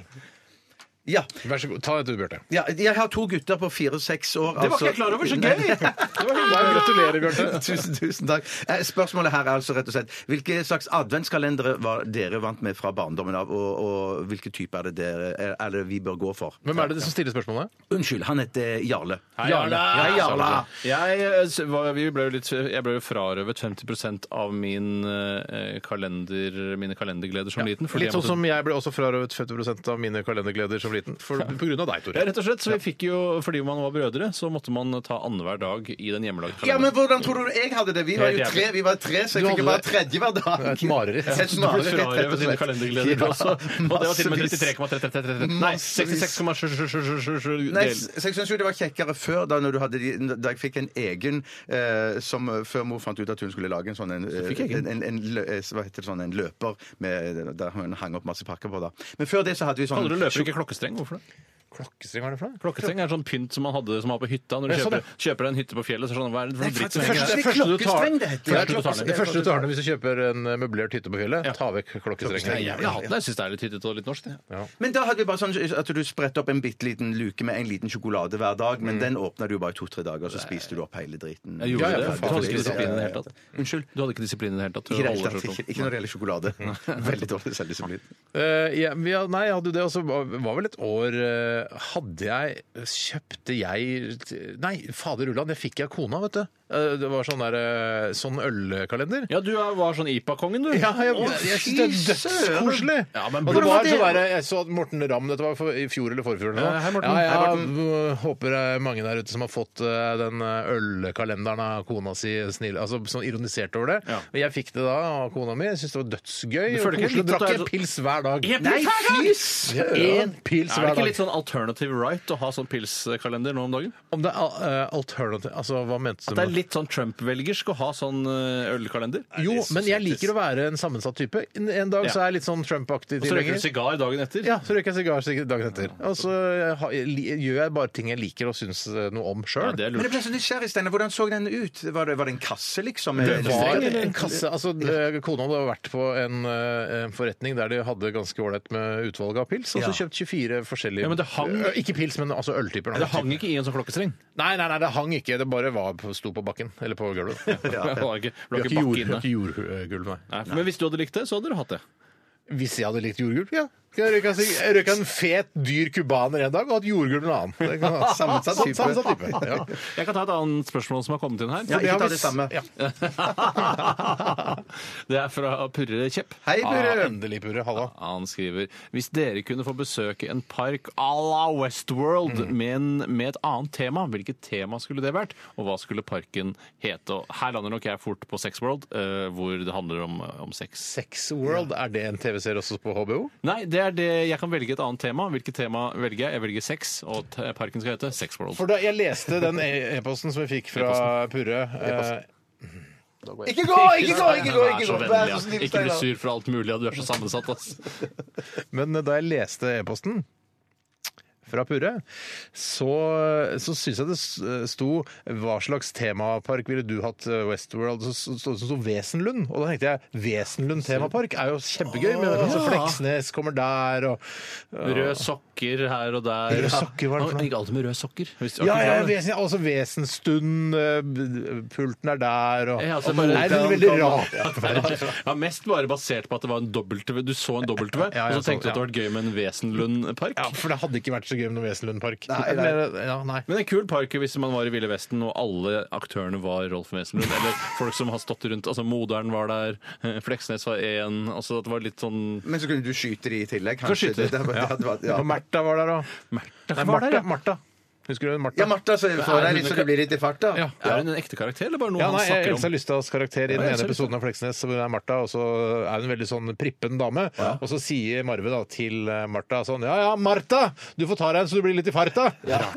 [SPEAKER 2] Ja.
[SPEAKER 1] Vær så god. Ta et du, Bjarte.
[SPEAKER 2] ja. Jeg har to gutter på fire-seks år. altså.
[SPEAKER 3] Det var ikke jeg klar over! Så
[SPEAKER 2] Nei.
[SPEAKER 3] gøy!
[SPEAKER 1] Nei, gratulerer, Bjarte.
[SPEAKER 2] Tusen, tusen takk. Eh, Spørsmålet her er altså rett og slett hvilke slags adventskalendere var dere vant med fra barndommen av, og, og hvilke type er det, dere, er- er det vi bør gå for?
[SPEAKER 1] Hvem er det som stiller spørsmålet?
[SPEAKER 2] Unnskyld, han heter Jarle.
[SPEAKER 3] Hei, Jarle!
[SPEAKER 2] Hei, Jarle.
[SPEAKER 3] Jeg, eh, s- var- vi ble jo litt, jeg ble jo frarøvet 50 av min eh, kalender, mine kalendergleder som liten. fordi
[SPEAKER 1] Litt
[SPEAKER 3] jeg
[SPEAKER 1] sånn
[SPEAKER 3] måtte-
[SPEAKER 1] som jeg ble også frarøvet 50 av mine kalendergleder som liten. For, på grunn av deg,
[SPEAKER 3] ja,
[SPEAKER 1] Tore.
[SPEAKER 3] rett og slett, så vi fikk jo, Fordi man var brødre, så måtte man ta annenhver dag i den hjemmelagde
[SPEAKER 2] Ja, men
[SPEAKER 3] kalenderen.
[SPEAKER 2] hvordan tror du jeg hadde det? Vi var jo
[SPEAKER 3] Helt jævlig.
[SPEAKER 2] tre, vi var tre så
[SPEAKER 1] Du
[SPEAKER 2] jeg fikk jo
[SPEAKER 1] hadde
[SPEAKER 2] bare tredje hver dag.
[SPEAKER 1] Et mareritt.
[SPEAKER 2] Et
[SPEAKER 3] Du ble
[SPEAKER 2] mareritt, rett
[SPEAKER 3] frarøvet
[SPEAKER 2] og
[SPEAKER 3] dine
[SPEAKER 2] slett.
[SPEAKER 3] kalendergleder
[SPEAKER 2] Ja,
[SPEAKER 3] også. Og det var til og med
[SPEAKER 2] massevis.
[SPEAKER 3] 33,333 Nei,
[SPEAKER 2] Massevis.
[SPEAKER 3] 66,777
[SPEAKER 2] Nei,
[SPEAKER 3] del.
[SPEAKER 2] så jeg syns jo det var kjekkere før, da, når du hadde de, da jeg fikk en egen eh, som eh, før mor fant ut at hun skulle lage en sånn en, eh, en, en, en, lø- eh, hva heter det, sånn, en løper med, der hun hang opp masse pakker på. da. Men før det så hadde vi sånn
[SPEAKER 3] Andre løper ikke klokkestreng. Hvorfor det?
[SPEAKER 1] Klokkestreng, hva er det for noe?
[SPEAKER 3] Klokkesteng er sånn pynt som man hadde som man har på hytta. Når du
[SPEAKER 1] Ja, sånn,
[SPEAKER 3] kjøper, kjøper deg en hytte på fjellet, så er det sånn, hva er det for noe dritt som
[SPEAKER 1] Det
[SPEAKER 3] henger
[SPEAKER 1] første,
[SPEAKER 2] det
[SPEAKER 3] der?
[SPEAKER 1] det første
[SPEAKER 2] er
[SPEAKER 1] du tar,
[SPEAKER 2] klokkestreng det heter.
[SPEAKER 1] Første du tar ned-
[SPEAKER 3] Ja,
[SPEAKER 1] det første du tar ned hvis du kjøper en eh, møblert hytte på fjellet, ta vekk
[SPEAKER 3] Nei,
[SPEAKER 1] klokkestrengen.
[SPEAKER 3] Jeg vil ha den. Jeg syns det er litt hyttete og litt norsk. det.
[SPEAKER 2] Men da hadde vi bare sånn at du spredte opp en bitte liten luke med en liten sjokolade hver dag, men den åpna du bare i to-tre dager, og så spiste du opp hele driten.
[SPEAKER 3] Jeg Mm.
[SPEAKER 1] Ja,
[SPEAKER 3] gjorde
[SPEAKER 1] ja,
[SPEAKER 3] det.
[SPEAKER 1] for
[SPEAKER 3] Du
[SPEAKER 1] faen.
[SPEAKER 3] hadde ikke disiplin i det hele
[SPEAKER 2] Ja, ja,
[SPEAKER 3] tatt. Unnskyld? Du hadde ikke disiplin i det hele tatt. til å
[SPEAKER 2] Ikke, i det hele
[SPEAKER 3] holde
[SPEAKER 2] tatt,
[SPEAKER 3] deg
[SPEAKER 2] ikke,
[SPEAKER 3] sånn.
[SPEAKER 2] ikke når det gjelder sjokolade. Veldig dårlig selvdisiplin.
[SPEAKER 1] Eh, ja, men ja, nei, jeg hadde jo det, og så var var vel et år eh, Hadde jeg Kjøpte jeg Nei, fader ulland, det fikk jeg av kona, vet du. Eh, Det var sånn der eh, Sånn ølkalender.
[SPEAKER 3] Ja, du er- var sånn IPA-kongen, du.
[SPEAKER 1] Ja, jeg,
[SPEAKER 3] Å,
[SPEAKER 1] jeg, jeg synes
[SPEAKER 3] fy
[SPEAKER 1] det er dødskoselig!
[SPEAKER 3] søren. Ja, men
[SPEAKER 1] og det
[SPEAKER 3] hvordan var
[SPEAKER 1] var
[SPEAKER 3] det?
[SPEAKER 1] sånn der, Jeg så at Morten Ramm, dette var for, i fjor eller forfjor eller
[SPEAKER 3] Ja,
[SPEAKER 1] noe.
[SPEAKER 3] hei, Morten.
[SPEAKER 1] Ja, ja,
[SPEAKER 3] Hei,
[SPEAKER 1] v- Håper det er mange der ute som har fått eh, den eh, ølkalenderen av kona si snill, altså sånn ironisert over det.
[SPEAKER 3] Ja.
[SPEAKER 1] Men jeg fikk det da av kona mi. Jeg syntes det var dødsgøy.
[SPEAKER 3] Du
[SPEAKER 1] og
[SPEAKER 3] føler ikke
[SPEAKER 1] koselig.
[SPEAKER 3] litt
[SPEAKER 1] Drakk
[SPEAKER 3] at det er
[SPEAKER 1] en
[SPEAKER 3] så-
[SPEAKER 1] pils hver dag.
[SPEAKER 3] Ja, men hver dag!
[SPEAKER 1] Én pils
[SPEAKER 3] Er det
[SPEAKER 1] hver
[SPEAKER 3] ikke litt
[SPEAKER 1] dag.
[SPEAKER 3] sånn alternative right å ha sånn pilskalender nå om dagen?
[SPEAKER 1] Om det er al- eh, alternativ Altså, hva mente
[SPEAKER 3] At
[SPEAKER 1] du
[SPEAKER 3] det er
[SPEAKER 1] med
[SPEAKER 3] litt sånn Trump-velgersk å ha sånn eh, ølkalender?
[SPEAKER 1] Jo,
[SPEAKER 3] Og
[SPEAKER 1] men jeg liker å være en sammensatt type. En, en dag
[SPEAKER 3] Ja.
[SPEAKER 1] så er jeg litt sånn Trump-aktig
[SPEAKER 3] så røyker
[SPEAKER 1] tilhenger.
[SPEAKER 3] du sigar dagen etter?
[SPEAKER 1] Ja, så røyker jeg sigar sikkert dagen etter. Og så ha- li- gjør jeg bare ting jeg liker og syns eh, noe om
[SPEAKER 3] Ja,
[SPEAKER 1] sjøl.
[SPEAKER 3] det er
[SPEAKER 2] Men jeg
[SPEAKER 3] lurt.
[SPEAKER 2] ble så nysgjerrig, Steinar. Hvordan så den ut? Var det, var det en kasse, liksom? Det
[SPEAKER 1] var en kasse, altså eh, Kona hadde vært på en eh, en forretning der de hadde ganske ålreit med utvalg av pils. Og så
[SPEAKER 2] Ja.
[SPEAKER 1] kjøpt 24 forskjellige
[SPEAKER 3] Ja, men det hang-
[SPEAKER 1] Ø, Ikke pils, men altså øltyper. da.
[SPEAKER 3] Det hang ikke i en sånn klokkestreng.
[SPEAKER 1] Nei, nei, nei, det hang ikke. Det bare var, på- sto på bakken. Eller på gulvet.
[SPEAKER 3] Det var ikke, det
[SPEAKER 1] Vi
[SPEAKER 3] var
[SPEAKER 1] har
[SPEAKER 3] ikke
[SPEAKER 1] ikke jord-
[SPEAKER 3] bakke
[SPEAKER 1] vi har
[SPEAKER 3] inne.
[SPEAKER 1] ikke jordgulv, nei.
[SPEAKER 3] Nei, men hvis du hadde likt det, så hadde du hatt det.
[SPEAKER 1] Hvis jeg hadde likt jordgulv, ja. Skal jeg røyke en sig- jeg røyke en fet, dyr cubaner en dag og hatt jordgulv en annen. Det kan være
[SPEAKER 2] Ah,
[SPEAKER 1] Sammensatt type. Sammensatt type. Ja.
[SPEAKER 3] Jeg kan ta et annet spørsmål som har kommet inn her.
[SPEAKER 2] Ja, ikke ta det samme.
[SPEAKER 1] Ja.
[SPEAKER 3] det er fra Purre Kjepp.
[SPEAKER 2] Hei, Burre!
[SPEAKER 1] Ah, endelig, Purre. Halla.
[SPEAKER 3] Han skriver hvis dere kunne få besøke en park à la Westworld, men med et annet tema, hvilket tema skulle det vært? Og hva skulle parken hete? Og her lander nok jeg fort på Sexworld, eh, hvor det handler om, om sex.
[SPEAKER 1] Sex World, er det en TV-serie også på HBO?
[SPEAKER 3] Nei, det er det jeg kan velge et annet tema. Hvilket tema velger jeg? Jeg velger sex, og t parken skal hete Sexworld.
[SPEAKER 1] For da jeg leste den e- e-posten som vi fikk fra Purre eh,
[SPEAKER 2] Ikke gå, ikke gå, ikke gå! Ikke gå. Vær så snill,
[SPEAKER 3] Ikke bli
[SPEAKER 2] Steinar.
[SPEAKER 3] sur for alt mulig, og du er så sammensatt, ass.
[SPEAKER 1] Men da jeg leste e-posten fra Purre, så, så syns jeg det s- eh, sto hva slags temapark ville du hatt eh, Westworld? Så sto det som sto Wesenlund, og da tenkte jeg Wesenlund temapark er jo kjempegøy, men altså,
[SPEAKER 3] Ah.
[SPEAKER 1] Fleksnes kommer der og
[SPEAKER 3] Røde sokker her og der.
[SPEAKER 1] Røde sokker, hva er det for noe?
[SPEAKER 3] Han gikk alltid med røde sokker. Hvis-
[SPEAKER 1] ja, ja, vesen, altså Vesenstund, eh, b- pulten er der og
[SPEAKER 3] Ja, altså
[SPEAKER 1] og
[SPEAKER 3] bare-
[SPEAKER 1] Det er en veldig rar
[SPEAKER 3] Ja, Mest bare basert på at det var en W. Du så en W,
[SPEAKER 1] Ja, ja,
[SPEAKER 3] og så tenkte
[SPEAKER 1] sånn, ja.
[SPEAKER 3] du at det var gøy med en Wesenlund-park.
[SPEAKER 1] Ja, for det hadde ikke vært så gøy med noen Wesenlund-park.
[SPEAKER 2] Nei, nei.
[SPEAKER 1] Men, ja, nei.
[SPEAKER 3] Men det er en kul park hvis man var i Ville Vesten og alle aktørene var Rolf Wesenlund. Eller folk som har stått rundt. altså Moderen var der, eh, Fleksnes var én. altså at Det var litt sånn
[SPEAKER 2] Men så kunne du skyte de i tillegg, kanskje.
[SPEAKER 3] skyte.
[SPEAKER 2] Det- det- det hadde vært- ja.
[SPEAKER 1] Og Märtha var der òg. Martha,
[SPEAKER 3] var der, ja.
[SPEAKER 1] Martha. Husker du Martha?
[SPEAKER 2] Ja, Martha, så får deg litt så det blir litt i farta.
[SPEAKER 1] Ja.
[SPEAKER 3] Er hun en ekte karakter, eller bare noe
[SPEAKER 1] Ja,
[SPEAKER 3] han
[SPEAKER 1] nei,
[SPEAKER 3] snakker om?
[SPEAKER 1] Elsa Lystads karakter i den
[SPEAKER 3] Ja,
[SPEAKER 1] ene
[SPEAKER 3] Elsa Lysta.
[SPEAKER 1] episoden av Fleksnes hvor hun er Martha, og så er hun en veldig sånn prippen dame. Og så sier Marve da til eh, Martha sånn Ja ja, Martha! Du får ta deg en så du blir litt i farta.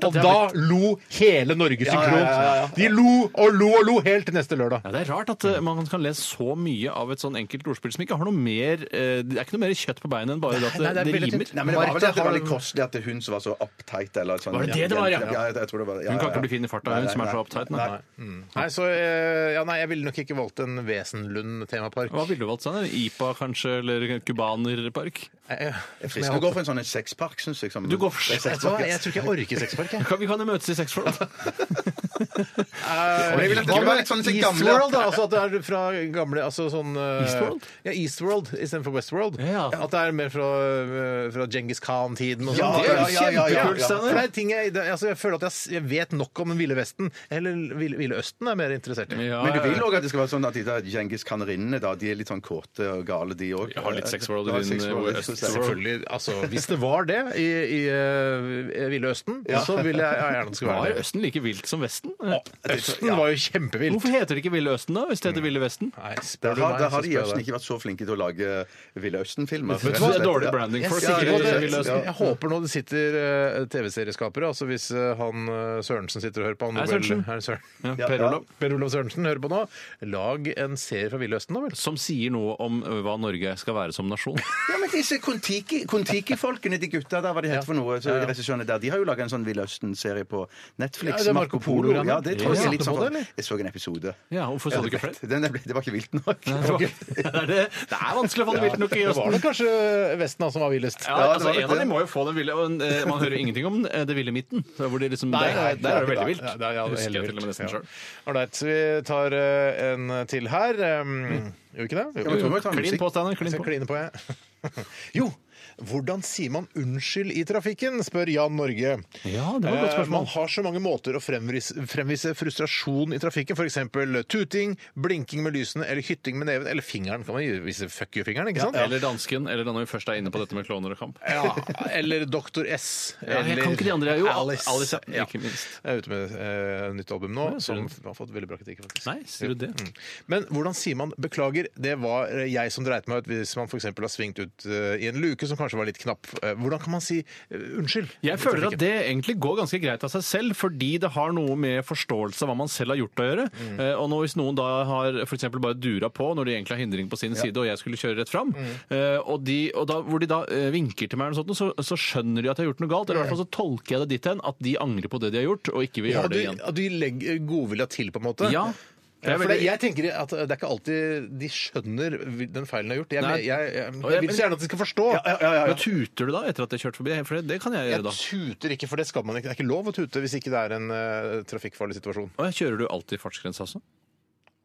[SPEAKER 1] Og da lo hele Norge synkront. De lo og lo og lo helt til neste lørdag.
[SPEAKER 3] Ja, det er rart at eh, man kan lese så mye av et sånn enkelt ordspill som ikke har noe mer eh, Det er ikke noe mer kjøtt på beinet enn bare det at det, det rimer.
[SPEAKER 2] Nei, men det var vel
[SPEAKER 1] Martha
[SPEAKER 2] at det var
[SPEAKER 1] har-
[SPEAKER 2] litt kostelig at det er hun som var så uptight. Eller sånn.
[SPEAKER 3] Var det det det var,
[SPEAKER 2] ja?
[SPEAKER 3] ja?
[SPEAKER 2] jeg- jeg tror det var det. Ja,
[SPEAKER 3] Hun kan
[SPEAKER 2] ja, ja.
[SPEAKER 3] ikke bli fin i farta,
[SPEAKER 2] Nei,
[SPEAKER 3] hun som
[SPEAKER 2] nei,
[SPEAKER 3] er så
[SPEAKER 2] nei.
[SPEAKER 3] opptatt. Nei.
[SPEAKER 1] Nei, så eh, Ja, nei, jeg ville nok ikke valgt en Wesenlund-temapark.
[SPEAKER 3] Hva ville du valgt? Sånn? IPA kanskje, eller cubanerpark?
[SPEAKER 1] Eh,
[SPEAKER 2] Jeg er fristende å gå for en sånn en sexpark, syns jeg. Som,
[SPEAKER 3] Du går for-
[SPEAKER 2] Det er
[SPEAKER 1] Vet du hva,
[SPEAKER 2] sexpark.
[SPEAKER 1] jeg tror ikke jeg orker sexpark, jeg.
[SPEAKER 3] Kan, vi kan jo møtes i sexforhold.
[SPEAKER 1] Eh,
[SPEAKER 2] Men jeg vil
[SPEAKER 1] hva
[SPEAKER 2] at det skal
[SPEAKER 1] med
[SPEAKER 2] være litt sånn den gamle-
[SPEAKER 1] Eastworld, da. Altså at det er fra gamle altså sånn, eh,
[SPEAKER 3] Eastworld?
[SPEAKER 1] Ja, Eastworld istedenfor Westworld.
[SPEAKER 3] Ja.
[SPEAKER 1] At det er mer fra, eh, fra Genghis Khan-tiden og sånn.
[SPEAKER 2] Ja, ja, ja, ja, ja, ja.
[SPEAKER 1] For det er ting jeg, det- altså, jeg føler at jeg, s- jeg vet nok om den ville vesten. Eller ville, ville østen er jeg mer interessert i.
[SPEAKER 3] Ja,
[SPEAKER 2] Men du vil
[SPEAKER 3] ja.
[SPEAKER 2] òg at det skal være sånn at de der Djengis kanerinnene da, de er litt sånn kåte og gale, de òg.
[SPEAKER 3] Jeg har litt sexworld i din, eh, Westworld.
[SPEAKER 1] Selvfølgelig, altså Hvis det var det i, i eh, Ville Østen, så ville jeg ja, gjerne det skulle
[SPEAKER 3] Var
[SPEAKER 1] være det.
[SPEAKER 3] Østen like vilt som Vesten?
[SPEAKER 1] Østen var jo kjempevilt.
[SPEAKER 3] Hvorfor heter det ikke Ville Østen, da, hvis det heter Ville Vesten?
[SPEAKER 1] Nei, spør
[SPEAKER 2] Da
[SPEAKER 1] du
[SPEAKER 2] har,
[SPEAKER 1] meg,
[SPEAKER 2] da
[SPEAKER 1] så
[SPEAKER 2] har de
[SPEAKER 1] spør jeg
[SPEAKER 2] Jøssen
[SPEAKER 1] deg.
[SPEAKER 2] ikke vært så flinke til å lage Ville Østen-filmer.
[SPEAKER 3] Vet du hva? Det er dårlig branding for å
[SPEAKER 2] Ja,
[SPEAKER 3] sikre
[SPEAKER 2] ja, ja.
[SPEAKER 3] Ville Østen.
[SPEAKER 1] Jeg, håper nå det sitter eh, TV-serieskapere, altså hvis eh, han eh, Sørensen sitter og hører på han
[SPEAKER 3] Er det
[SPEAKER 1] Nobel-
[SPEAKER 3] Sørensen?
[SPEAKER 1] Er det Søren?
[SPEAKER 3] Ja, per Olav.
[SPEAKER 1] Per Olav Sørensen hører på nå. Lag en serie fra Ville Østen, da vel?
[SPEAKER 3] Som sier noe om ø, hva Norge skal være som nasjon.
[SPEAKER 2] Ja, men disse Kon-Tiki- Kon-Tiki-folkene, de gutta der, hva de het for noe, så regissørene der, de har jo laga en sånn Ville Østen-serie på Netflix.
[SPEAKER 1] Ja, det er Marco Polo-programmet.
[SPEAKER 2] Ja, det tror jeg
[SPEAKER 1] Ja.
[SPEAKER 2] er litt
[SPEAKER 1] Så
[SPEAKER 2] sånn.
[SPEAKER 1] på det, eller?
[SPEAKER 2] Jeg så en episode.
[SPEAKER 3] Ja, Hvorfor sa du ikke flere?
[SPEAKER 2] Den, ble- det var ikke vilt nok.
[SPEAKER 3] Nei, Det var ikke- det er det- det er vanskelig å få det vilt nok i
[SPEAKER 1] Det var
[SPEAKER 3] Østen.
[SPEAKER 1] det kanskje Vesten da, som var villest.
[SPEAKER 3] Ja,
[SPEAKER 2] det
[SPEAKER 3] altså,
[SPEAKER 2] var det.
[SPEAKER 3] en av dem må jo få den ville, og en, eh, man hører jo ingenting om eh, det ville midten. Der, hvor de liksom,
[SPEAKER 1] Nei,
[SPEAKER 3] der,
[SPEAKER 1] nei,
[SPEAKER 3] der er det veldig vilt.
[SPEAKER 1] Ja, der, ja, det er
[SPEAKER 3] Husker
[SPEAKER 1] helt
[SPEAKER 3] jeg til og med
[SPEAKER 1] vilt.
[SPEAKER 3] nesten
[SPEAKER 1] Ja.
[SPEAKER 3] selv.
[SPEAKER 1] Ålreit, så vi tar eh, en til her. Um, Gjør vi ikke det?
[SPEAKER 2] men tror vi tar
[SPEAKER 3] Klin
[SPEAKER 2] musikk.
[SPEAKER 3] på, Steinar. Klin
[SPEAKER 1] Jeg skal
[SPEAKER 3] på.
[SPEAKER 1] kline på, jeg. Jo, hvordan sier man unnskyld i trafikken, spør Jan Norge.
[SPEAKER 3] Ja, det var et godt
[SPEAKER 1] Eh,
[SPEAKER 3] spørsmål.
[SPEAKER 1] Man har så mange måter å fremvise, fremvise frustrasjon i trafikken, f.eks. tuting, blinking med lysene eller hytting med neven, eller fingeren. Kan man gi- vise fuck you-fingeren, ikke sant?
[SPEAKER 3] Eller dansken, eller da når vi først er inne på dette med kloner og kamp.
[SPEAKER 1] Ja, eller Doktor S.
[SPEAKER 3] Ja, jeg
[SPEAKER 1] eller
[SPEAKER 3] kan ikke de andre, jeg. Jo, Alice, ja,
[SPEAKER 1] ja.
[SPEAKER 3] ikke minst.
[SPEAKER 1] Jeg er ute med eh, nytt album nå,
[SPEAKER 3] Ja, ser
[SPEAKER 1] som
[SPEAKER 3] du.
[SPEAKER 1] har fått veldig bra kritikk. faktisk.
[SPEAKER 3] Nei, sier du det?
[SPEAKER 1] Mm. Men hvordan sier man 'beklager'? Det var eh, jeg som dreit meg ut hvis man f.eks. har svingt ut eh, i en luke som kanskje var litt knapp. Eh, Hvordan kan man si eh, 'unnskyld'?
[SPEAKER 3] Jeg føler at det egentlig går ganske greit av seg selv, fordi det har noe med forståelse av hva man selv har gjort å gjøre.
[SPEAKER 1] Mm.
[SPEAKER 3] Eh, og nå, hvis noen da har f.eks. bare dura på når de egentlig har hindring på sin side, og jeg skulle kjøre rett fram,
[SPEAKER 1] Mm.
[SPEAKER 3] eh, og, de, og da, hvor de da eh, vinker til meg, eller noe sånt, så, så skjønner de at jeg har gjort noe galt. Eller i hvert fall så tolker jeg det dit hen at de angrer på det de har gjort, og ikke vil
[SPEAKER 1] Ja,
[SPEAKER 3] gjøre
[SPEAKER 1] du,
[SPEAKER 3] det igjen.
[SPEAKER 1] ja, du legger godvilja til, på en måte?
[SPEAKER 3] Ja.
[SPEAKER 1] Ja, for
[SPEAKER 3] Det er
[SPEAKER 1] det,
[SPEAKER 3] veldig-
[SPEAKER 1] jeg tenker at Det er ikke alltid de skjønner den feilen de har gjort. Jeg,
[SPEAKER 3] Nei.
[SPEAKER 1] jeg, jeg, jeg,
[SPEAKER 3] Og jeg-
[SPEAKER 1] vil så gjerne at de skal forstå.
[SPEAKER 3] Men Tuter du da etter at jeg har kjørt forbi? For det, det kan jeg
[SPEAKER 1] Jeg
[SPEAKER 3] gjøre da.
[SPEAKER 1] tuter ikke, for det skal man ikke. Det er ikke lov å tute hvis ikke det er en eh, trafikkfarlig situasjon.
[SPEAKER 3] Og jeg kjører du alltid fartsgrensa også?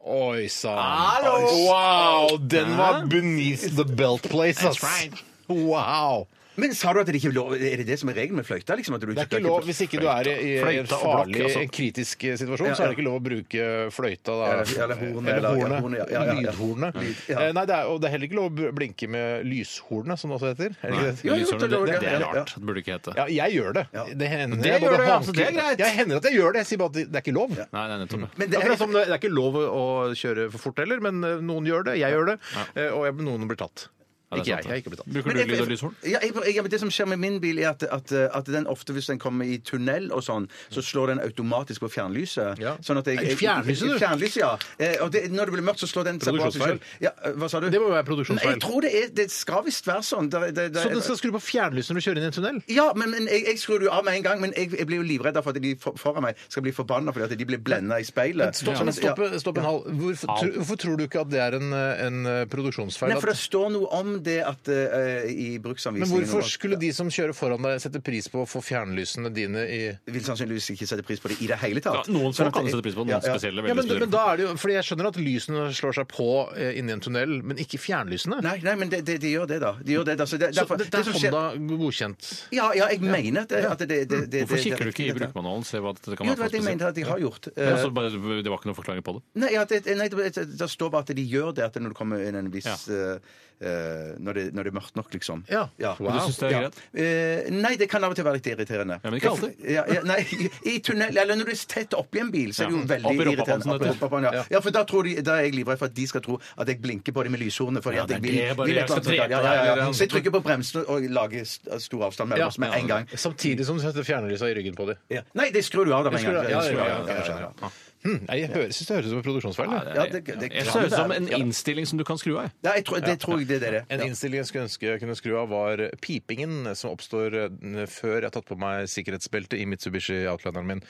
[SPEAKER 1] Oi sann.
[SPEAKER 3] Hallo!
[SPEAKER 1] Wow! Den var
[SPEAKER 3] Hæ?
[SPEAKER 1] beneath the belt place, ass.
[SPEAKER 3] That's right.
[SPEAKER 1] Wow.
[SPEAKER 2] Men sa du at det ikke er lov? Er det det som er regelen med fløyta? Liksom, at du
[SPEAKER 1] Det er ikke lov hvis ikke du er i, i en
[SPEAKER 3] Fløyta og blokk,
[SPEAKER 1] farlig,
[SPEAKER 3] altså.
[SPEAKER 1] en kritisk eh, situasjon,
[SPEAKER 2] Ja,
[SPEAKER 1] så er det
[SPEAKER 2] ja.
[SPEAKER 1] ikke lov å bruke fløyta da.
[SPEAKER 2] Eller- eller hornet,
[SPEAKER 1] Eller
[SPEAKER 2] eller- ja,
[SPEAKER 1] hornet.
[SPEAKER 2] hornet, ja, ja, ja.
[SPEAKER 1] Lydhornet.
[SPEAKER 2] Lyd, ja.
[SPEAKER 1] Eh, Nei, det er, og det er heller ikke lov å bl- blinke med lyshornet, som det også heter. Er det ikke det?
[SPEAKER 2] Jo, jo,
[SPEAKER 3] Lyserne, det, det, det
[SPEAKER 2] ja,
[SPEAKER 3] er
[SPEAKER 2] ja.
[SPEAKER 3] rart. Det burde ikke hete.
[SPEAKER 1] Ja, jeg gjør det. Det hender
[SPEAKER 3] Det
[SPEAKER 1] jeg
[SPEAKER 3] gjør
[SPEAKER 1] både
[SPEAKER 3] du, ja,
[SPEAKER 1] hanker-
[SPEAKER 3] så det er greit.
[SPEAKER 1] Jeg hender at jeg gjør det, jeg sier bare at det- det er ikke lov.
[SPEAKER 3] Nei, nei, nettopp.
[SPEAKER 1] Ja, for
[SPEAKER 2] Men det
[SPEAKER 1] det, er
[SPEAKER 2] er,
[SPEAKER 1] som, det er ikke lov å å kjøre for fort heller, men eh, noen gjør det. Jeg gjør det, eh, og jeg, noen blir tatt.
[SPEAKER 3] Ja, Ja, det er
[SPEAKER 2] Ikke jeg.
[SPEAKER 3] sant,
[SPEAKER 2] jeg
[SPEAKER 3] det.
[SPEAKER 2] er ikke blitt tatt.
[SPEAKER 3] Bruker
[SPEAKER 2] Men
[SPEAKER 3] du
[SPEAKER 2] jeg-
[SPEAKER 3] lyd og lyshorn?
[SPEAKER 2] Ja, jeg, jeg, men det som skjer med min bil, er at, at, at den ofte, hvis den kommer i tunnel og sånn, så slår den automatisk på fjernlyset.
[SPEAKER 1] Ja.
[SPEAKER 2] Sånn at jeg,
[SPEAKER 1] Nei,
[SPEAKER 2] jeg,
[SPEAKER 1] fjernlyset, du?
[SPEAKER 2] Fjernlyset, ja. Eh, Og det, når det blir mørkt, så slår den seg på av seg
[SPEAKER 1] Produksjonsfeil.
[SPEAKER 2] selv. Ja, eh, hva sa du?
[SPEAKER 1] Det må jo være
[SPEAKER 2] Nei,
[SPEAKER 1] produksjonsfeil.
[SPEAKER 2] jeg tror det, er, det skal visst være sånn. Det- det- det-
[SPEAKER 1] Så den skal skru på fjernlyset når du kjører inn i en tunnel?
[SPEAKER 2] Ja, men, men jeg, jeg skrur det jo av med en gang, men jeg, jeg blir jo livredd for at de for, foran meg skal bli forbanna fordi at de blir blenda i speilet.
[SPEAKER 1] Stopp,
[SPEAKER 2] Sånn
[SPEAKER 1] men
[SPEAKER 2] at- ja.
[SPEAKER 1] stopp, stopp en halv. Hvorfor, tr- hvorfor tror du ikke at det er en, en eh, produksjonsfeil?
[SPEAKER 2] Nei, for det
[SPEAKER 1] At-
[SPEAKER 2] står noe om det at eh, i
[SPEAKER 1] Men
[SPEAKER 2] bruksanvisningen
[SPEAKER 1] hvorfor skulle de som kjører foran deg, sette pris på å få fjernlysene dine i
[SPEAKER 2] vil sannsynligvis ikke sette pris på det i det hele
[SPEAKER 3] Ja,
[SPEAKER 2] tatt.
[SPEAKER 3] noen
[SPEAKER 2] Sånn
[SPEAKER 3] folk
[SPEAKER 2] at
[SPEAKER 3] kan
[SPEAKER 2] jeg-
[SPEAKER 3] sette pris på
[SPEAKER 2] Ja,
[SPEAKER 3] noen
[SPEAKER 2] ja.
[SPEAKER 3] spesielle.
[SPEAKER 1] Ja,
[SPEAKER 3] veldig
[SPEAKER 1] men,
[SPEAKER 3] spesielle.
[SPEAKER 1] men da er det jo, fordi Jeg skjønner at lysene slår seg på eh, inni en tunnel, men ikke fjernlysene.
[SPEAKER 2] Nei, nei, men de, de, de gjør det, da. De gjør det, da. Så det,
[SPEAKER 1] Så
[SPEAKER 2] derfor,
[SPEAKER 1] dette er
[SPEAKER 2] som skjer-
[SPEAKER 1] Honda godkjent.
[SPEAKER 2] Ja, ja, jeg mener at det, at det, det, det, det
[SPEAKER 3] Hvorfor
[SPEAKER 2] det-
[SPEAKER 3] kikker du ikke i
[SPEAKER 2] det- det-
[SPEAKER 3] brukermanualen? Se hva dette kan
[SPEAKER 2] Jo,
[SPEAKER 3] være
[SPEAKER 2] det var det jeg mente at jeg har gjort. Eh,
[SPEAKER 3] Ja, så bare, det var ikke noen forklaring på det.
[SPEAKER 2] Nei, at det, nei det, det, det står bare at de gjør det at når det kommer inn en viss
[SPEAKER 3] Ja.
[SPEAKER 2] eh, eh, når, det, når det er mørkt nok, liksom.
[SPEAKER 1] Ja.
[SPEAKER 3] Men du synes det er
[SPEAKER 2] Ja.
[SPEAKER 3] greit?
[SPEAKER 2] Eh, nei, det kan av og til være litt irriterende.
[SPEAKER 3] Ja, men ikke alltid.
[SPEAKER 2] Ja, ja, nei, I tunnel, eller når du er tett oppi en bil, så er det jo
[SPEAKER 3] Ja.
[SPEAKER 2] veldig
[SPEAKER 3] Opp i rumpa på den,
[SPEAKER 2] irriterende.
[SPEAKER 3] som
[SPEAKER 2] Opp
[SPEAKER 3] det
[SPEAKER 2] i rumpa på den, ja.
[SPEAKER 1] heter.
[SPEAKER 2] ja, for da, tror de, da er jeg livredd for at de skal tro at jeg blinker på dem med lyshornene. fordi
[SPEAKER 3] Ja,
[SPEAKER 2] at
[SPEAKER 3] det er
[SPEAKER 2] jeg vil-
[SPEAKER 3] det, bare
[SPEAKER 2] vil et eller
[SPEAKER 3] jeg
[SPEAKER 2] annet
[SPEAKER 3] skal
[SPEAKER 2] sånt, ja,
[SPEAKER 3] drepe
[SPEAKER 2] ja,
[SPEAKER 3] deg,
[SPEAKER 2] ja,
[SPEAKER 3] eller
[SPEAKER 2] ja. Så jeg trykker på bremsen og lager st- stor avstand mellom
[SPEAKER 1] Ja. altså,
[SPEAKER 2] oss med en gang.
[SPEAKER 1] Samtidig som du setter fjernlysa i ryggen på dem.
[SPEAKER 2] Ja. Nei, det skrur du av da med en
[SPEAKER 1] Det
[SPEAKER 2] gang.
[SPEAKER 1] skrur- ja,
[SPEAKER 2] Det skrur
[SPEAKER 1] ja,
[SPEAKER 2] jeg
[SPEAKER 1] ja,
[SPEAKER 2] av,
[SPEAKER 1] ja,
[SPEAKER 2] jeg
[SPEAKER 1] ja,
[SPEAKER 2] skjønner, ja.
[SPEAKER 1] Hm, jeg høres, det høres ut som en produksjonsfeil. jeg.
[SPEAKER 2] Ja, det- det
[SPEAKER 3] Jeg
[SPEAKER 2] kan
[SPEAKER 3] ser ut som
[SPEAKER 2] være.
[SPEAKER 3] en
[SPEAKER 2] Ja.
[SPEAKER 3] innstilling som du kan skru av. jeg.
[SPEAKER 2] Ja, jeg tror, det tror jeg det er det.
[SPEAKER 1] En
[SPEAKER 2] Ja.
[SPEAKER 1] innstilling jeg skulle ønske jeg kunne skru av, var pipingen som oppstår eh, før jeg har tatt på meg sikkerhetsbeltet i Mitsubishi Outlanderen min.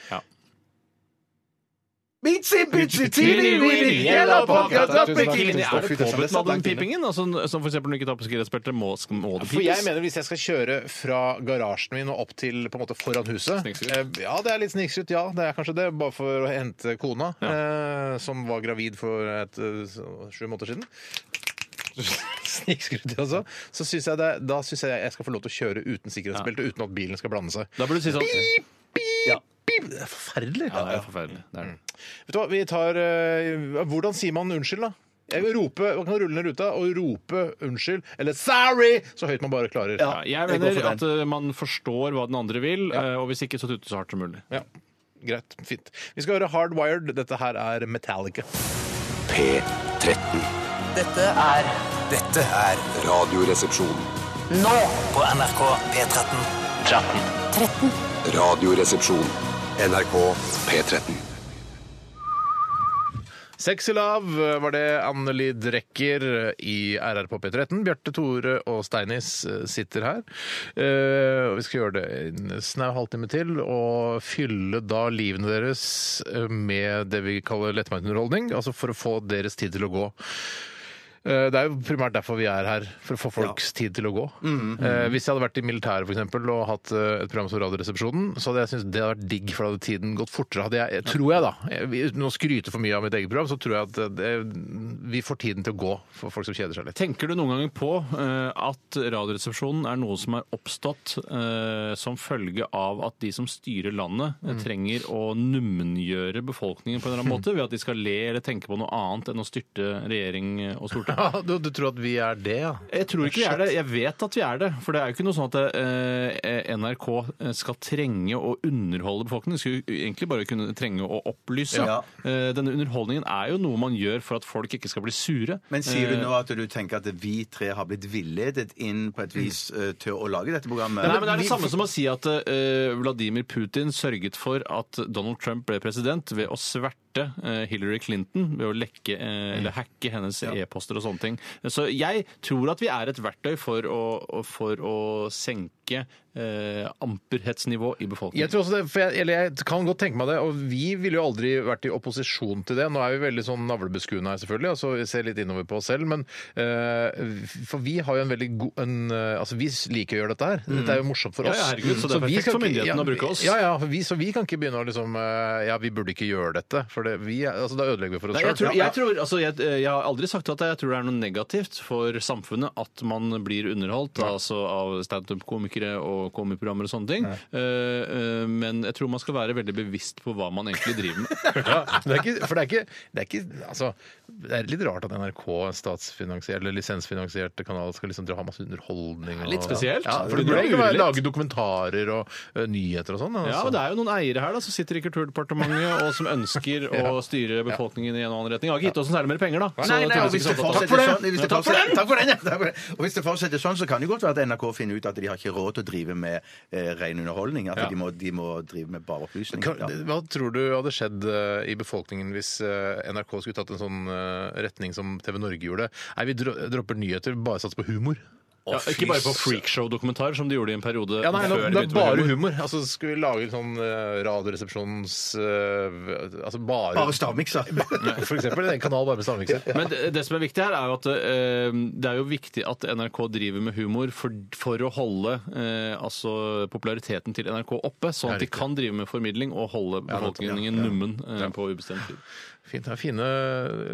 [SPEAKER 2] Mitsi, bitsi, tini, wini, yellow pocket, up bikini.
[SPEAKER 3] Er det påbudt med den pipingen? Altså, som for eksempel når du ikke tar på sikkerhetsbeltet, må, sk- må det
[SPEAKER 1] For jeg
[SPEAKER 3] pipes?
[SPEAKER 1] mener Hvis jeg skal kjøre fra garasjen min og opp til på en måte foran huset
[SPEAKER 3] Snikskryt.
[SPEAKER 1] eh, Ja, det er litt snikskryt, ja. Det er kanskje det. Bare for å hente kona, eh, som var gravid for et, eh, så- sju måneder siden. Snikskryt, altså. Så synes jeg det, da syns jeg jeg skal få lov til å kjøre uten sikkerhetsbelte, uten at bilen skal blande seg.
[SPEAKER 3] Da burde du si sånn Ja,
[SPEAKER 2] Ja.
[SPEAKER 1] Bip! Det er forferdelig.
[SPEAKER 3] det er forferdelig. Det er det.
[SPEAKER 1] Vet du hva, vi tar eh, Hvordan sier man unnskyld, da? Jeg vil rope, Man kan rulle ned ruta og rope unnskyld, eller sorry, så høyt man bare klarer.
[SPEAKER 2] Ja.
[SPEAKER 3] Jeg
[SPEAKER 2] Jeg går
[SPEAKER 3] mener
[SPEAKER 2] for
[SPEAKER 3] at eh, man forstår hva den andre vil, eh, og hvis ikke, så tute så hardt som mulig.
[SPEAKER 1] Ja, Greit. Fint. Vi skal høre Hardwired. Dette her er Metallica.
[SPEAKER 4] P13.
[SPEAKER 9] Dette er
[SPEAKER 11] Dette er
[SPEAKER 4] Radioresepsjon.
[SPEAKER 9] nå
[SPEAKER 11] på NRK P13.
[SPEAKER 9] 13.
[SPEAKER 4] Radioresepsjon. NRK P13.
[SPEAKER 1] Sexy Love var det Anneli Drecker i RR på P13. Bjarte Tore og Steinis eh, sitter her. Eh, og Vi skal gjøre det en snau halvtime til og fylle da livene deres eh, med det vi kaller lettbeint underholdning. Altså for å få deres tid til å gå. Eh, Det er jo primært derfor vi er her, for å få folks tid til å gå. Eh, Hvis jeg hadde vært i militæret for eksempel, og hatt eh, et program som Radioresepsjonen, så hadde jeg syntes det hadde vært digg, for da hadde tiden gått fortere. Hadde jeg, tror jeg, da. eh, Jeg- Uten å skryte for mye av mitt eget program, så tror jeg at eh, det, vi får tiden til å gå for folk som kjeder seg litt.
[SPEAKER 3] Tenker du noen ganger på eh, at Radioresepsjonen er noe som er oppstått eh, som følge av at de som styrer landet, eh,
[SPEAKER 2] Mm.
[SPEAKER 3] trenger å nummengjøre befolkningen på en eller annen måte, ved at de skal le eller tenke på noe annet enn å styrte regjering eh, og storting?
[SPEAKER 1] Ja, du, du tror at vi er det, ja?
[SPEAKER 3] Jeg tror ikke vi er det. Jeg vet at vi er det. For det er jo ikke noe sånn at eh, NRK skal trenge å underholde befolkningen. De skulle jo egentlig bare kunne trenge å opplyse.
[SPEAKER 2] Ja.
[SPEAKER 3] Eh, Denne underholdningen er jo noe man gjør for at folk ikke skal bli sure.
[SPEAKER 2] Men sier du nå at du tenker at vi tre har blitt villedet inn på et vis eh, til å lage dette programmet?
[SPEAKER 3] Mm. Nei, men Det er det samme som å si at eh, Vladimir Putin sørget for at Donald Trump ble president ved å sverte eh, Hillary Clinton ved å lekke eh, eller hacke hennes e-poster og sånne ting. Så jeg tror at vi er et verktøy for å, for å senke eh, amperhetsnivå i befolkningen.
[SPEAKER 1] Jeg tror også det, for jeg, eller jeg kan godt tenke meg det, og vi ville jo aldri vært i opposisjon til det. Nå er vi veldig sånn navlebeskuende her, selvfølgelig, altså vi ser litt innover på oss selv, men eh, For vi har jo en veldig god en, eh, Altså, vi liker å gjøre dette her. Dette er jo morsomt for
[SPEAKER 3] Mm. Ja,
[SPEAKER 1] oss.
[SPEAKER 3] ja, herregud, så det er
[SPEAKER 1] vi
[SPEAKER 3] perfekt
[SPEAKER 1] skal
[SPEAKER 3] for
[SPEAKER 1] ikke-
[SPEAKER 3] myndighetene
[SPEAKER 1] ja,
[SPEAKER 3] å bruke oss.
[SPEAKER 1] Ja, ja, for vi, så vi kan ikke begynne å liksom eh, Ja, vi burde ikke gjøre dette, for det, vi, er- altså, da ødelegger vi for oss
[SPEAKER 3] Nei, jeg,
[SPEAKER 1] sjøl.
[SPEAKER 3] tror, jeg, tror, altså, jeg, jeg har aldri sagt at jeg tror det er noe negativt for samfunnet at man blir underholdt altså, av komikere og komiprogrammer og sånne ting. Eh, eh, Men jeg tror man skal være veldig bevisst på hva man egentlig driver med.
[SPEAKER 1] Ja, men det er ikke, for det er ikke, det er ikke altså, det er litt rart at NRK, statsfinansiert eller lisensfinansiert kanal, skal liksom ha masse underholdning.
[SPEAKER 3] litt spesielt.
[SPEAKER 1] Ja, for
[SPEAKER 3] Det
[SPEAKER 1] det burde
[SPEAKER 3] er
[SPEAKER 1] ikke være
[SPEAKER 3] ulitt.
[SPEAKER 1] lage dokumentarer og ø, nyheter og sånn. altså.
[SPEAKER 3] Ja, men Det er jo noen eiere her da, som sitter i Kulturdepartementet og som ønsker å styre befolkningen i en annen retning. Jeg har ikke gitt oss noe særlig mer penger, da. Så
[SPEAKER 2] Nei,
[SPEAKER 3] det
[SPEAKER 2] nei,
[SPEAKER 3] tror
[SPEAKER 2] og
[SPEAKER 3] jeg
[SPEAKER 2] hvis
[SPEAKER 3] ikke
[SPEAKER 2] det
[SPEAKER 3] er så opptatt av.
[SPEAKER 2] fortsetter sånn, hvis det
[SPEAKER 3] Takk for
[SPEAKER 2] fortsetter- takk for den, ja, takk for den. Og hvis det fortsetter sånn, så kan det godt være at NRK finner ut at de har ikke råd til å drive med eh, ren underholdning. At
[SPEAKER 3] Ja.
[SPEAKER 2] de, må, de må drive med bare opplysning.
[SPEAKER 1] Kan-
[SPEAKER 2] Ja.
[SPEAKER 1] Hva tror du hadde skjedd eh, i befolkningen hvis eh, NRK skulle tatt en sånn eh, retning som TV Norge gjorde? Nei, vi dro dropper nyheter, bare sats på humor.
[SPEAKER 3] Ja, ikke bare på freakshow-dokumentar, som de gjorde i en periode
[SPEAKER 1] Ja, nei,
[SPEAKER 3] før
[SPEAKER 1] det
[SPEAKER 3] de
[SPEAKER 1] er
[SPEAKER 3] begynte med
[SPEAKER 1] bare
[SPEAKER 3] humor.
[SPEAKER 1] humor. Altså, Skulle vi lage sånn eh, Radioresepsjonens eh, Altså bare,
[SPEAKER 2] Bare stavmikser.
[SPEAKER 1] For eksempel en kanal bare med stavmikser.
[SPEAKER 3] Men det, det som er viktig her, er jo at eh, det er jo viktig at NRK driver med humor for, for å holde eh, altså populariteten til NRK oppe, sånn at de kan drive med formidling og holde befolkningen nummen eh, på ubestemt tid.
[SPEAKER 1] Fint, det er fine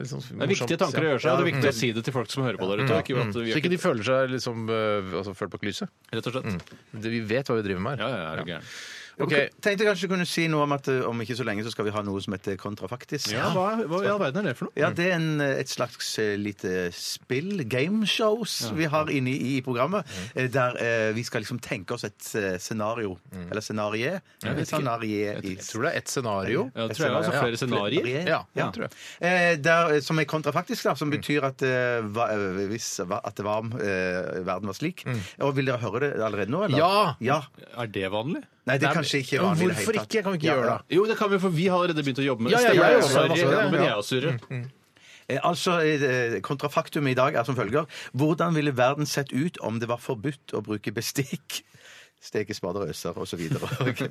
[SPEAKER 1] liksom,
[SPEAKER 3] Det er viktige tanker å gjøre seg, og det er viktig å si det til folk som hører på der ute. og Ikke, at vi
[SPEAKER 1] Mm. Så
[SPEAKER 3] har
[SPEAKER 1] ikke de
[SPEAKER 3] ikke, Mm.
[SPEAKER 1] føler seg liksom eh, altså, følt bak lyset.
[SPEAKER 3] rett og slett.
[SPEAKER 1] Det- Vi vet hva vi driver med
[SPEAKER 3] Ja,
[SPEAKER 1] her.
[SPEAKER 3] ja, ja, er du gæren.
[SPEAKER 1] Ok.
[SPEAKER 2] Tenkte jeg kanskje du kunne si noe om at eh, om ikke så lenge så skal vi ha noe som heter kontrafaktisk.
[SPEAKER 3] Ja, hva, hva i all verden er det for noe?
[SPEAKER 1] Mm.
[SPEAKER 2] Ja, det er en, et slags eh, lite spill, gameshows, vi har inne i, i programmet.
[SPEAKER 1] Mm.
[SPEAKER 2] eh, Der eh, vi skal liksom tenke oss et eh, scenario.
[SPEAKER 1] Mm.
[SPEAKER 2] Eller scenarie.
[SPEAKER 3] vet ikke.
[SPEAKER 2] Scenarie i
[SPEAKER 1] Jeg tror det er ett scenario.
[SPEAKER 3] Ja, det tror jeg også flere scenarier.
[SPEAKER 1] Ja, det tror jeg. Mm.
[SPEAKER 2] Eh, der, eh, som er kontrafaktisk, da, som betyr at, eh, hva, eh, hvis, hva, at det var om eh, verden var slik. Og Vil dere høre det allerede nå? Eller?
[SPEAKER 1] Mm. Ja!
[SPEAKER 3] Er det vanlig?
[SPEAKER 2] Nei, det
[SPEAKER 1] Nei,
[SPEAKER 2] er kanskje ikke vanlig. i det hele
[SPEAKER 1] Hvorfor
[SPEAKER 2] tatt.
[SPEAKER 1] ikke? Kan vi ikke
[SPEAKER 2] Ja,
[SPEAKER 1] gjøre
[SPEAKER 2] ja.
[SPEAKER 1] det?
[SPEAKER 3] Jo, det kan vi, for vi har allerede begynt å jobbe med
[SPEAKER 1] Ja,
[SPEAKER 3] det.
[SPEAKER 1] ja,
[SPEAKER 3] Stemmer
[SPEAKER 1] jeg
[SPEAKER 3] det?
[SPEAKER 1] også, jeg
[SPEAKER 3] Sorry,
[SPEAKER 1] også,
[SPEAKER 3] nå
[SPEAKER 1] ja.
[SPEAKER 3] begynner jeg å surre.
[SPEAKER 2] Eh, Altså, eh, Kontrafaktum i dag er som følger. Hvordan ville verden sett ut om det var forbudt å bruke bestikk? Steke spader og øser osv.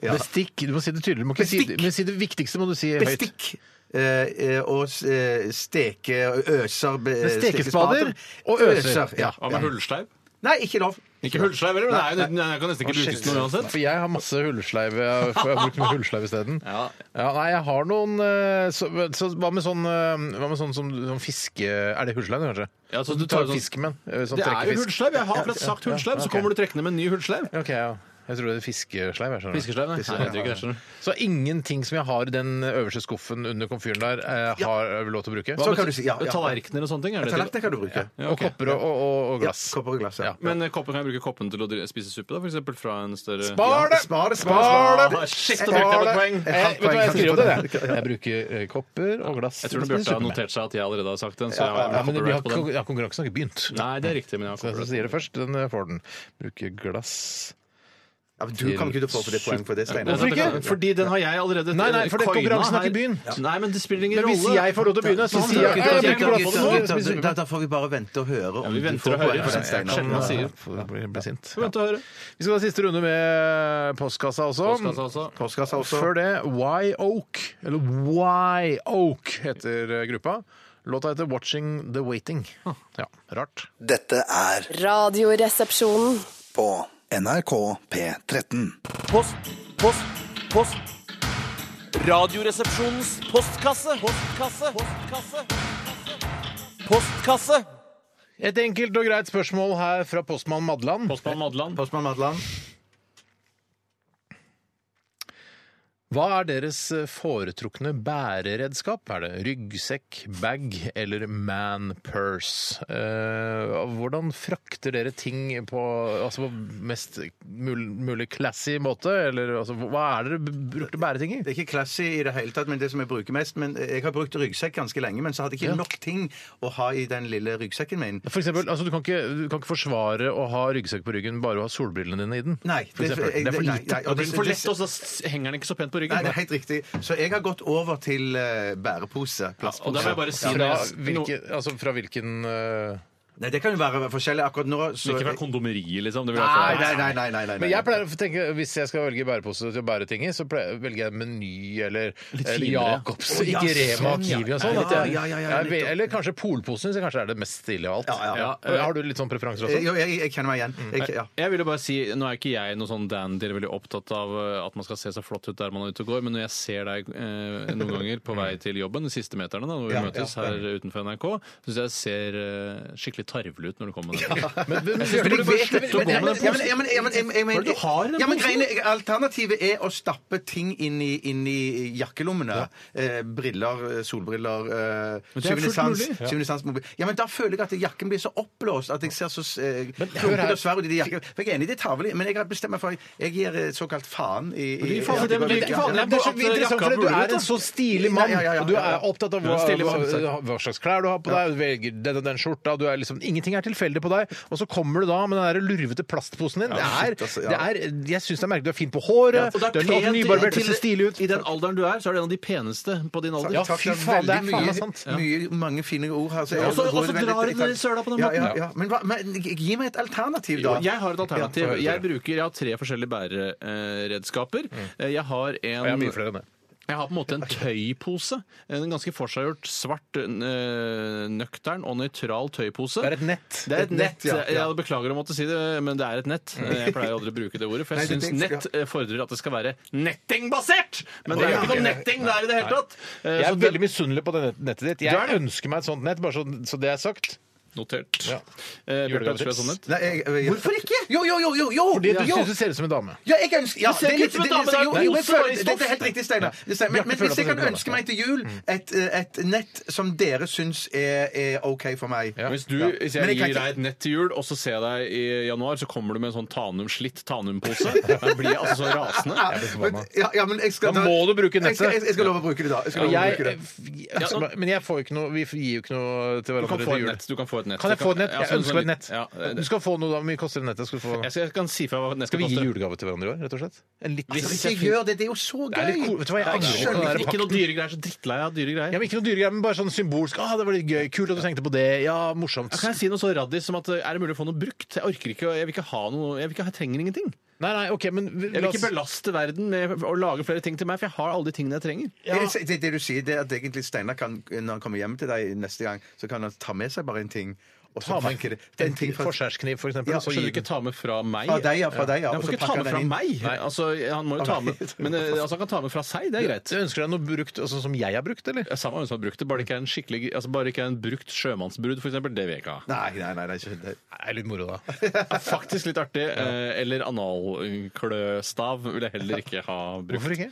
[SPEAKER 2] Ja.
[SPEAKER 1] Bestikk. Du må si det tydelig. Du må ikke si,
[SPEAKER 2] Bestikk.
[SPEAKER 1] men si det viktigste må du si høyt.
[SPEAKER 2] Bestikk! Eh, eh, og s- eh, steke øser be,
[SPEAKER 1] stekespader og øser.
[SPEAKER 2] Ja.
[SPEAKER 3] Hva med hullsleiv?
[SPEAKER 2] Nei, ikke lov.
[SPEAKER 3] Ikke hullsleiv heller, men det er jo nesten- jeg kan nesten ikke brukes til noe uansett.
[SPEAKER 1] For jeg har masse hullsleiv. Jeg har jeg har brukt mye hullsleiv isteden.
[SPEAKER 3] Ja.
[SPEAKER 1] Ja, nei, jeg har noen eh, så, så, Hva med sånn, eh, hva med sånn, som, sånn fiske... Er det hullsleiv, kanskje?
[SPEAKER 3] Ja, så du
[SPEAKER 1] tar
[SPEAKER 3] tar sånn-
[SPEAKER 1] fiskemenn. eh, Sånn
[SPEAKER 3] Det er jo
[SPEAKER 1] trekkefisk.
[SPEAKER 3] hullsleiv. Jeg har akkurat sagt hullsleiv, så
[SPEAKER 1] ok.
[SPEAKER 3] kommer du trekkende med en ny hullsleiv.
[SPEAKER 1] Ok, ja. Jeg tror det er fiskesleiv. jeg skjønner.
[SPEAKER 3] Fiskesleiv, nei. Nei, jeg tror ikke det, skjønner du.
[SPEAKER 1] Så ingenting som jeg har i den øverste skuffen under komfyren der, eh, har jeg lov til å bruke?
[SPEAKER 2] Så kan du si ja. ja.
[SPEAKER 3] Tallerkener og sånne ting? Er det
[SPEAKER 2] Tallerken kan du bruke.
[SPEAKER 3] Ja, ok.
[SPEAKER 1] Og kopper og, og, og, og
[SPEAKER 2] Ja,
[SPEAKER 1] glass.
[SPEAKER 2] kopper og glass. Ja.
[SPEAKER 3] Men eh, koppen, kan jeg bruke koppen til å dri- spise suppe, da, for eksempel? Fra en større
[SPEAKER 1] Spar det!
[SPEAKER 2] Spar det,
[SPEAKER 1] Spar det!
[SPEAKER 3] Ah, shit, da
[SPEAKER 1] Spar
[SPEAKER 3] brukte jeg
[SPEAKER 1] det!
[SPEAKER 3] et poeng!
[SPEAKER 1] Eh, vet du hva, jeg skriver opp det. Jeg Jeg bruker eh, kopper og glass.
[SPEAKER 3] Jeg tror det Bjarte har notert seg at jeg allerede har sagt den, så jeg
[SPEAKER 1] Ja,
[SPEAKER 3] har
[SPEAKER 1] men vi har,
[SPEAKER 3] copyright på den.
[SPEAKER 1] kon- ja, konkurransen har ikke begynt.
[SPEAKER 3] Nei, det er riktig, men jeg har
[SPEAKER 1] Så jeg som
[SPEAKER 3] copyright.
[SPEAKER 1] sier det først, den eh, får den. Bruke glass
[SPEAKER 2] Ja, men du kommer ikke til å få for det poeng for det, Steinar.
[SPEAKER 1] Hvorfor ikke?
[SPEAKER 3] Fordi den har jeg allerede
[SPEAKER 1] Nei, nei, for den
[SPEAKER 3] koina
[SPEAKER 1] konkurransen har
[SPEAKER 3] her.
[SPEAKER 1] ikke begynt.
[SPEAKER 3] Ja. Nei, men det spiller ingen
[SPEAKER 1] Men
[SPEAKER 3] rolle. Sånn,
[SPEAKER 1] hvis jeg får lov til å begynne, så
[SPEAKER 3] Da-
[SPEAKER 1] sier jeg
[SPEAKER 3] da-
[SPEAKER 1] ikke at jeg
[SPEAKER 3] da-
[SPEAKER 1] ikke er glad for det nå.
[SPEAKER 3] da-
[SPEAKER 1] Spiser
[SPEAKER 2] Da, da får vi bare vente og høre om
[SPEAKER 3] vi
[SPEAKER 2] du
[SPEAKER 3] venter
[SPEAKER 2] får
[SPEAKER 3] og hører,
[SPEAKER 2] poeng
[SPEAKER 3] for
[SPEAKER 2] for den,
[SPEAKER 3] det er
[SPEAKER 2] Steinar.
[SPEAKER 3] sjelden man sier.
[SPEAKER 1] Ja, får- blir- blir sint.
[SPEAKER 3] Vent og høre.
[SPEAKER 1] Vi skal ha siste runde med postkassa også.
[SPEAKER 3] Postkassa også.
[SPEAKER 2] Postkassa også.
[SPEAKER 1] Før det Why Oak, eller Why Oak heter eh, gruppa. Låta heter 'Watching The Waiting'. Ja, Rart.
[SPEAKER 7] Dette er
[SPEAKER 6] Radioresepsjonen.
[SPEAKER 7] på NRK P13.
[SPEAKER 9] Post, post, post. Radioresepsjonens postkasse. Postkasse. Postkasse. Postkasse.
[SPEAKER 1] Et enkelt og greit spørsmål her fra postmann Madland.
[SPEAKER 3] Postmann Madland.
[SPEAKER 2] Postmann Madland.
[SPEAKER 1] Hva er deres eh, foretrukne bæreredskap? Er det ryggsekk, bag eller manpurse? Eh, hvordan frakter dere ting på, altså på mest mul mulig classy måte? Eller altså, hva er det dere brukte bære ting i?
[SPEAKER 2] Det er ikke classy i det hele tatt, men det som jeg bruker mest men Jeg har brukt ryggsekk ganske lenge, men så hadde jeg ikke nok ting å ha i den lille ryggsekken min.
[SPEAKER 1] For eksempel, altså, du, kan ikke, du kan ikke forsvare å ha ryggsekk på ryggen bare å ha solbrillene dine i den.
[SPEAKER 2] Nei,
[SPEAKER 1] for
[SPEAKER 2] det-
[SPEAKER 1] eksempel.
[SPEAKER 2] jeg-
[SPEAKER 1] det er for
[SPEAKER 2] nei,
[SPEAKER 1] lite.
[SPEAKER 2] nei,
[SPEAKER 3] Da
[SPEAKER 2] og
[SPEAKER 3] blir
[SPEAKER 2] det-
[SPEAKER 3] den for
[SPEAKER 2] det-
[SPEAKER 3] lett, og så s- henger den ikke så pent på
[SPEAKER 2] Nei,
[SPEAKER 3] ryggen.
[SPEAKER 2] det er helt riktig. Så jeg har gått over til eh, bærepose.
[SPEAKER 3] Og da
[SPEAKER 2] Plastpose.
[SPEAKER 3] må jeg bare si
[SPEAKER 1] Fra
[SPEAKER 3] når jeg-
[SPEAKER 1] hvilken, altså, fra hvilken eh,
[SPEAKER 2] Nei, det kan jo være forskjellig akkurat nå. Så...
[SPEAKER 3] Ikke fra kondomeriet, liksom. Det vil jeg
[SPEAKER 2] Nei,
[SPEAKER 3] si.
[SPEAKER 2] nei, nei, nei, nei, nei.
[SPEAKER 1] Men jeg pleier å tenke, hvis jeg skal velge bærepose til å bære ting i, så pleier, velger jeg Meny eller, eller
[SPEAKER 3] finere.
[SPEAKER 1] Jacobs.
[SPEAKER 2] Å, ja,
[SPEAKER 1] ikke Rema
[SPEAKER 2] sånn,
[SPEAKER 1] og
[SPEAKER 2] ja.
[SPEAKER 1] Kiwi og sånn.
[SPEAKER 2] Ja,
[SPEAKER 1] at jeg-
[SPEAKER 2] ja, ja, ja,
[SPEAKER 1] jeg
[SPEAKER 2] nettopp.
[SPEAKER 1] vel- eller kanskje Polposen syns jeg kanskje er det mest stilige av alt.
[SPEAKER 2] Ja, ja, ja.
[SPEAKER 1] Eh, Har du litt sånn preferanser
[SPEAKER 2] Eh,
[SPEAKER 1] også? Mm.
[SPEAKER 2] Jo, jeg, jeg kjenner meg igjen. Jeg, ja.
[SPEAKER 3] Jeg ville bare si, Nå er ikke jeg noe sånn dandy eller veldig opptatt av eh, at man skal se så flott ut der man er ute og går, men når jeg ser deg eh, noen ganger på vei til jobben, de siste meterne da, når vi
[SPEAKER 2] Ja,
[SPEAKER 3] møtes
[SPEAKER 2] ja.
[SPEAKER 3] her utenfor NRK, syns jeg ser eh, skikkelig tarvelig ut når du kommer med den.
[SPEAKER 1] Men, men, men,
[SPEAKER 2] Ja,
[SPEAKER 1] men,
[SPEAKER 2] men jeg
[SPEAKER 1] men,
[SPEAKER 2] vet-
[SPEAKER 3] slutte å gå med den
[SPEAKER 2] Ja, men- ja, men- ja, men- ja, men- ja, men-
[SPEAKER 3] Hva er det du har i den
[SPEAKER 2] Ja, men
[SPEAKER 3] posen?
[SPEAKER 2] greiene- Alternativet er å stappe ting inn i, inn i jakkelommene. Eh, briller, eh, solbriller eh,
[SPEAKER 3] Men det er
[SPEAKER 2] syvende
[SPEAKER 3] fullt
[SPEAKER 2] sans-
[SPEAKER 3] mulig.
[SPEAKER 2] syvende sans mobil. Ja, men da føler jeg at jakken blir så oppblåst at jeg ser så eh,
[SPEAKER 1] hør her.
[SPEAKER 2] klumpete og svær ut i de jakkene. For Jeg er enig, det er tarvelig, men jeg har bestemt meg for Jeg gir eh, såkalt faen i, i
[SPEAKER 3] gir faen i
[SPEAKER 2] ja,
[SPEAKER 3] det, men
[SPEAKER 2] bare-
[SPEAKER 3] du gir
[SPEAKER 2] ja,
[SPEAKER 3] faen i
[SPEAKER 2] ja.
[SPEAKER 1] men det er så
[SPEAKER 3] Jakka
[SPEAKER 1] interessant, fordi du
[SPEAKER 3] burde
[SPEAKER 1] er
[SPEAKER 3] ut, da.
[SPEAKER 1] en så stilig mann,
[SPEAKER 2] Ja, ja, ja, ja,
[SPEAKER 1] og du
[SPEAKER 2] ja, ja.
[SPEAKER 1] er opptatt av
[SPEAKER 2] Du er
[SPEAKER 1] hva,
[SPEAKER 2] en stilig mann,
[SPEAKER 1] hva, hva slags klær du har på deg, du velger den og den skjorta, du er liksom, ingenting er tilfeldig på deg, og så kommer du da med den der lurvete plastposen din. Det
[SPEAKER 2] shit,
[SPEAKER 1] er,
[SPEAKER 2] altså, ja.
[SPEAKER 1] det er, jeg synes det er merkelig, du er fin på håret,
[SPEAKER 3] Og det
[SPEAKER 1] du
[SPEAKER 3] er
[SPEAKER 1] er
[SPEAKER 3] pen til-
[SPEAKER 1] nybarbert, du
[SPEAKER 3] til-
[SPEAKER 1] ser stilig ut.
[SPEAKER 3] I den alderen du er, så er du en av de peneste på din alder.
[SPEAKER 1] Ja,
[SPEAKER 2] Takk,
[SPEAKER 1] fy faen, det er
[SPEAKER 2] veldig
[SPEAKER 1] faen meg
[SPEAKER 2] mye-
[SPEAKER 1] sant.
[SPEAKER 2] Mye, mange fine ord her. så jeg
[SPEAKER 3] Ja, og så-
[SPEAKER 2] går
[SPEAKER 3] og så
[SPEAKER 2] veldig-
[SPEAKER 3] drar du den i søla på den
[SPEAKER 2] ja,
[SPEAKER 3] måten.
[SPEAKER 2] Ja, ja. Men, hva, men gi meg et alternativ,
[SPEAKER 3] Jo,
[SPEAKER 2] da.
[SPEAKER 3] jeg har et alternativ.
[SPEAKER 2] Ja, få høre,
[SPEAKER 3] Jeg bruker, jeg har tre forskjellige bæreredskaper. Eh, Jeg har
[SPEAKER 1] Mm.
[SPEAKER 3] en
[SPEAKER 1] Og jeg har mye flere enn det.
[SPEAKER 3] Jeg har på en måte en tøypose. En ganske forseggjort, svart, øh, nøktern og nøytral tøypose.
[SPEAKER 1] Det er et nett. Mm.
[SPEAKER 3] Det er et nett.
[SPEAKER 2] ja, ja.
[SPEAKER 3] Jeg beklager å måtte si det, men det er et nett. Jeg pleier aldri å bruke det ordet, for jeg
[SPEAKER 2] Nei, det-
[SPEAKER 3] syns
[SPEAKER 2] det-
[SPEAKER 3] nett eh, fordrer at det skal være nettingbasert! Men det er jo
[SPEAKER 1] Ja.
[SPEAKER 3] ikke noe netting der i det hele tatt. Eh,
[SPEAKER 1] Jeg
[SPEAKER 3] så
[SPEAKER 1] er
[SPEAKER 3] det-
[SPEAKER 1] veldig misunnelig på det net- nettet ditt.
[SPEAKER 3] Du er
[SPEAKER 1] Jeg
[SPEAKER 3] det.
[SPEAKER 1] ønsker meg et sånt nett, bare så, så det er sagt.
[SPEAKER 3] Notert.
[SPEAKER 1] Ja.
[SPEAKER 3] Eh, Bjarte, ønsker du deg
[SPEAKER 1] Julegavetips.
[SPEAKER 3] sånn nett?
[SPEAKER 2] Nei, jeg, jeg, Hvorfor ikke? Jo, jo, jo! jo, jo.
[SPEAKER 1] Fordi du
[SPEAKER 2] jo.
[SPEAKER 1] synes du ser ut som en dame.
[SPEAKER 2] Ja, jeg ønsker ja,
[SPEAKER 3] Du ser
[SPEAKER 2] det er
[SPEAKER 3] ikke
[SPEAKER 2] litt-
[SPEAKER 3] ut som en
[SPEAKER 2] det er litt-
[SPEAKER 3] dame,
[SPEAKER 2] jo,
[SPEAKER 3] det er
[SPEAKER 2] jo, men
[SPEAKER 3] rosa,
[SPEAKER 2] føler-
[SPEAKER 3] det er
[SPEAKER 2] Dette er helt riktig, Steinar. Det stemmer. Men,
[SPEAKER 1] Bjarte
[SPEAKER 2] men
[SPEAKER 1] føler
[SPEAKER 2] hvis jeg
[SPEAKER 1] at
[SPEAKER 2] kan
[SPEAKER 1] det er
[SPEAKER 2] ønske meg til jul et, eh, et nett som dere syns er, er OK for meg
[SPEAKER 1] Ja.
[SPEAKER 3] Hvis, du, hvis
[SPEAKER 2] Men
[SPEAKER 3] jeg
[SPEAKER 2] jeg
[SPEAKER 3] gir
[SPEAKER 2] kan ikke-
[SPEAKER 3] deg et nett til jul, og så ser jeg deg i januar, så kommer du med en sånn Tanum slitt Tanum-pose. Da blir jeg altså så rasende.
[SPEAKER 1] Jeg blir
[SPEAKER 2] Men-
[SPEAKER 1] forbanna.
[SPEAKER 2] ja, ja, men jeg skal,
[SPEAKER 1] Da må du bruke
[SPEAKER 2] Jeg skal,
[SPEAKER 1] nettet.
[SPEAKER 2] jeg, jeg skal love å bruke det, da. Jeg skal love å bruke det.
[SPEAKER 1] Jeg, altså, men jeg får jo ikke noe, vi gir jo ikke noe til
[SPEAKER 3] Du kan
[SPEAKER 1] hverandre
[SPEAKER 3] få
[SPEAKER 1] til
[SPEAKER 3] et
[SPEAKER 1] jul.
[SPEAKER 3] nett. Du kan få et nett.
[SPEAKER 1] Kan jeg få et nett?
[SPEAKER 3] Ja,
[SPEAKER 1] Jeg
[SPEAKER 3] sånn-
[SPEAKER 1] ønsker meg et
[SPEAKER 3] Ja,
[SPEAKER 1] nett.
[SPEAKER 3] det-
[SPEAKER 1] Du skal få noe da, Hvor mye koster det nettet? eh, Skal, du få...
[SPEAKER 3] Jeg skal- jeg kan si fra hva nettet
[SPEAKER 1] skal vi gi
[SPEAKER 3] koster.
[SPEAKER 1] julegave til hverandre i år, rett og slett? En litt
[SPEAKER 3] Hvis-
[SPEAKER 2] Hvis jeg gjør det, det er jo så gøy!
[SPEAKER 1] Det er litt cool. Vet du hva, jeg angrer på
[SPEAKER 2] skjønner
[SPEAKER 1] den der
[SPEAKER 3] Ikke
[SPEAKER 1] pakken.
[SPEAKER 3] noe dyre greier. Så drittlei av dyre greier.
[SPEAKER 1] Ja, men ikke noe dyre greier, men bare sånn symbolsk. Ah, det var litt gøy. Kult at du tenkte på det. Ja, morsomt.
[SPEAKER 3] Kan jeg si noe så raddis som at eh, er det mulig å få noe brukt? Jeg orker ikke, å- jeg vil ikke ha noe, jeg, vil ikke, ha- jeg trenger ingenting.
[SPEAKER 1] Nei, nei, OK, men vi-
[SPEAKER 3] Jeg
[SPEAKER 1] la
[SPEAKER 3] vil
[SPEAKER 1] oss-
[SPEAKER 3] ikke belaste verden med å lage flere ting til meg, for jeg har alle de tingene jeg trenger.
[SPEAKER 2] Det, det, det du sier, det er at egentlig Steinar kan, når han kommer hjem til deg neste gang, så kan han ta med seg bare en ting. Og så
[SPEAKER 1] Ta med
[SPEAKER 2] pakke det. Den ting fra,
[SPEAKER 1] forskjærskniv, for eksempel.
[SPEAKER 2] Ja,
[SPEAKER 1] og så
[SPEAKER 3] Så du
[SPEAKER 1] gi den.
[SPEAKER 3] ikke ta med fra meg?
[SPEAKER 2] fra deg, ja. Fra deg, ja.
[SPEAKER 3] Nei, Han
[SPEAKER 2] og
[SPEAKER 3] får
[SPEAKER 2] så
[SPEAKER 3] ikke ta
[SPEAKER 2] pakker
[SPEAKER 3] med fra
[SPEAKER 2] den inn.
[SPEAKER 3] meg! Altså, han må jo ta med Men eh, altså, han kan ta med fra seg, det er greit.
[SPEAKER 1] Du ønsker deg noe brukt, altså, som jeg har brukt, eller?
[SPEAKER 3] Ja, Samme hvem som har brukt det, bare det ikke er en skikkelig altså Bare det ikke er en brukt sjømannsbrud, f.eks. Det vil jeg ikke ha.
[SPEAKER 2] Nei, nei, nei. nei ikke, det.
[SPEAKER 1] Det er litt moro, da.
[SPEAKER 3] Ja, Faktisk litt artig. eh, Eller analkløstav vil jeg heller ikke ha brukt.
[SPEAKER 1] Hvorfor ikke?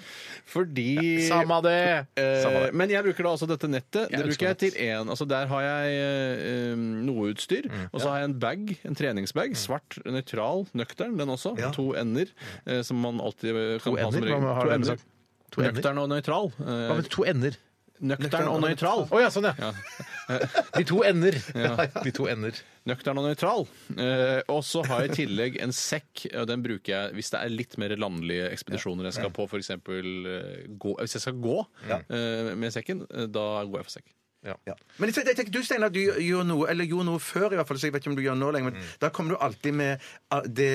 [SPEAKER 3] Fordi
[SPEAKER 1] Samme det!
[SPEAKER 3] Eh,
[SPEAKER 1] Samme det.
[SPEAKER 3] Men jeg bruker da altså dette nettet. Det
[SPEAKER 1] Jeg
[SPEAKER 3] bruker jeg
[SPEAKER 1] elsker
[SPEAKER 3] til en, altså Der har jeg eh, eh, noe utstyr.
[SPEAKER 1] Mm.
[SPEAKER 3] Og så har jeg en bag, en treningsbag. Svart, nøytral, nøktern, den også. To ender, eh, som man alltid eh, kan ha
[SPEAKER 1] ender?
[SPEAKER 3] som regel.
[SPEAKER 1] Hva har
[SPEAKER 3] To
[SPEAKER 1] det
[SPEAKER 3] ender.
[SPEAKER 1] sagt? To ender?
[SPEAKER 3] Nøktern og nøytral. Eh,
[SPEAKER 1] Hva med to ender?
[SPEAKER 3] Nøktern og nøytral.
[SPEAKER 1] Å ja, sånn, ja. De to ender. De to ender.
[SPEAKER 3] Nøktern og nøytral. Eh, og så har jeg i tillegg en sekk. og Den bruker jeg hvis det er litt mer landlige ekspedisjoner jeg skal på, f.eks. Hvis jeg skal gå eh, med sekken, eh, da går jeg for sekk.
[SPEAKER 2] Ja. Men jeg, jeg tenker, du Steinar, du gjør noe, eller gjorde noe før, i hvert fall, så jeg vet ikke om du gjør nå lenger, men da kom du alltid med ah, det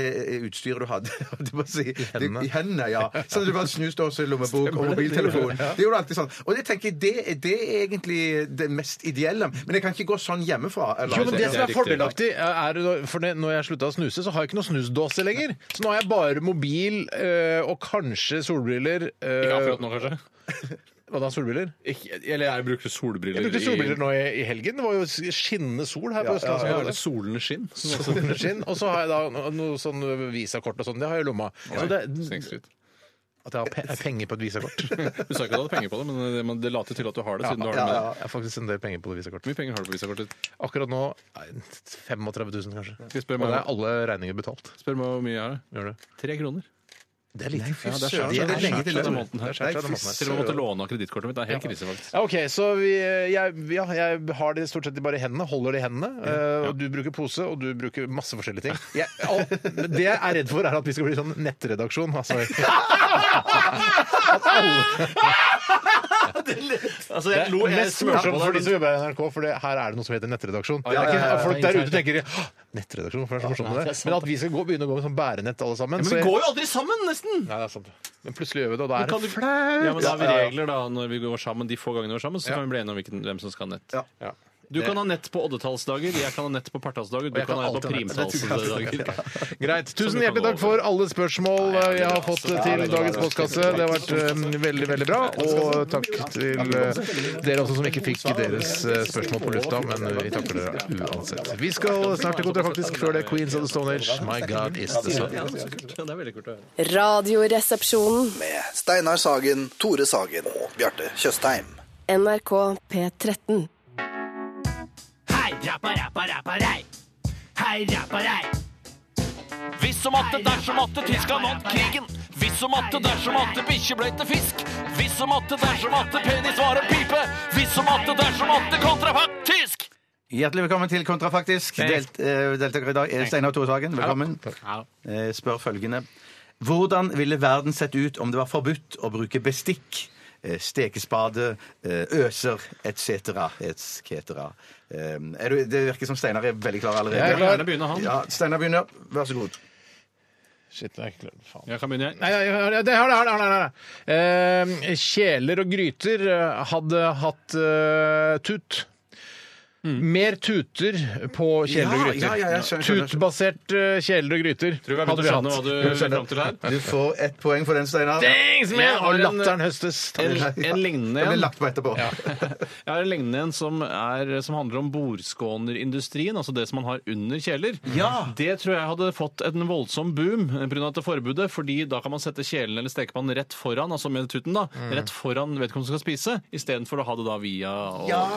[SPEAKER 2] utstyret du hadde holdt jeg på å si, det-
[SPEAKER 1] hendene.
[SPEAKER 2] I hendene. ja. Sånn at du bare snuste også i lommebok og mobiltelefon. Det gjorde du alltid sånn. Og jeg tenker, det, er- det er egentlig det mest ideelle. Men jeg kan ikke gå sånn hjemmefra. Eller,
[SPEAKER 1] Jo, men
[SPEAKER 3] det
[SPEAKER 1] det
[SPEAKER 3] er
[SPEAKER 1] som er
[SPEAKER 3] riktig.
[SPEAKER 1] fordelaktig, eh, er er- for det- når jeg slutta å snuse, så har jeg ikke noe snusdåse lenger. Så nå har jeg bare mobil øh, og kanskje solbriller. øh,
[SPEAKER 3] Ikke akkurat nå, kanskje?
[SPEAKER 1] Hva da, solbriller?
[SPEAKER 3] Ikke, eller jeg brukte solbriller.
[SPEAKER 1] Jeg brukte
[SPEAKER 3] i-
[SPEAKER 1] solbriller nå i, i helgen. Det var jo skinnende sol her på
[SPEAKER 3] Ja, ja, ja.
[SPEAKER 1] Østlandet.
[SPEAKER 3] Solene skinn. som også-
[SPEAKER 1] Solskinn. Og så har jeg da no- noe sånn visakort og sånn. Det har jeg i lomma. Så det,
[SPEAKER 3] Snikskryt.
[SPEAKER 1] at jeg har pe penger på et visakort.
[SPEAKER 3] Du sa ikke at du hadde penger på det, men det, men det later til at du har det. siden du har det
[SPEAKER 1] Ja,
[SPEAKER 3] med deg.
[SPEAKER 1] ja, jeg har faktisk en del penger på det
[SPEAKER 3] Hvor
[SPEAKER 1] visakortet.
[SPEAKER 3] mye penger har du på visakortet?
[SPEAKER 1] Akkurat nå nei, 35 000, kanskje. Og
[SPEAKER 3] Skal jeg spørre
[SPEAKER 1] da
[SPEAKER 3] meg,
[SPEAKER 1] er alle regninger betalt.
[SPEAKER 3] spør meg hvor mye jeg har?
[SPEAKER 1] Gjør det.
[SPEAKER 3] Tre kroner.
[SPEAKER 1] Det er lite.
[SPEAKER 3] Ja, det er
[SPEAKER 2] søren,
[SPEAKER 3] skjært.
[SPEAKER 2] det er
[SPEAKER 3] Det er
[SPEAKER 2] lenge
[SPEAKER 3] skjært
[SPEAKER 2] til
[SPEAKER 3] denne
[SPEAKER 2] lønn.
[SPEAKER 3] måneden her.
[SPEAKER 1] Det er skjært denne måneden her.
[SPEAKER 3] Til og med måtte låne av kredittkortet mitt. Det er helt krise, faktisk.
[SPEAKER 1] Ja, OK, så vi, jeg, ja, jeg har det stort sett bare i hendene. Holder det i hendene. eh, Og du bruker pose, og du bruker masse forskjellige ting. Jeg, all, men det jeg er redd for, er at vi skal bli sånn nettredaksjon. Altså, at alle,
[SPEAKER 3] Altså,
[SPEAKER 1] det er mest morsomt for de som jobber i NRK, for det, her er det noe som heter nettredaksjon. Det er ikke, folk der ute tenker «Åh, Nettredaksjon, for det er så morsomt med det. Men at vi skal gå, begynne å gå med sånn bærenett alle sammen
[SPEAKER 3] Men
[SPEAKER 1] så
[SPEAKER 3] vi
[SPEAKER 1] jeg-
[SPEAKER 3] går jo aldri sammen, nesten!
[SPEAKER 1] Nei, det er sant. Men plutselig gjør vi det, og da er
[SPEAKER 3] Kan du-
[SPEAKER 1] det flaut.
[SPEAKER 3] Ja, men da har vi regler, da, når vi går sammen, de få gangene vi går sammen, så
[SPEAKER 1] Ja.
[SPEAKER 3] kan vi bli enige om hvilken, hvem som skal ha nett.
[SPEAKER 2] Ja.
[SPEAKER 1] Ja.
[SPEAKER 3] Du kan ha nett på oddetallsdager, jeg kan ha nett på partallsdager, du
[SPEAKER 1] jeg
[SPEAKER 3] kan
[SPEAKER 1] kan
[SPEAKER 3] ha nett på
[SPEAKER 1] alltid ha nett.
[SPEAKER 3] primtallsdager.
[SPEAKER 1] Greit.
[SPEAKER 3] Som
[SPEAKER 1] Tusen
[SPEAKER 3] vi kan
[SPEAKER 1] hjertelig
[SPEAKER 3] gå
[SPEAKER 1] takk for alle spørsmål eh, jeg har fått eh, til dagens postkasse. Det har vært eh, veldig, veldig bra. Og takk til eh, dere også som ikke fikk deres eh, spørsmål på lufta, men eh, vi takker dere uansett. Vi skal snart til kontra, faktisk, før det er Queens of the Stone Age. My God is the sun.
[SPEAKER 3] Ja, det er kult. Ja, det er veldig kult å høre.
[SPEAKER 6] Radioresepsjonen.
[SPEAKER 7] Med Steinar Sagen, Tore Sagen og Bjarte Tjøstheim.
[SPEAKER 6] NRK P13.
[SPEAKER 12] Hei, rappa, rappa, rappa, rei. Hei, rappa, rei. Hvis og matte, dersom matte, Tyskland vant krigen. Hvis og matte, dersom matte, bikkje ble til fisk. Hvis og matte, dersom matte, penis var en pipe. Hvis og matte, dersom matte, kontrafaktisk.
[SPEAKER 2] Hjertelig velkommen til Kontrafaktisk. Delt, eh, Deltaker i dag er Steinar Tore Sagen. Velkommen. Eh, spør følgende. Hvordan ville verden sett ut om det var forbudt å bruke bestikk, eh, stekespade, eh, øser etc. etc.? Eh, er du- det virker som Steinar er veldig klar allerede.
[SPEAKER 1] Jeg er klar. Gjerne
[SPEAKER 3] begynne, han.
[SPEAKER 2] Ja, Steinar begynner. Vær så god.
[SPEAKER 1] Shit, det er ikke klart. Faen.
[SPEAKER 3] Jeg kan begynne, jeg.
[SPEAKER 1] Nei, jeg har det, jeg har det, jeg har det, jeg har det. Eh, Kjeler og gryter eh, hadde hatt eh, tut.
[SPEAKER 3] Mm.
[SPEAKER 1] Mer tuter på kjeler og
[SPEAKER 2] Ja,
[SPEAKER 1] gryter.
[SPEAKER 2] ja, ja, jeg skjønner, skjønner.
[SPEAKER 1] Tutbasert eh, kjeler og gryter
[SPEAKER 3] Tror du vi har
[SPEAKER 1] hadde vi
[SPEAKER 3] begynt
[SPEAKER 1] hatt.
[SPEAKER 3] å skjønne hva du vil fram til her?
[SPEAKER 2] Du får ett poeng for den, Steinar.
[SPEAKER 1] Dings, man!
[SPEAKER 3] Jeg har
[SPEAKER 1] Og
[SPEAKER 3] en-
[SPEAKER 1] latteren høstes.
[SPEAKER 3] En,
[SPEAKER 1] Takk.
[SPEAKER 3] en lignende
[SPEAKER 2] Det blir
[SPEAKER 3] en.
[SPEAKER 2] lagt på etterpå.
[SPEAKER 3] Jeg har en lignende en som, er, som handler om bordskånerindustrien, altså det som man har under kjeler.
[SPEAKER 2] Ja.
[SPEAKER 3] Det tror jeg hadde fått en voldsom boom pga. dette forbudet, fordi da kan man sette kjelen eller stekepannen rett foran, altså med tuten, da,
[SPEAKER 1] Mm.
[SPEAKER 3] rett foran vedkommende som skal spise, istedenfor å ha det da via og,
[SPEAKER 2] Ja,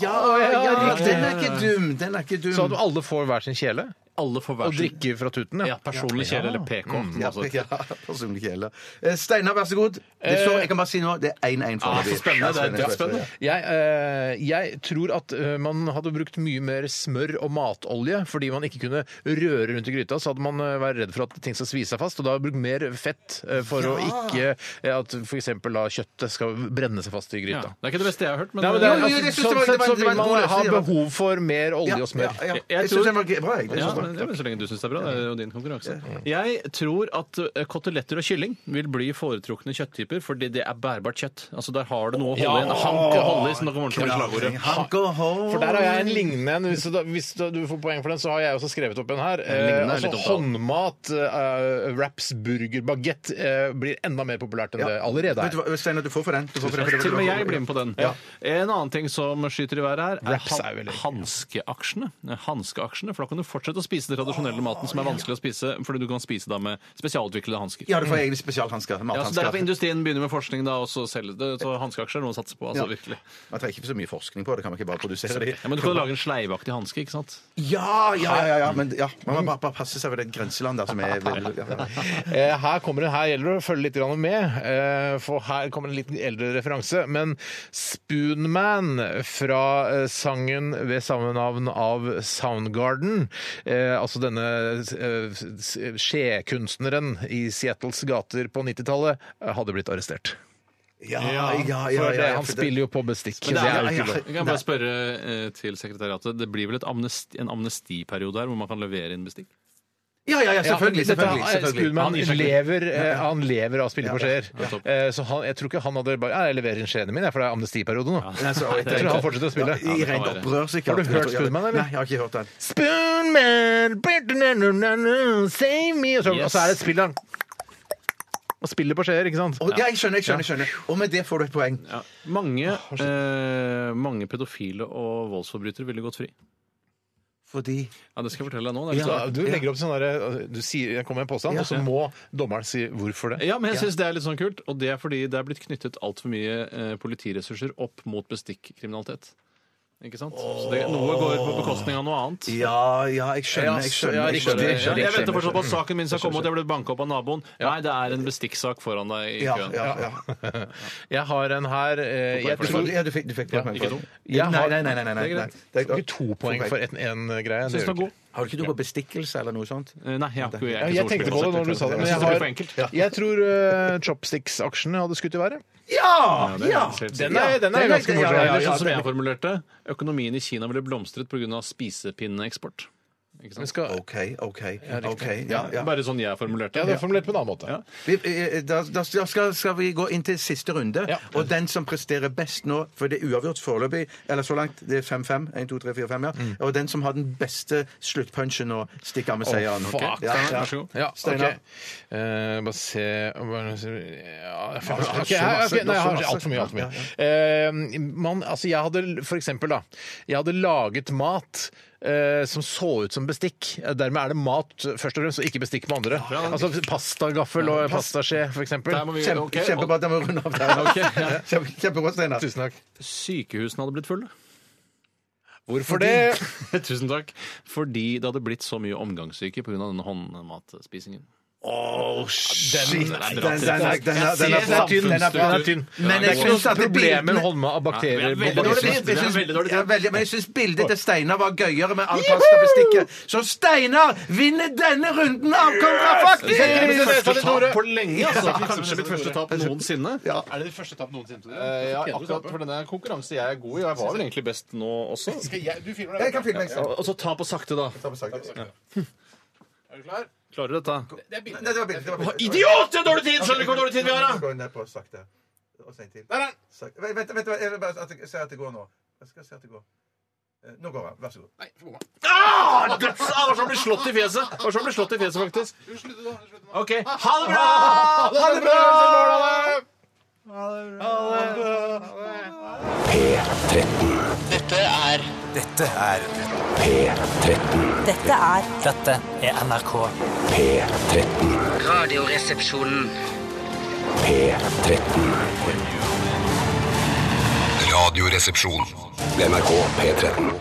[SPEAKER 2] ja,
[SPEAKER 3] sant?
[SPEAKER 2] ja, riktig. Den er ikke dum. Den er ikke dum.
[SPEAKER 1] Så at alle får hver sin kjele
[SPEAKER 3] Alle får hver
[SPEAKER 1] og Mm. drikker fra tuten.
[SPEAKER 3] Ja, personlig kjele eller PK.
[SPEAKER 2] Ja,
[SPEAKER 3] altså.
[SPEAKER 2] ja, personlig kjele. Eh, Steinar, vær så god. Det står, jeg kan bare si nå, det er 1-1 for
[SPEAKER 3] Eh, Ah, så spennende. Det er dødsspennende.
[SPEAKER 1] Jeg, eh, jeg tror at eh, man hadde brukt mye mer smør og matolje fordi man ikke kunne røre rundt i gryta. Så hadde man eh, vært redd for at ting skal svise seg fast, og da brukt mer fett eh, for å ikke eh, at f.eks. la kjøttet skal brenne seg fast i
[SPEAKER 3] Ja.
[SPEAKER 1] gryta.
[SPEAKER 3] Det er ikke det beste jeg har hørt, men
[SPEAKER 1] Nei, men det er,
[SPEAKER 2] Jo, jo,
[SPEAKER 1] altså,
[SPEAKER 2] jeg synes det
[SPEAKER 1] sånn
[SPEAKER 2] var- det
[SPEAKER 1] sett
[SPEAKER 2] var-
[SPEAKER 1] så
[SPEAKER 2] det var
[SPEAKER 1] vil
[SPEAKER 2] en
[SPEAKER 1] man
[SPEAKER 2] god
[SPEAKER 1] ha
[SPEAKER 2] løsning, det var-
[SPEAKER 1] behov for mer olje og smør.
[SPEAKER 2] Ja, ja.
[SPEAKER 3] Jeg- jeg
[SPEAKER 2] Jeg
[SPEAKER 3] tror-
[SPEAKER 2] syns den var bra. Jeg. Det
[SPEAKER 3] Ja,
[SPEAKER 2] synes jeg
[SPEAKER 3] men, ja, men Så lenge du syns det er bra. Det er jo din konkurranse. Jeg tror at eh, koteletter og kylling vil bli foretrukne kjøtttyper fordi det er bærbart kjøtt. Altså Der har du noe å holde i. En hank å holde i. som det kommer til å bli
[SPEAKER 2] var
[SPEAKER 3] slagordet.
[SPEAKER 2] bra. Hank og hår.
[SPEAKER 1] For der har jeg en lignende en. Hvis, du da, hvis du du får poeng for den, så har jeg også skrevet opp en her. Eh,
[SPEAKER 3] lignende er
[SPEAKER 1] altså
[SPEAKER 3] litt opptatt.
[SPEAKER 1] Håndmat, eh, wraps, burger, bagett eh, blir enda mer populært enn det allerede
[SPEAKER 2] Vet du
[SPEAKER 1] er.
[SPEAKER 2] hva, Steinar, du får for den. Du får for den.
[SPEAKER 3] Til og med jeg blir med på den. En annen ting som skyter i været her, er,
[SPEAKER 1] Wraps er
[SPEAKER 3] han-
[SPEAKER 1] veldig-
[SPEAKER 3] hanskeaksjene. Hanskeaksjene, For da kan du fortsette å spise den tradisjonelle maten som er vanskelig å spise, fordi du kan spise da med spesialutviklede hansker.
[SPEAKER 2] Ja, du får egne spesialhansker.
[SPEAKER 3] Ja, så Derfor
[SPEAKER 2] mathansker.
[SPEAKER 3] industrien begynner med forskning da, og så selger det. Så hanskeaksjer er noe å satse på. altså
[SPEAKER 2] Ja.
[SPEAKER 3] virkelig.
[SPEAKER 2] Man trenger ikke så mye forskning på det. Kan man ikke bare produsere de?
[SPEAKER 3] Ja, men du kan jo lage en sleivaktig hanske, ikke sant?
[SPEAKER 2] Ja, ja, ja, ja, men ja, man må bare, bare passe seg ved det grenselandet som er ja.
[SPEAKER 1] Eh, her kommer en, her gjelder det å følge litt grann med, eh, for her kommer en litt eldre referanse. Men Spoonman fra eh, sangen ved samme navn av Soundgarden, eh, altså denne eh, s- skjekunstneren i Seattles gater på 90-tallet, eh, hadde blitt arrestert.
[SPEAKER 2] Ja, ja, ja, ja,
[SPEAKER 1] For det, han
[SPEAKER 2] for det-
[SPEAKER 1] spiller jo på bestikk.
[SPEAKER 3] Men det
[SPEAKER 1] det
[SPEAKER 3] er
[SPEAKER 1] er jo
[SPEAKER 3] jo
[SPEAKER 1] ikke lov.
[SPEAKER 3] Jeg kan bare spørre eh, til sekretariatet. Det blir vel et amnesti, en amnestiperiode her hvor man kan levere inn bestikk?
[SPEAKER 2] Ja, ja, ja, selvfølgelig.
[SPEAKER 1] Dette-
[SPEAKER 2] selvfølgelig, selvfølgelig.
[SPEAKER 1] Skrudman
[SPEAKER 3] Han gir seg ikke.
[SPEAKER 1] lever, eh, han lever av å spille på skjeer.
[SPEAKER 3] ja, topp.
[SPEAKER 1] Eh, Så han, jeg tror ikke han hadde bare Ja, jeg leverer inn skjeene mine, jeg, for det er amnestiperiode nå.
[SPEAKER 2] Nei, så-
[SPEAKER 1] Jeg tror han fortsetter å spille.
[SPEAKER 2] Ja, I rent opprør, sikkert.
[SPEAKER 1] Har du hørt Spoonman, eller?
[SPEAKER 2] Nei, jeg har ikke hørt den.
[SPEAKER 1] Spoonman, ba-da-na-na-na-na, save me Og så,
[SPEAKER 3] Yes.
[SPEAKER 1] og så er det et spill der han og spiller på skjeer, ikke sant?
[SPEAKER 2] Å, ja, jeg skjønner, jeg skjønner. jeg skjønner. Og med det får du et poeng.
[SPEAKER 3] Mange, eh, mange pedofile og voldsforbrytere ville gått fri.
[SPEAKER 2] Fordi
[SPEAKER 3] Ja, Det skal jeg fortelle deg nå.
[SPEAKER 1] Så,
[SPEAKER 3] Ja.
[SPEAKER 1] du legger opp sånn derre Du sier jeg kommer med en påstand, og så må dommeren si hvorfor det.
[SPEAKER 3] Ja, men jeg synes det er litt sånn kult, og det er fordi det er blitt knyttet altfor mye eh, politiressurser opp mot bestikkriminalitet. Ikke sant? Så det, noe går på bekostning av noe annet.
[SPEAKER 2] Ja, ja, jeg skjønner. Jeg
[SPEAKER 1] Ja,
[SPEAKER 2] skjønner, jeg
[SPEAKER 1] riktig.
[SPEAKER 2] skjønner, jeg
[SPEAKER 3] Ja,
[SPEAKER 2] skjønner,
[SPEAKER 3] jeg
[SPEAKER 2] jeg
[SPEAKER 3] venter
[SPEAKER 2] skjønner.
[SPEAKER 3] fortsatt på at saken min skal komme, og jeg ble banka opp av naboen. Nei, det er en bestikksak foran deg i
[SPEAKER 2] Ja,
[SPEAKER 3] køen.
[SPEAKER 2] ja, ja.
[SPEAKER 1] Jeg har en her eh, Jeg
[SPEAKER 2] Du
[SPEAKER 1] tror
[SPEAKER 2] får- ja, du fikk, du fikk poeng
[SPEAKER 3] ikke
[SPEAKER 2] for den.
[SPEAKER 3] to.
[SPEAKER 2] Ja, nei, nei, nei, nei, nei, nei.
[SPEAKER 3] Det er greit.
[SPEAKER 2] Det er-
[SPEAKER 1] ikke to poeng for en, en eh, greie.
[SPEAKER 3] Synes den er
[SPEAKER 1] gjør du ikke.
[SPEAKER 3] god.
[SPEAKER 2] Har du ikke noe på bestikkelse eller noe sånt?
[SPEAKER 3] Eh, Nei, jeg, har ikke- jeg,
[SPEAKER 1] Ja,
[SPEAKER 3] er ikke
[SPEAKER 1] jeg
[SPEAKER 3] så
[SPEAKER 1] tenkte på
[SPEAKER 3] ordspill.
[SPEAKER 1] det når du sa det, men
[SPEAKER 3] Jeg
[SPEAKER 1] jeg,
[SPEAKER 3] synes det blir for enkelt.
[SPEAKER 1] har, jeg tror eh, chopsticks-aksjene hadde skutt i været.
[SPEAKER 2] Ja! ja!
[SPEAKER 1] Den er, den er
[SPEAKER 2] Den er-
[SPEAKER 1] ganske
[SPEAKER 2] ja,
[SPEAKER 1] morsom.
[SPEAKER 2] ja,
[SPEAKER 3] Eller
[SPEAKER 2] ja.
[SPEAKER 3] sånn som jeg formulerte, økonomien i Kina ville blomstret pga. spisepinneeksport. Ikke
[SPEAKER 1] Vi
[SPEAKER 3] sant?
[SPEAKER 1] skal-
[SPEAKER 2] OK, OK. ok, ja, ja.
[SPEAKER 3] Bare sånn jeg formulerte
[SPEAKER 1] Ja, det er formulert på en annen måte.
[SPEAKER 2] Vi, eh, da da skal, skal vi gå inn til siste runde. Og den som presterer best nå, for det er uavgjort foreløpig, eller så langt, det er 5-5. 1, 2, 3, 4, 5, ja. Og den som har den beste sluttpunchen nå, stikker av med seieren.
[SPEAKER 1] Fuck.
[SPEAKER 2] Ok? Ja, ja.
[SPEAKER 1] Ja, ok.
[SPEAKER 2] Steinar.
[SPEAKER 1] Eh, bare se bare se- ja, faen,
[SPEAKER 2] Ja,
[SPEAKER 1] ok,
[SPEAKER 2] så
[SPEAKER 1] her- ok,
[SPEAKER 2] masse,
[SPEAKER 1] Nei, jeg
[SPEAKER 2] så
[SPEAKER 1] har
[SPEAKER 2] masse.
[SPEAKER 1] altfor mye. Alt for mye. Eh, man, altså, jeg hadde for eksempel da, jeg hadde laget mat eh, som så ut som bestikk. Eh, Dermed er det mat først og fremst, og ikke bestikk med andre. Altså pastagaffel og pastaskje, for eksempel.
[SPEAKER 3] Der må vi-
[SPEAKER 2] Kjempe,
[SPEAKER 3] ok, og-
[SPEAKER 2] Kjempebra. Da må vi runde av der.
[SPEAKER 3] Ok, ja.
[SPEAKER 2] Kjempe, kjempebra, Steinar.
[SPEAKER 1] Tusen takk.
[SPEAKER 3] Sykehusene hadde blitt fulle.
[SPEAKER 1] Hvorfor det?
[SPEAKER 3] Tusen takk. Fordi det hadde blitt så mye omgangssyke pga. denne håndmatspisingen.
[SPEAKER 2] Åh, shit! Den er den
[SPEAKER 3] den er bra.
[SPEAKER 2] er- den er- den
[SPEAKER 3] Jeg
[SPEAKER 2] er
[SPEAKER 3] ser
[SPEAKER 2] tynn. Den er- den er
[SPEAKER 3] samfunnsstruktur.
[SPEAKER 2] tynn.
[SPEAKER 3] Ja,
[SPEAKER 2] Men jeg
[SPEAKER 3] det er
[SPEAKER 2] syns at det
[SPEAKER 1] Problemet med
[SPEAKER 2] bildene-
[SPEAKER 1] håndma av bakterier
[SPEAKER 3] Ja, vi er
[SPEAKER 1] på
[SPEAKER 3] veldig
[SPEAKER 2] Jeg
[SPEAKER 1] baksiden.
[SPEAKER 3] dårlig
[SPEAKER 2] synes- jeg synes-
[SPEAKER 3] Det er veldig dårlig.
[SPEAKER 2] ja, veldig, men jeg syns bildet til Steinar var gøyere med all pastabestikket. Så Steinar vinner denne runden av kontrafaktisk!
[SPEAKER 3] på lenge, altså. Kanskje mitt første tap noensinne.
[SPEAKER 1] Er det ditt første tap noensinne?
[SPEAKER 3] Eh, Ja, akkurat for denne konkurransen jeg er god i, og jeg var vel egentlig best nå også.
[SPEAKER 1] du filmer
[SPEAKER 2] Jeg kan filme deg.
[SPEAKER 3] Ja, Og så ta på sakte, da.
[SPEAKER 1] Er du klar?
[SPEAKER 3] Klarer du dette?
[SPEAKER 2] Nei, det var bildet, det var bildet.
[SPEAKER 3] Idiot! Det er dårlig tid! Skjønner du ikke hvor dårlig tid vi har, da?
[SPEAKER 2] Gå ned på sakte. Og så en til. Sakte. Vent, vent, vent, jeg vil bare at jeg- se at det går nå. Jeg skal se at det går. Eh, Nå går han. Vær så god.
[SPEAKER 3] Ah, døds! Ah, Hva som blir slått i fjeset? Hva som blir slått i fjeset, faktisk? OK. Ha det bra!
[SPEAKER 2] Ha det bra!
[SPEAKER 11] Dette er
[SPEAKER 10] Dette er
[SPEAKER 11] Dette er NRK.
[SPEAKER 10] Radioresepsjonen.
[SPEAKER 4] Radioresepsjon. NRK P13.